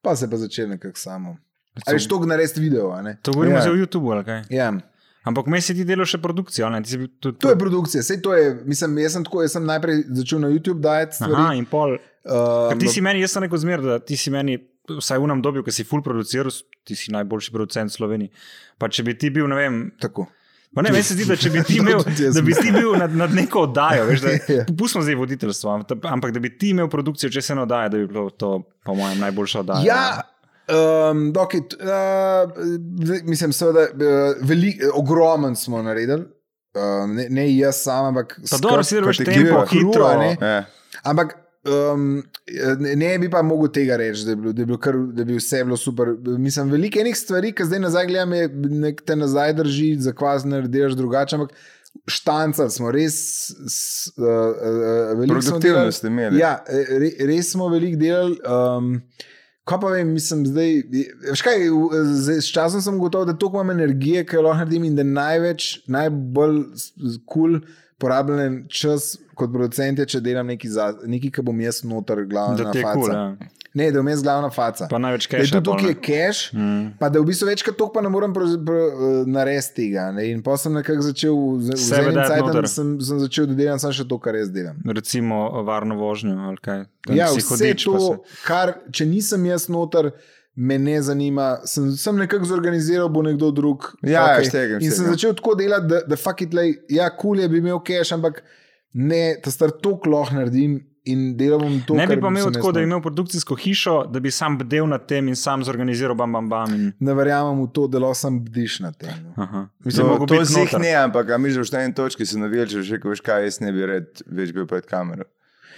[SPEAKER 2] Pa se je pa začel nekako samo. Ali je toliko narediti video? a ne?
[SPEAKER 3] To govorimo
[SPEAKER 1] Ja.
[SPEAKER 3] zdaj o YouTubu, ali kaj?
[SPEAKER 2] Ja.
[SPEAKER 3] Ampak meni se ti delo še produkcijo, ali ne? Ti si bil tudi
[SPEAKER 2] To je produkcija, sej to je. Mislim, jaz sem, tako, jaz sem najprej začel na YouTube dajati
[SPEAKER 3] Aha,
[SPEAKER 2] stvari. um,
[SPEAKER 3] in pol.
[SPEAKER 2] Aha,
[SPEAKER 3] Ker ti si meni, jaz sem rekel zmer, da ti si meni, vsaj v nam dobi, ki si full produciral, ti si najboljši producent v Sloveniji. Pa če bi ti bil, ne vem,
[SPEAKER 2] no, Tako.
[SPEAKER 3] pa ne, meni se zdi, da če bi ti
[SPEAKER 2] No,
[SPEAKER 3] imel,
[SPEAKER 2] Tudi jaz
[SPEAKER 3] da bi ti bil nad, nad neko oddajo, veš,
[SPEAKER 2] Ja.
[SPEAKER 3] da pustimo zdaj voditeljstvo, ampak- ampak da bi ti imel produkcijo, če se ne oddaja, da bi bilo to, po mojem, najboljša oddaja.
[SPEAKER 2] Ja, um, dokaj, uh, zdaj, mislim, seveda, uh, veli, ogromen smo naredili. Um, ne, ne jaz sam, ampak
[SPEAKER 3] Pa dobro, si veš,
[SPEAKER 1] kategorija.
[SPEAKER 3] tempo,
[SPEAKER 2] Kru,
[SPEAKER 3] hitro.
[SPEAKER 2] a ne?
[SPEAKER 1] Ja.
[SPEAKER 2] Ampak um, ne, ne bi pa mogel tega reči, da je bilo, da je bilo, kar, da bi vse bilo super. Mislim, veliko enih stvari, ki zdaj nazaj gledam, je, nek te nazaj drži, za kvas ne delaš drugače. Ampak štancali smo, res. s- Uh, uh, veliko smo
[SPEAKER 1] Produktivnost ste
[SPEAKER 2] delali.
[SPEAKER 1] imeli.
[SPEAKER 2] Ja, re, res smo veliko delali. Um, Kaj pa vem, mislim, zdaj, veš kaj, v- zdaj, s časom sem gotov, da toliko imam energije, ki jo lahko naredim in da največ, najbolj kul cool porabljen čas kot producent je, če delam nekaj, za, nekaj ki bom jaz noter glavna
[SPEAKER 3] Da ti je
[SPEAKER 2] faca.
[SPEAKER 3] kul, cool, ja.
[SPEAKER 2] Ne, da bom jaz glavna faca.
[SPEAKER 3] pa največ
[SPEAKER 2] Da je
[SPEAKER 3] keša.
[SPEAKER 2] tudi tukaj je cache, mm. pa da v bistvu večkrat to pa ne morem pro, pro, eh, narediti tega. Ne? In potem sem nekako začel, z- v
[SPEAKER 3] Sebe
[SPEAKER 2] zadnjem
[SPEAKER 3] dati
[SPEAKER 2] času
[SPEAKER 3] noter.
[SPEAKER 2] sem, sem začel, da delam samo še to, kar jaz delam.
[SPEAKER 3] Recimo o varno vožnjo ali kaj. Tam
[SPEAKER 2] Ja,
[SPEAKER 3] si
[SPEAKER 2] vse
[SPEAKER 3] pa
[SPEAKER 2] to,
[SPEAKER 3] se-
[SPEAKER 2] kar, če nisem jaz noter, me ne zanima. Sem, sem nekako zorganiziral, bo nekdo drug.
[SPEAKER 1] Ja, ja,
[SPEAKER 2] Okej.
[SPEAKER 1] štegem,
[SPEAKER 2] In sem
[SPEAKER 1] štegem.
[SPEAKER 2] začel tako delati, da, da fuck it, lej, ja, kul cool je bi imel keš, ampak ne, ta star to kloh naredim in delal bom to.
[SPEAKER 3] Ne bi
[SPEAKER 2] kar
[SPEAKER 3] pa imel
[SPEAKER 2] sem
[SPEAKER 3] tako,
[SPEAKER 2] jaz
[SPEAKER 3] da bi
[SPEAKER 2] noter.
[SPEAKER 3] imel produkcijsko hišo, da bi sam bdel nad tem in sam zorganiziral bam bam bam. In...
[SPEAKER 2] Ne verjamem v to, da lahko sem bdiš na tem. no.
[SPEAKER 3] Aha. Mislim,
[SPEAKER 1] To,
[SPEAKER 3] mogo
[SPEAKER 1] to
[SPEAKER 3] biti
[SPEAKER 1] si jih
[SPEAKER 3] noter.
[SPEAKER 1] ne, ampak a mi že v šteni točki se navijaš, že ko veš kaj, jaz ne bi red več bil pred kamero.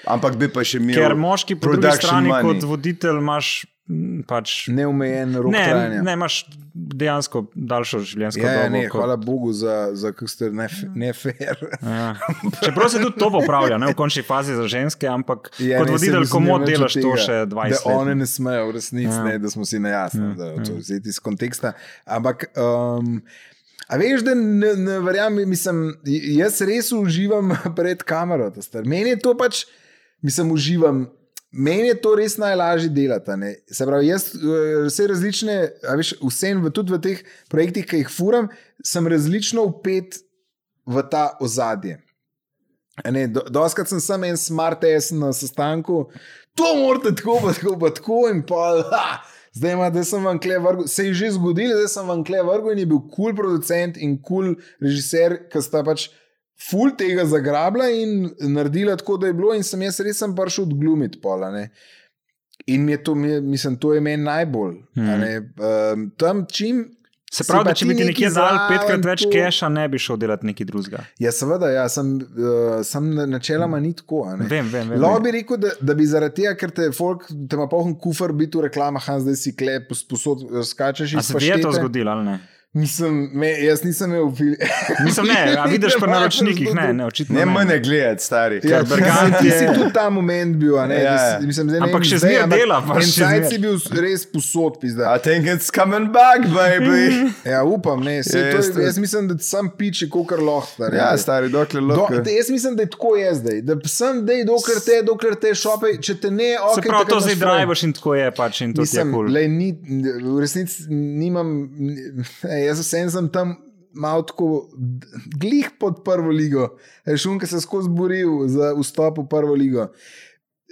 [SPEAKER 1] Ampak bi pa še imel.
[SPEAKER 3] Ker moški po drugi
[SPEAKER 1] production
[SPEAKER 3] strani
[SPEAKER 1] money.
[SPEAKER 3] money. kot voditelj imaš m, pač.
[SPEAKER 2] Neumejen rok
[SPEAKER 3] Ne,
[SPEAKER 2] trajanja.
[SPEAKER 3] ne, imaš dejansko daljšo življenjsko
[SPEAKER 2] Ja, ja,
[SPEAKER 3] dobo.
[SPEAKER 2] ne, hvala Bogu za, za kako ste nefer.
[SPEAKER 3] Ja. Čeprav se tudi to popravlja, ne, v končni fazi za ženske, ampak ja, kot voditelj komod delaš to še 20
[SPEAKER 2] let.
[SPEAKER 3] let.
[SPEAKER 2] One ne smejo, v resnici,
[SPEAKER 3] Ja.
[SPEAKER 2] ja. ne, da smo si na jasnem,
[SPEAKER 3] Ja,
[SPEAKER 2] ja. da to vzeti iz konteksta. Ampak, um, a veš, da ne, ne verjamem, mislim, j- jaz res uživam pred kamero. ta stvar. Meni je to pač, mislim, uživam. Meni je to res najlažje delati. a ne. Se pravi, jaz eh, vse različne, a veš, vsem, v- tudi v teh projektih, ki jih furam, sem različno upet v ta ozadje. A Ne, do, doskrat sem samo en smart ass na sestanku, to morate tako, pa tako, pa tako in pa. Ha, zdaj imate, sem vam kle vrgel, se je že zgodilo, zdaj sem vam kle vrgel in je bil kul cool producent in kul cool režiser, ki sta pač ful tega zagrabila in naredila tako, da je bilo in sem jaz res sem prišel odglumiti pola. Ne. In mi je to, mi je, mislim, to je meni najbolj.
[SPEAKER 3] Mhm.
[SPEAKER 2] Mm. Um, tam čim.
[SPEAKER 3] Se
[SPEAKER 2] si
[SPEAKER 3] pravi,
[SPEAKER 2] pa
[SPEAKER 3] da če bi ti
[SPEAKER 2] nekaj
[SPEAKER 3] nekje dal
[SPEAKER 2] zraven
[SPEAKER 3] petkrat več
[SPEAKER 2] to-
[SPEAKER 3] keša, ne bi šel delati nekaj drugega.
[SPEAKER 2] Ja, seveda, ja, sem, uh, sem načeloma ni tako. a Ne.
[SPEAKER 3] Vem, vem, vem.
[SPEAKER 2] Lahko bi rekel, da, da bi zaradi tega, ker te folk, te ima pohn kufr, biti v reklamah, a zdaj si klep, posod skačeš
[SPEAKER 3] A
[SPEAKER 2] in
[SPEAKER 3] se ti je to zgodilo ali ne?
[SPEAKER 2] Mislim, me, jaz nisem imel fil.
[SPEAKER 3] Mislim, ne, a vidiš pri
[SPEAKER 2] Moja
[SPEAKER 3] naročnikih, ne,
[SPEAKER 2] zgodba.
[SPEAKER 3] ne, očitno.
[SPEAKER 1] Ne, mene gledati, stari.
[SPEAKER 2] Ja,
[SPEAKER 3] ker Bergant
[SPEAKER 2] ti
[SPEAKER 3] je-
[SPEAKER 2] si tudi ta moment bil, a ne?
[SPEAKER 1] Ja,
[SPEAKER 2] Ja,
[SPEAKER 1] ja.
[SPEAKER 2] mislim, zdaj, ne
[SPEAKER 3] Ampak
[SPEAKER 2] vem,
[SPEAKER 3] še
[SPEAKER 2] zdaj,
[SPEAKER 3] zmeraj
[SPEAKER 2] ampak
[SPEAKER 3] dela, pa
[SPEAKER 2] en
[SPEAKER 3] še
[SPEAKER 2] cajt
[SPEAKER 3] zmeraj.
[SPEAKER 2] si bil s- res posod, pizda.
[SPEAKER 1] I think it's coming back, baby.
[SPEAKER 2] Ja, upam, ne. Sej,
[SPEAKER 1] Ja,
[SPEAKER 2] to,
[SPEAKER 1] jaz
[SPEAKER 2] je-
[SPEAKER 1] tudi.
[SPEAKER 2] jaz mislim, da sam piči, kolikor lahko. stari.
[SPEAKER 1] ja, stari, dokler
[SPEAKER 2] Do,
[SPEAKER 1] lahko.
[SPEAKER 2] da, jaz mislim, da je tako je zdaj. Da sem dej, dokler te, dokler te šope, če te ne, ok.
[SPEAKER 3] Se pravi,
[SPEAKER 2] takrat
[SPEAKER 3] to
[SPEAKER 2] imaš
[SPEAKER 3] zdaj
[SPEAKER 2] fajn.
[SPEAKER 3] drivaš in tako je pač in to ti je
[SPEAKER 2] Mislim,
[SPEAKER 3] kul.
[SPEAKER 2] lej, ni, v resnici nimam, ej, jaz vsem sem tam malo tako d- glih pod prvo ligo. Šum, ki se je skozi boril za vstop v prvo ligo.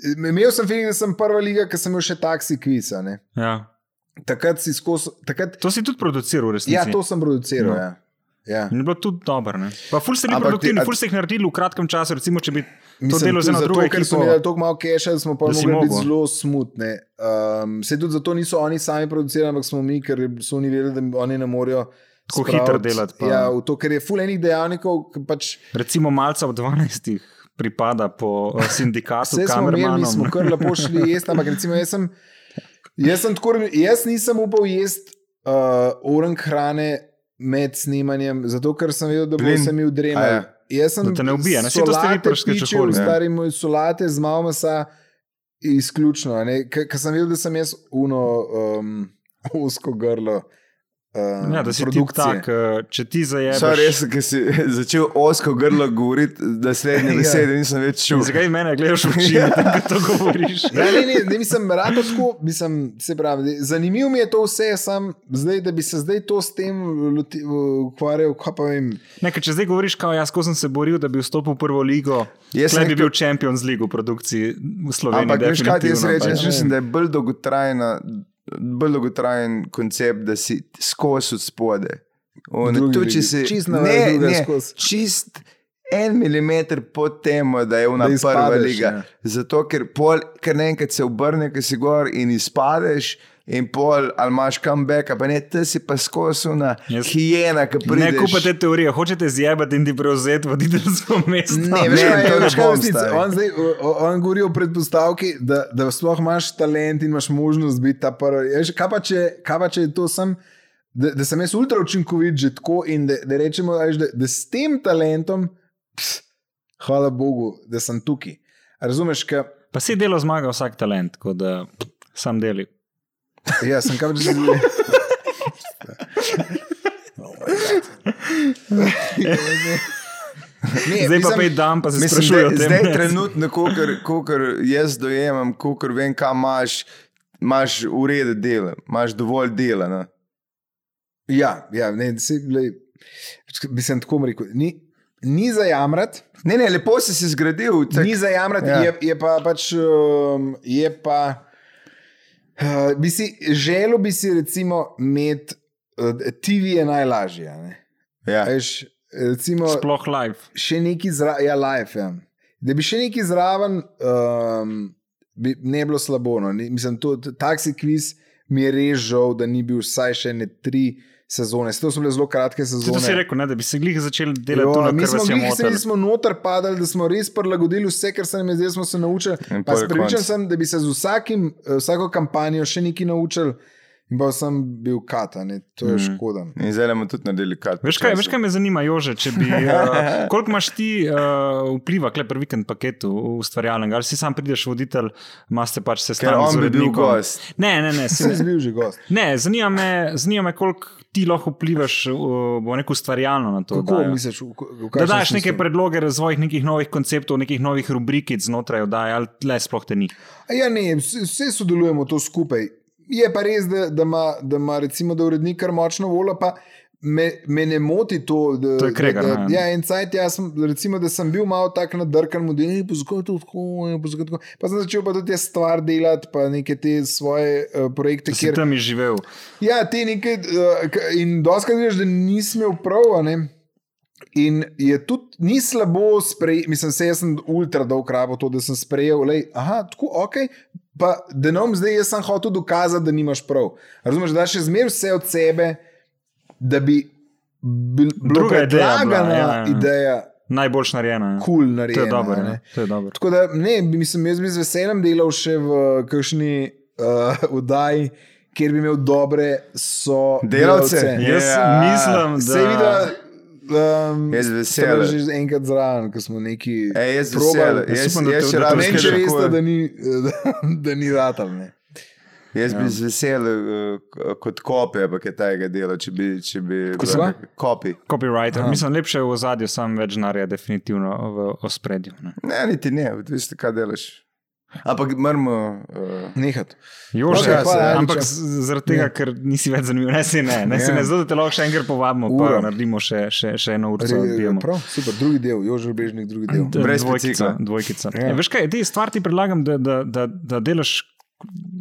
[SPEAKER 2] Em, Imel sem feeling, da sem prva liga, ker sem imel še taksi kviz. a ne.
[SPEAKER 3] Ja.
[SPEAKER 2] Takrat si skozi. Takrat,
[SPEAKER 3] To si tudi produciral, v resnici.
[SPEAKER 2] ja, to sem produciral.
[SPEAKER 3] No.
[SPEAKER 2] Ja. Ja.
[SPEAKER 3] In je bilo tudi dobro. ne. Pa ful ste bili
[SPEAKER 1] Ampak ti-
[SPEAKER 3] produktivni,
[SPEAKER 1] a-
[SPEAKER 3] ful ste jih naredili v kratkem času, recimo, če bi to
[SPEAKER 2] Mislim,
[SPEAKER 3] delo
[SPEAKER 2] tudi
[SPEAKER 3] za eno
[SPEAKER 2] zato,
[SPEAKER 3] drugo
[SPEAKER 2] Ker so
[SPEAKER 3] ekipo.
[SPEAKER 2] mi dali tako malo keša, da smo
[SPEAKER 3] Da
[SPEAKER 2] pač
[SPEAKER 3] si
[SPEAKER 2] mogli biti
[SPEAKER 3] mogel.
[SPEAKER 2] zelo smutni. Um, se tudi zato niso oni sami producirali, ampak smo mi, ker so oni vedeli, da oni ne morejo.
[SPEAKER 3] Tako
[SPEAKER 2] spraviti-
[SPEAKER 3] hitro delati pa.
[SPEAKER 2] Ja, v to, ker je fulejnih dejavnikov, ki pač
[SPEAKER 3] recimo malce ob 12. pripada po eh, sindikatu,
[SPEAKER 2] vse smo imeli, mi smo
[SPEAKER 3] kamermanom.
[SPEAKER 2] kar lepo šli jesti, ampak recimo jaz sem, jaz sem tako, jaz nisem upal jesti uh, oren hrane med snemanjem, zato ker sem vedel, da bo
[SPEAKER 1] Plin.
[SPEAKER 2] se mi
[SPEAKER 1] A
[SPEAKER 2] udremal.
[SPEAKER 1] ja.
[SPEAKER 2] Jaz sem
[SPEAKER 3] Da te ne ubije, ne? Saj to ste vi
[SPEAKER 2] solate
[SPEAKER 3] prišli, če
[SPEAKER 2] pičil,
[SPEAKER 3] hodi,
[SPEAKER 1] ja.
[SPEAKER 2] Stari moj solate z malo mesa, izključno. a ne. Ker ker sem videl, da sem jaz uno um, usko grlo. Um,
[SPEAKER 3] Ja, da si ti
[SPEAKER 2] produkcije.
[SPEAKER 3] tak, eh, če ti zajemaš.
[SPEAKER 1] Sorry, res, ker si začel osko grlo govoriti, da slednje
[SPEAKER 2] Ja.
[SPEAKER 1] besede nisem več čutil.
[SPEAKER 3] Zakaj mene gledaš v oči,
[SPEAKER 1] Ja.
[SPEAKER 3] da to govoriš?
[SPEAKER 2] Ja, ne, ne, ne, mislim, rado tako, mislim, se pravi, de- zanimivo mi je to vse, sam zdaj, da bi se zdaj to s tem loti- ukvarjal, kaj pa vem.
[SPEAKER 3] Ne, ker če zdaj govoriš, kao jaz, ko sem se boril, da bi vstopil v prvo ligo,
[SPEAKER 1] Jaz
[SPEAKER 3] jaz
[SPEAKER 1] sem
[SPEAKER 3] ne bi
[SPEAKER 1] rekel-
[SPEAKER 3] bil Champions League v produkciji v Sloveniji.
[SPEAKER 1] Ampak veš, kaj ti jaz
[SPEAKER 3] definitivno,
[SPEAKER 1] rečem? Jaz
[SPEAKER 3] pač.
[SPEAKER 2] pač.
[SPEAKER 1] mislim, da je bolj dolgotrajna. Bolj dolgotrajen koncept, da si skozi od spode. On,
[SPEAKER 2] drugi
[SPEAKER 1] tudi, če
[SPEAKER 2] ligi.
[SPEAKER 1] si
[SPEAKER 2] Čisto na vrh
[SPEAKER 1] ne,
[SPEAKER 2] druge
[SPEAKER 1] ne,
[SPEAKER 2] skozi.
[SPEAKER 1] čist en milimeter pod tem, da je ona
[SPEAKER 2] Da
[SPEAKER 1] prva
[SPEAKER 2] izpadeš,
[SPEAKER 1] liga.
[SPEAKER 2] ja.
[SPEAKER 1] Zato, ker pol, ker naenkrat se obrne, ker si gor in izpadeš, in pol, ali imaš comeback, ali pa ne, te si pa skozi ona
[SPEAKER 3] Jaz-
[SPEAKER 1] hijena, ki pride.
[SPEAKER 3] Ne kupite teorije, hočete zjebati in ti prevzeti voditeljsko mesto.
[SPEAKER 2] Ne, veš,
[SPEAKER 1] Ne,
[SPEAKER 2] kaj
[SPEAKER 1] to
[SPEAKER 2] je,
[SPEAKER 1] ne
[SPEAKER 2] veš, kaj je
[SPEAKER 1] bom,
[SPEAKER 2] resnica.
[SPEAKER 1] stari.
[SPEAKER 2] On, zdaj, o- o- on govori o predpostavki, da, da sploh imaš talent in imaš možnost biti ta prvi. Ja, veš, Kaj pa če, kaj pa če je to sem? Da, da sem jaz ultra učinkovit že tako in da, da rečemo, a veš, da, da s tem talentom, pst, hvala Bogu, da sem tukaj. A Razumeš, kaj?
[SPEAKER 3] Pa si delo zmaga vsak talent, tako da sam deli.
[SPEAKER 2] Ja, sem kaj že
[SPEAKER 3] Oh
[SPEAKER 2] zelo. Ne,
[SPEAKER 3] Zdaj pa
[SPEAKER 2] mislim-
[SPEAKER 3] pet dan, pa se
[SPEAKER 1] E, Mislim,
[SPEAKER 3] sprašuje o
[SPEAKER 1] da,
[SPEAKER 3] tem.
[SPEAKER 1] zdaj je trenutno, kolikor jaz dojemam, kolikor vem, kam imaš, imaš urede dela, imaš dovolj dela. no. Ne?
[SPEAKER 2] Ja, ja ne, se, lej, mislim, tako bom rekel. Ni, ni za jamrat,
[SPEAKER 1] Ne, ne, lepo si si zgradil. Tak,
[SPEAKER 2] ni za jamrat,
[SPEAKER 1] ja.
[SPEAKER 2] ja. je, je pa pač. Um, je pa uh, bi si, želel bi si, recimo, imeti. Uh, TV je najlažje. a ne.
[SPEAKER 1] ja.
[SPEAKER 2] A Veš, recimo,
[SPEAKER 3] Sploh live.
[SPEAKER 2] še neki zraven, ja, life. Ja. Da bi še neki zraven, um, bi ne bilo slabo. No. Ni- Mislim, to taksi kviz mi je res žal, da ni bil vsaj še ne tri sezone. Saj To so bile zelo kratke
[SPEAKER 3] Ti
[SPEAKER 2] sezone.
[SPEAKER 3] to si rekel, ne, da bi se glih začeli delati
[SPEAKER 2] Jo,
[SPEAKER 3] jo, to,
[SPEAKER 2] mi
[SPEAKER 3] kar
[SPEAKER 2] smo
[SPEAKER 3] vas je
[SPEAKER 2] bili, se
[SPEAKER 3] motilo.
[SPEAKER 2] nismo noter padali, da smo res prilagodili vse, kar se nam je zdaj, smo se naučili.
[SPEAKER 1] In
[SPEAKER 2] Pa
[SPEAKER 1] pol je
[SPEAKER 2] pripričan
[SPEAKER 1] konc.
[SPEAKER 2] sem, da bi se z vsakim, eh, vsako kampanjo še nekaj naučili, in pa sem bil kata, ne? to
[SPEAKER 1] Mhm.
[SPEAKER 2] je mm. škoda.
[SPEAKER 1] In zdaj bomo tudi naredili kar.
[SPEAKER 3] Veš kaj, veš kaj me zanima, Jože, če bi, uh, koliko imaš ti uh, vpliva kle pri vikend paketu ustvarjalnega, ali si sam prideš voditelj, imaš pač se
[SPEAKER 1] Ker
[SPEAKER 3] stalno
[SPEAKER 1] on bi bil gost.
[SPEAKER 3] Ne, ne, ne, se
[SPEAKER 2] Sem bil že gost.
[SPEAKER 3] Ne, zanima me, zanima me koliko ti lahko vplivaš, uh, bo neko ustvarjalno na to.
[SPEAKER 2] Kako
[SPEAKER 3] oddajo.
[SPEAKER 2] misliš, v k- v
[SPEAKER 3] Da
[SPEAKER 2] kakšnem
[SPEAKER 3] daš neke
[SPEAKER 2] smislu?
[SPEAKER 3] predloge razvojih nekih novih konceptov, nekih novih rubrikic znotraj oddaje, ali tle sploh te ni.
[SPEAKER 2] A Ja, ne, vse vse sodelujemo to skupaj. Je pa res, da, da ima, da ima recimo, da urednik kar močno voljo, pa me, me ne moti to. Da,
[SPEAKER 3] To je Kregar,
[SPEAKER 2] da, da,
[SPEAKER 3] ne?
[SPEAKER 2] ja, en cajt, jaz sem, recimo, da sem bil malo tak nadrkan, da je bilo tako, da je tako. Pa sem začel pa tudi jaz stvar delati, pa neke te svoje uh, projekte,
[SPEAKER 3] Če si tam izživel.
[SPEAKER 2] Ja, ti nekaj, uh, k- in doskrat vidiš, da nisi imel prav. a ne. In je tudi ni slabo, sprej, mislim, se jaz sem ultra dolg rabo to, da sem sprejel, lej, aha, tako ok. Pa da nam zdaj jaz sem hotel dokazati, da nimaš prav. Razumeš, da daš še zmeraj vse od sebe, da bi bil, bilo
[SPEAKER 3] Druga ideja bila,
[SPEAKER 2] predlagana ideja,
[SPEAKER 3] ja, ja.
[SPEAKER 2] ideja
[SPEAKER 3] Najboljš narejena. ja.
[SPEAKER 2] kul cool
[SPEAKER 3] to
[SPEAKER 2] narejena.
[SPEAKER 3] je dobro.
[SPEAKER 2] a ne.
[SPEAKER 3] ja, To je dobro.
[SPEAKER 2] Tako da, ne, bi- mislim, jaz bi z veseljem delal še v kakšni uh, vdaji, kjer bi imel dobre so
[SPEAKER 1] Delavce?
[SPEAKER 2] delavce.
[SPEAKER 3] Jaz
[SPEAKER 1] Ja.
[SPEAKER 3] mislim, da
[SPEAKER 2] Se vidi, um,
[SPEAKER 1] Jaz z veseljem.
[SPEAKER 2] Že enkrat zraven, ko smo neki.
[SPEAKER 1] Ej, jaz
[SPEAKER 2] probali.
[SPEAKER 1] vesel, jaz,
[SPEAKER 3] upam, da
[SPEAKER 1] jaz
[SPEAKER 3] to-
[SPEAKER 1] še
[SPEAKER 3] da to
[SPEAKER 1] rad
[SPEAKER 2] Ne, če
[SPEAKER 1] nekaj
[SPEAKER 2] veste,
[SPEAKER 1] tako-
[SPEAKER 2] da ni, da, da ni ratal. Ne.
[SPEAKER 1] Jaz
[SPEAKER 3] Ja.
[SPEAKER 1] bi z veseljem uh, kot kopi, ampak je tega dela, če bi. Če bi
[SPEAKER 2] se pa?
[SPEAKER 1] kopi.
[SPEAKER 3] Copywriter. Aha. Mislim, lepše je v zadju, sam več denarja, definitivno v ospredju. ne.
[SPEAKER 1] Ne, niti ne, odvisno kaj delaš. Ampak moramo. Uh,
[SPEAKER 2] Nehati.
[SPEAKER 3] Jože,
[SPEAKER 1] Ok, hvala,
[SPEAKER 3] okay,
[SPEAKER 2] Ajde,
[SPEAKER 3] ampak
[SPEAKER 2] čau.
[SPEAKER 3] z- zaradi tega, ker nisi več zanimiv, ne si ne, ne, si
[SPEAKER 2] Ja.
[SPEAKER 3] ne zato da te lahko še enkrat povabimo,
[SPEAKER 2] Uro.
[SPEAKER 3] pa naredimo še, še, še eno uro.
[SPEAKER 2] Torej, Prav, super, drugi del, Jožef Brežnik, drugi del.
[SPEAKER 3] D-
[SPEAKER 1] Brez
[SPEAKER 3] dvojkica.
[SPEAKER 1] bicikla.
[SPEAKER 3] dvojkica.
[SPEAKER 2] Ja.
[SPEAKER 3] Ja. Ja, veš kaj, te stvar ti predlagam, da, da, da, da delaš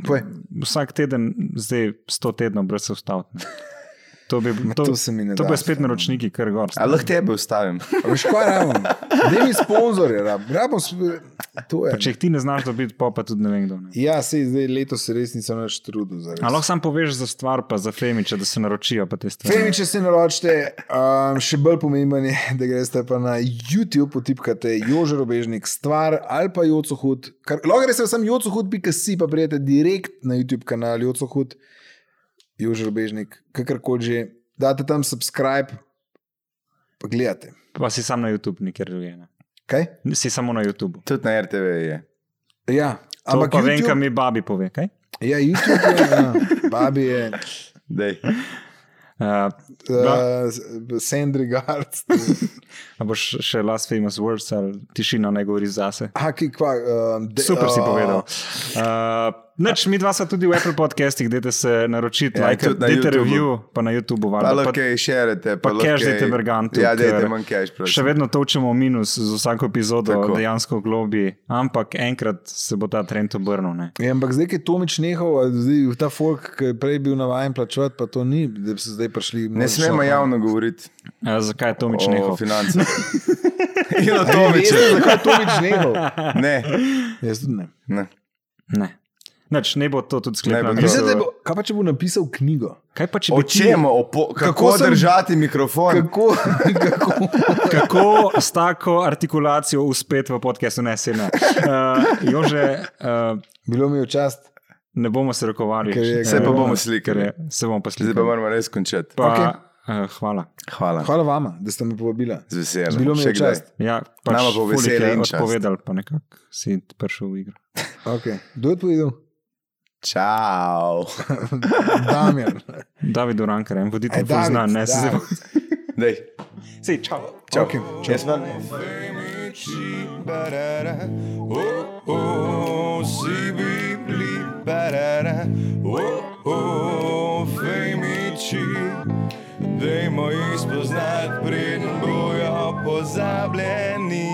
[SPEAKER 2] Poj,
[SPEAKER 3] vsak teden, zdaj 100 tednov, brez se ustaviti. ne. To, bi, to,
[SPEAKER 2] to se mi ne
[SPEAKER 3] to
[SPEAKER 2] da,
[SPEAKER 3] pa je spet
[SPEAKER 2] stvarno.
[SPEAKER 3] naročniki, kar gor.
[SPEAKER 1] a lahko tebe ustavim.
[SPEAKER 2] a veš kaj rabim? Da mi sponzorje rabim. rabim sp- to je.
[SPEAKER 3] Če jih ti ne znaš dobiti, pa, pa tudi ne vem, kdo. Ne.
[SPEAKER 2] Ja, se zdaj letos se res nisem več trudil. za res.
[SPEAKER 3] A lahko sam poveš za stvar, pa za Femiče, da se naročijo pa te stvari.
[SPEAKER 2] Femi, če se naročite, um, še bolj pomemben je, da greste pa na YouTube, potipkate Jože Robežnik, stvar ali pa Joco Hud. Kar- Lahko greste samo Joco Hud, pika si pa prijete direkt na YouTube kanal Joco Hud, Jože Robežnik, kakorkoli že. Date tam subscribe, pa gledate.
[SPEAKER 3] Pa si sam na YouTube, nikjer drugje. ne.
[SPEAKER 2] Kaj?
[SPEAKER 3] Si samo na YouTube.
[SPEAKER 1] Tudi na RTV je.
[SPEAKER 2] Ja,
[SPEAKER 3] Ampak
[SPEAKER 2] ampak
[SPEAKER 3] pa vem, kaj
[SPEAKER 2] YouTube,
[SPEAKER 3] mi babi pove. Kaj?
[SPEAKER 2] ja, YouTube je, ja, babi je,
[SPEAKER 1] Dej.
[SPEAKER 3] Uh, Da.
[SPEAKER 2] uh, Sandri Gard,
[SPEAKER 3] a boš še Last Famous Words ali tišina ne govori zase?
[SPEAKER 2] Haki Kva. Um, de-
[SPEAKER 3] Super si
[SPEAKER 2] ah,
[SPEAKER 3] povedal. Uh, Noč, mi dva sta tudi v Apple podcastih, dajte se naročiti,
[SPEAKER 1] Ja,
[SPEAKER 3] ja, like,
[SPEAKER 1] tudi na
[SPEAKER 3] dajte
[SPEAKER 1] YouTubeu.
[SPEAKER 3] review, pa na YouTubu.
[SPEAKER 1] Pa
[SPEAKER 3] valjda,
[SPEAKER 1] lahko kaj šerete,
[SPEAKER 3] pa
[SPEAKER 1] pa lahko.
[SPEAKER 3] cash
[SPEAKER 1] kaj-
[SPEAKER 3] dajte Bergantu,
[SPEAKER 1] Ja, dajte
[SPEAKER 3] ker
[SPEAKER 1] manj cash,
[SPEAKER 3] pa
[SPEAKER 1] prosim.
[SPEAKER 3] še vedno točemo minus z vsako epizodo,
[SPEAKER 1] Tako.
[SPEAKER 3] Tako. dejansko globi, ampak enkrat se bo ta trend obrnil. ne.
[SPEAKER 2] Ja, ampak zdaj, ki je Tomič nehal, a zdaj v ta folk, ki je prej bil navaden plačevati, pa to ni, da bi se zdaj prišli.
[SPEAKER 1] Ne smemo javno govoriti
[SPEAKER 3] Eh, zakaj je Tomič
[SPEAKER 1] o
[SPEAKER 3] nehal?
[SPEAKER 1] financah. In o
[SPEAKER 2] Tomič,
[SPEAKER 1] Tomiču.
[SPEAKER 2] zakaj je Tomič nehal?
[SPEAKER 1] Ne,
[SPEAKER 2] Jaz tudi ne.
[SPEAKER 1] ne.
[SPEAKER 3] Ne. Noč, ne bo to tudi sklepno.
[SPEAKER 1] Ne bo to.
[SPEAKER 2] Mislim, da bo, kaj pa če bo napisal knjigo?
[SPEAKER 3] Kaj pa če
[SPEAKER 1] O
[SPEAKER 3] bi ti-
[SPEAKER 1] čem, o po, kako,
[SPEAKER 2] Kako
[SPEAKER 1] kako
[SPEAKER 2] sem-
[SPEAKER 1] držati mikrofon? Kako...
[SPEAKER 2] Kako? kako?
[SPEAKER 3] Kako s tako artikulacijo uspeti v podkastu, ne se ne. Uh, Jože, uh,
[SPEAKER 2] Bilo mi je čast.
[SPEAKER 3] ne bomo se rokovali.
[SPEAKER 2] Ker je-
[SPEAKER 1] Se pa
[SPEAKER 3] Eh,
[SPEAKER 1] bomo slikali.
[SPEAKER 3] ker je- Se bomo pa
[SPEAKER 1] Zdaj pa
[SPEAKER 3] slikali.
[SPEAKER 1] moramo res končati.
[SPEAKER 3] Pa, okay. uh, hvala.
[SPEAKER 1] Hvala.
[SPEAKER 2] Hvala vama, da ste me povabila.
[SPEAKER 1] Z veseljem.
[SPEAKER 2] Bilo mi
[SPEAKER 1] Še
[SPEAKER 2] je
[SPEAKER 1] kdaj.
[SPEAKER 2] čast.
[SPEAKER 3] Ja,
[SPEAKER 1] Nama
[SPEAKER 3] pač
[SPEAKER 1] bo
[SPEAKER 3] ful jih
[SPEAKER 1] veselje
[SPEAKER 3] je
[SPEAKER 1] in čast.
[SPEAKER 3] Odpovedal, pa nekako si prišel v igro.
[SPEAKER 2] Okay. Kdo je odpovedal?
[SPEAKER 1] Čau.
[SPEAKER 2] Damjan.
[SPEAKER 3] David Urankar,
[SPEAKER 2] Aj,
[SPEAKER 3] en voditelj,
[SPEAKER 2] David,
[SPEAKER 3] ki zna, ne se zdaj.
[SPEAKER 2] David.
[SPEAKER 1] Dej.
[SPEAKER 3] Sej, čau.
[SPEAKER 1] Čau.
[SPEAKER 2] Okej, čau.
[SPEAKER 1] Jaz vam. Dajmo jih spoznati, preden bojo pozabljeni.